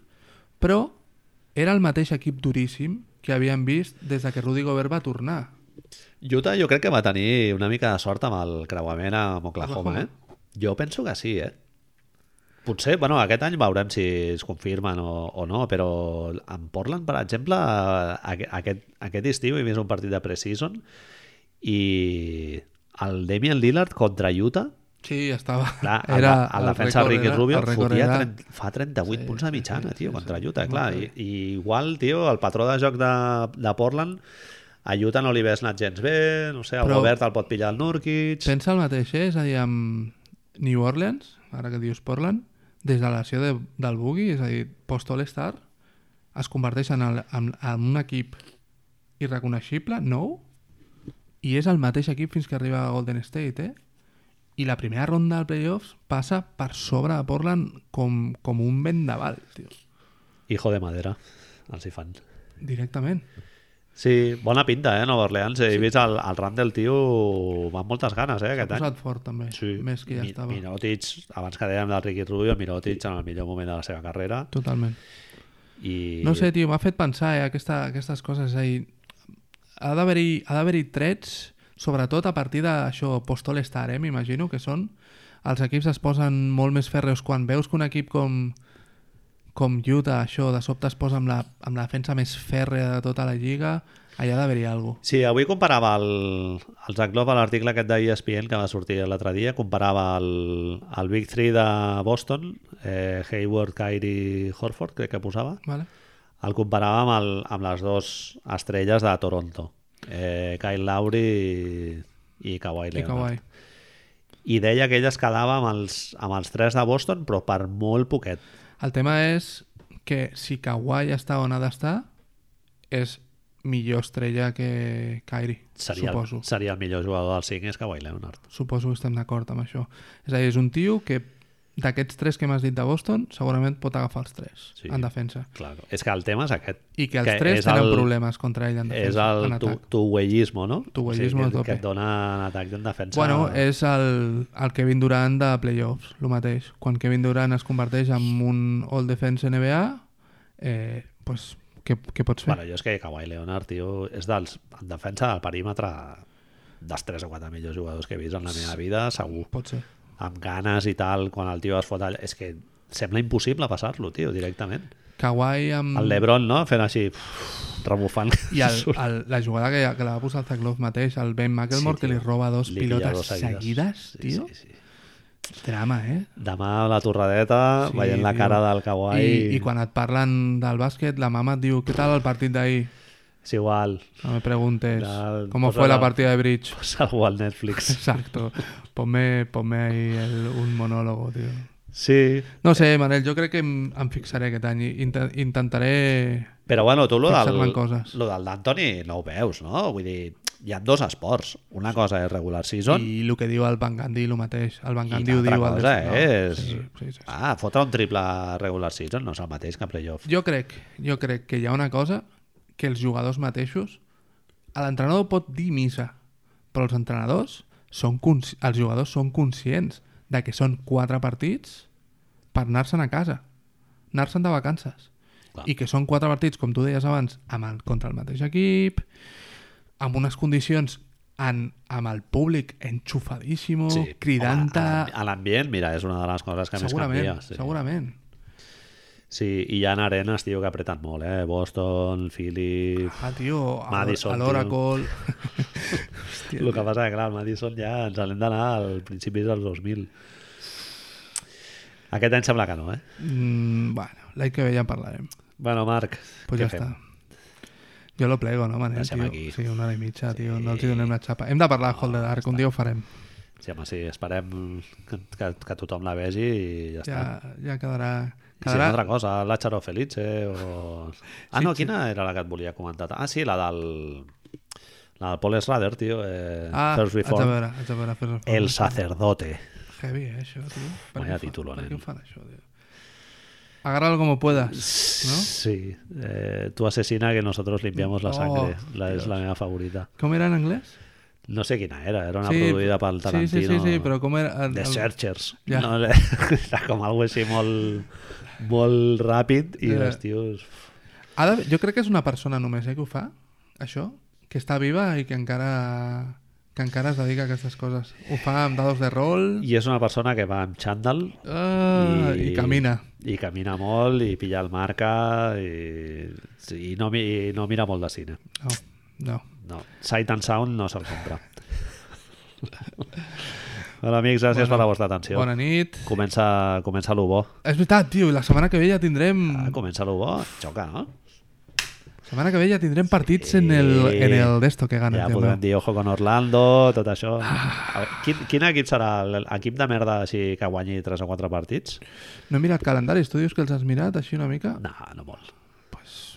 Speaker 2: però era el mateix equip duríssim que havíem vist des de que Rudy Gobert va tornar.
Speaker 1: Utah jo crec que va tenir una mica de sort amb el creuament amb Oklahoma,
Speaker 2: Oklahoma.
Speaker 1: eh? Jo penso que sí, eh? Potser, bueno, aquest any veurem si es confirmen o, o no, però en Portland, per exemple, aqu- aquest, aquest estiu he vist un partit de preseason i el Damian Lillard contra Utah,
Speaker 2: Sí, estava...
Speaker 1: clar, a
Speaker 2: era,
Speaker 1: la, a la defensa de Ricky Rubio, fotia 30, fa 38
Speaker 2: Sí,
Speaker 1: sí, punts de
Speaker 2: sí,
Speaker 1: mitjana,
Speaker 2: sí,
Speaker 1: sí, tio,
Speaker 2: sí,
Speaker 1: sí, contra
Speaker 2: sí,
Speaker 1: Utah,
Speaker 2: molt
Speaker 1: clar. I,
Speaker 2: heavy.
Speaker 1: I igual, tio, el patró de joc de, de Portland, a Utah no li ves anat gens bé, no sé, el
Speaker 2: Però-
Speaker 1: Però... Robert el pot pillar el Nurkic...
Speaker 2: Pensa el mateix, eh? és a dir, amb New Orleans, ara que dius Portland, des de la lesió de, del Boogie, és a dir, post-All-Star, es converteix en, el, en, en un equip irreconeixible, nou, i és el mateix equip fins que arriba a Golden State, eh? I la primera ronda del playoffs passa per sobre de Portland com, com un vendaval, tio.
Speaker 1: Hijo de madera, els hi fan.
Speaker 2: Directament.
Speaker 1: Sí, bona pinta, eh, Nova Orleans. He sí. vist el, el ram del tio va amb moltes ganes, eh,
Speaker 2: S'ha
Speaker 1: aquest any.
Speaker 2: posat fort, també.
Speaker 1: Sí,
Speaker 2: Més que ja
Speaker 1: Mi-
Speaker 2: estava.
Speaker 1: Mirotic, abans que dèiem del Ricky Rubio, Mirotic en el millor moment de la seva carrera.
Speaker 2: Totalment.
Speaker 1: I...
Speaker 2: No sé, tio, m'ha fet pensar eh, aquesta, aquestes coses. És a dir, ha d'haver-hi ha d'haver-hi trets, sobretot a partir d'això, post-all-star, eh, m'imagino, que són... Els equips es posen molt més fèrreos quan veus que un equip com com Utah, això, de sobte es posa amb la, amb la defensa més fèrrea de tota la lliga, allà ha d'haver-hi alguna cosa.
Speaker 1: Sí, avui comparava el, el Zach Love a l'article aquest d'ESPN que va sortir l'altre dia, comparava el, el Big 3 de Boston, eh, Hayward, Kyrie, Horford, crec que posava,
Speaker 2: Vale?
Speaker 1: el comparava amb, el, amb les dues estrelles de Toronto, eh, Kyle Lowry i, i Kawhi
Speaker 2: Que
Speaker 1: Leonard.
Speaker 2: guai.
Speaker 1: I deia que ell es quedava amb els, amb els tres de Boston, però per molt poquet.
Speaker 2: El tema és que si Kawhi està on ha d'estar, és millor estrella que Kyrie,
Speaker 1: Seria,
Speaker 2: suposo.
Speaker 1: el, seria el millor jugador del 5 és Kawhi Leonard.
Speaker 2: Suposo que estem d'acord amb això. És a dir, és un tio que d'aquests tres que m'has dit de Boston, segurament pot agafar els tres
Speaker 1: Sí.
Speaker 2: sí. en defensa.
Speaker 1: Clar, és que el tema és aquest.
Speaker 2: I que els
Speaker 1: Que
Speaker 2: que tres
Speaker 1: és
Speaker 2: tenen
Speaker 1: el-
Speaker 2: el... problemes contra ell
Speaker 1: és
Speaker 2: en defensa, en
Speaker 1: el tu,
Speaker 2: atac.
Speaker 1: tuweyismo, no?
Speaker 2: Tuweyismo
Speaker 1: o
Speaker 2: a
Speaker 1: sigui, que,
Speaker 2: tope.
Speaker 1: que et dona en atac i en defensa.
Speaker 2: Bueno, és el, el Kevin Durant de playoffs, el mateix. Quan Kevin Durant es converteix en un All Defense NBA, eh, pues, què, què pots fer?
Speaker 1: Bueno, jo és que Kawhi Leonard, tio, és dels, en defensa del perímetre dels 3 o 4 millors jugadors que he vist en la meva vida, segur.
Speaker 2: Pot ser.
Speaker 1: Amb ganes i tal, quan el tio es fot allà... És que sembla impossible passar-lo, tio, directament.
Speaker 2: Kawhi amb...
Speaker 1: El Lebron, no?, fent així, pff, rebufant.
Speaker 2: Mm. I el, el, la jugada que, que la va posar el Zach Love mateix, el Ben McElmore, que li roba dos
Speaker 1: Li pilla
Speaker 2: pilotes
Speaker 1: dos
Speaker 2: seguides, tio.
Speaker 1: Sí, sí, sí.
Speaker 2: Drama, eh?
Speaker 1: Demà a la torradeta,
Speaker 2: Sí,
Speaker 1: sí, veient la
Speaker 2: tio.
Speaker 1: cara del Kawhi...
Speaker 2: I, I quan et parlen del bàsquet, la mama et diu què tal el partit d'ahir?
Speaker 1: És igual,
Speaker 2: No me preguntes
Speaker 1: Dal,
Speaker 2: com
Speaker 1: posa
Speaker 2: fue la
Speaker 1: la-
Speaker 2: partida de bridge.
Speaker 1: posa algú al Netflix.
Speaker 2: Exacto. Ponme, ponme ahí el, un monólogo, tío.
Speaker 1: Sí,
Speaker 2: No sé, Manel, jo crec que em, em fixaré aquest any. Inta intentaré...
Speaker 1: Però bueno, tu lo
Speaker 2: Fixar-me en
Speaker 1: del,
Speaker 2: coses.
Speaker 1: lo del d'Antoni no ho veus, no? Vull dir, hi ha dos esports. Una cosa és regular season i,
Speaker 2: I el que diu el Van Gandhi, el mateix. El Van
Speaker 1: i
Speaker 2: Gandhi ho
Speaker 1: l'altra
Speaker 2: diu... al
Speaker 1: cosa
Speaker 2: Des- no,
Speaker 1: és...
Speaker 2: Sí, sí, sí, sí.
Speaker 1: Ah, fotre un triple regular season no és el mateix que playoff.
Speaker 2: Jo crec, jo crec que hi ha una cosa que els jugadors mateixos, a l'entrenador pot dir missa, però els entrenadors són consci- els jugadors són conscients de que són quatre partits per anar-se'n a casa, anar-se'n de vacances.
Speaker 1: Clar.
Speaker 2: I que són quatre partits, com tu deies abans, amb el, contra el mateix equip, amb unes condicions en, amb el públic enxufadíssimo, sí. cridant-te...
Speaker 1: A, a l'ambient, mira, és una de les coses que més
Speaker 2: Segurament,
Speaker 1: canvia. Sí.
Speaker 2: segurament.
Speaker 1: sí, i hi ha arenes, tio, que apreten molt, eh? Boston, Philly...
Speaker 2: Ah, tio, a
Speaker 1: Madison,
Speaker 2: l'Or- a
Speaker 1: tio.
Speaker 2: l'Oracle...
Speaker 1: El que passa que, clar, el Madison ja ens n'hem d'anar al principis dels 2000. Aquest any sembla que no, eh?
Speaker 2: Mm, bueno, l'any que ve ja en parlarem.
Speaker 1: Bueno, Marc,
Speaker 2: Pues
Speaker 1: què
Speaker 2: ja
Speaker 1: fem?
Speaker 2: està. Jo lo plego, no, Manel,
Speaker 1: Deixem
Speaker 2: tio?
Speaker 1: aquí.
Speaker 2: Sí, una hora i mitja, tio. No els hi donem la xapa. Hem de parlar de Hold the Dark, un dia ho farem.
Speaker 1: Sí, home, sí, esperem que, que, que tothom la vegi i ja, està.
Speaker 2: Ja, ja quedarà...
Speaker 1: I si no,
Speaker 2: quedarà...
Speaker 1: altra cosa, Lázaro Felice eh, o... Ah, no, quina era la que et volia comentar? Ah, sí, la del... La del Paul Schrader, tio. Eh,
Speaker 2: Ah,
Speaker 1: First
Speaker 2: haig de
Speaker 1: Reform.
Speaker 2: veure, haig de veure First Reform.
Speaker 1: El sacerdote.
Speaker 2: Heavy, eh, això, tio. Per
Speaker 1: Vaya
Speaker 2: què ho fa-
Speaker 1: títol,
Speaker 2: Per
Speaker 1: nen.
Speaker 2: què ho fan, això, tio? Agárralo como puedas.
Speaker 1: Sí. Eh, tú asesina que nosotros limpiamos la
Speaker 2: Oh,
Speaker 1: sangre. la, es
Speaker 2: Dios.
Speaker 1: la meva favorita.
Speaker 2: Com era en anglès?
Speaker 1: No sé quina era, era una produïda pel Tarantino.
Speaker 2: Sí, sí, sí, sí però com era... El,
Speaker 1: The
Speaker 2: el-
Speaker 1: Searchers.
Speaker 2: Ja.
Speaker 1: No, era com alguna cosa així molt, molt ràpid i
Speaker 2: Ja.
Speaker 1: els tios...
Speaker 2: Ha de... Jo crec que és una persona només eh, que ho fa, això, que està viva i que encara que encara es dedica a aquestes coses. Ho fa amb dados de rol
Speaker 1: I és una persona que va amb xandall
Speaker 2: ah, i... i camina.
Speaker 1: I camina molt, i pilla el marca, i, i, no, mi- i no mira molt de cine.
Speaker 2: No, no.
Speaker 1: No. Sight and Sound no se'l compra. Hola, amics, gràcies
Speaker 2: Bona-
Speaker 1: per la vostra atenció.
Speaker 2: Bona nit.
Speaker 1: Comença, comença lo bo.
Speaker 2: És veritat, tio, la setmana que ve ja tindrem...
Speaker 1: Ah, comença lo bo. Xoca, no?
Speaker 2: La setmana que ve ja tindrem partits en el, en el Ah. d'esto que gana.
Speaker 1: Ja podrem dir ojo con Orlando, tot això. A veure, quin, quin equip serà l'equip de merda així que guanyi 3 o 4 partits?
Speaker 2: No he mirat calendaris, tu dius que els has mirat així una mica?
Speaker 1: No, no molt.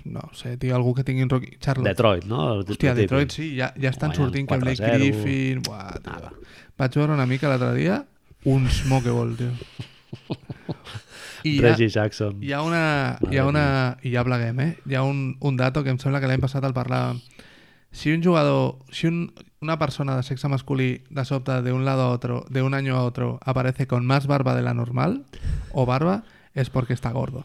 Speaker 2: No ho sé, tio, algú que tingui un Rocky... Charlotte.
Speaker 1: Detroit, no? El
Speaker 2: Hòstia,
Speaker 1: típic.
Speaker 2: Detroit sí, ja, ja estan
Speaker 1: Guanyen
Speaker 2: sortint que Blake
Speaker 1: 4-0.
Speaker 2: Griffin... Buah, tio. Vaig veure una mica l'altre dia uns Mokeball, tio. I hi ha,
Speaker 1: Reggie Jackson.
Speaker 2: hi ha una... Hi ha una I ja pleguem, eh? Hi ha un, un dato que em sembla que l'any passat el parlàvem. Si un jugador... Si un, una persona de sexe masculí de sobte de un lado a otro, de un año a otro, aparece con más barba de la normal o barba, es porque está gordo.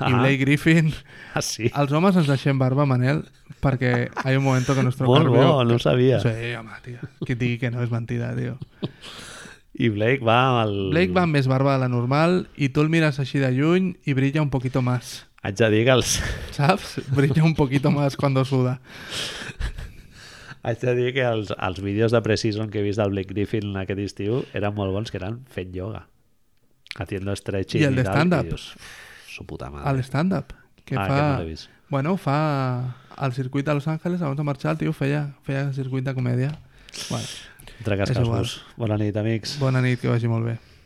Speaker 2: Y
Speaker 1: Ah.
Speaker 2: Blake Griffin...
Speaker 1: Ah, sí.
Speaker 2: Els homes ens deixem barba, Manel, perquè hay un momento que nuestro
Speaker 1: Molt
Speaker 2: cardio...
Speaker 1: bo, no ho sabia.
Speaker 2: Sí, home, tio. Que et digui que no és mentida, tio.
Speaker 1: I Blake va amb el...
Speaker 2: Blake va amb més barba de la normal i tu el mires així de lluny i brilla un poquito más.
Speaker 1: Haig de dir que els...
Speaker 2: ¿Sabes? Brilla un poquito más cuando suda.
Speaker 1: Haig de dir que els, els vídeos de Precision que he vist del Blake Griffin aquest estiu eren molt bons, que eren fent yoga. Haciendo stretching
Speaker 2: I el de
Speaker 1: tal,
Speaker 2: stand-up?
Speaker 1: i dius, "Uf, Su puta
Speaker 2: A
Speaker 1: madre.
Speaker 2: l'stand-up. Que
Speaker 1: Ah,
Speaker 2: fa...
Speaker 1: aquest no l'he vist.
Speaker 2: bueno, fa... Al circuit de Los Angeles, abans de marxar, el tio feia, feia circuit de comèdia. Bueno,
Speaker 1: Entre
Speaker 2: és igual.
Speaker 1: cascascos. Bona nit, amics.
Speaker 2: bona nit, que vagi molt bé.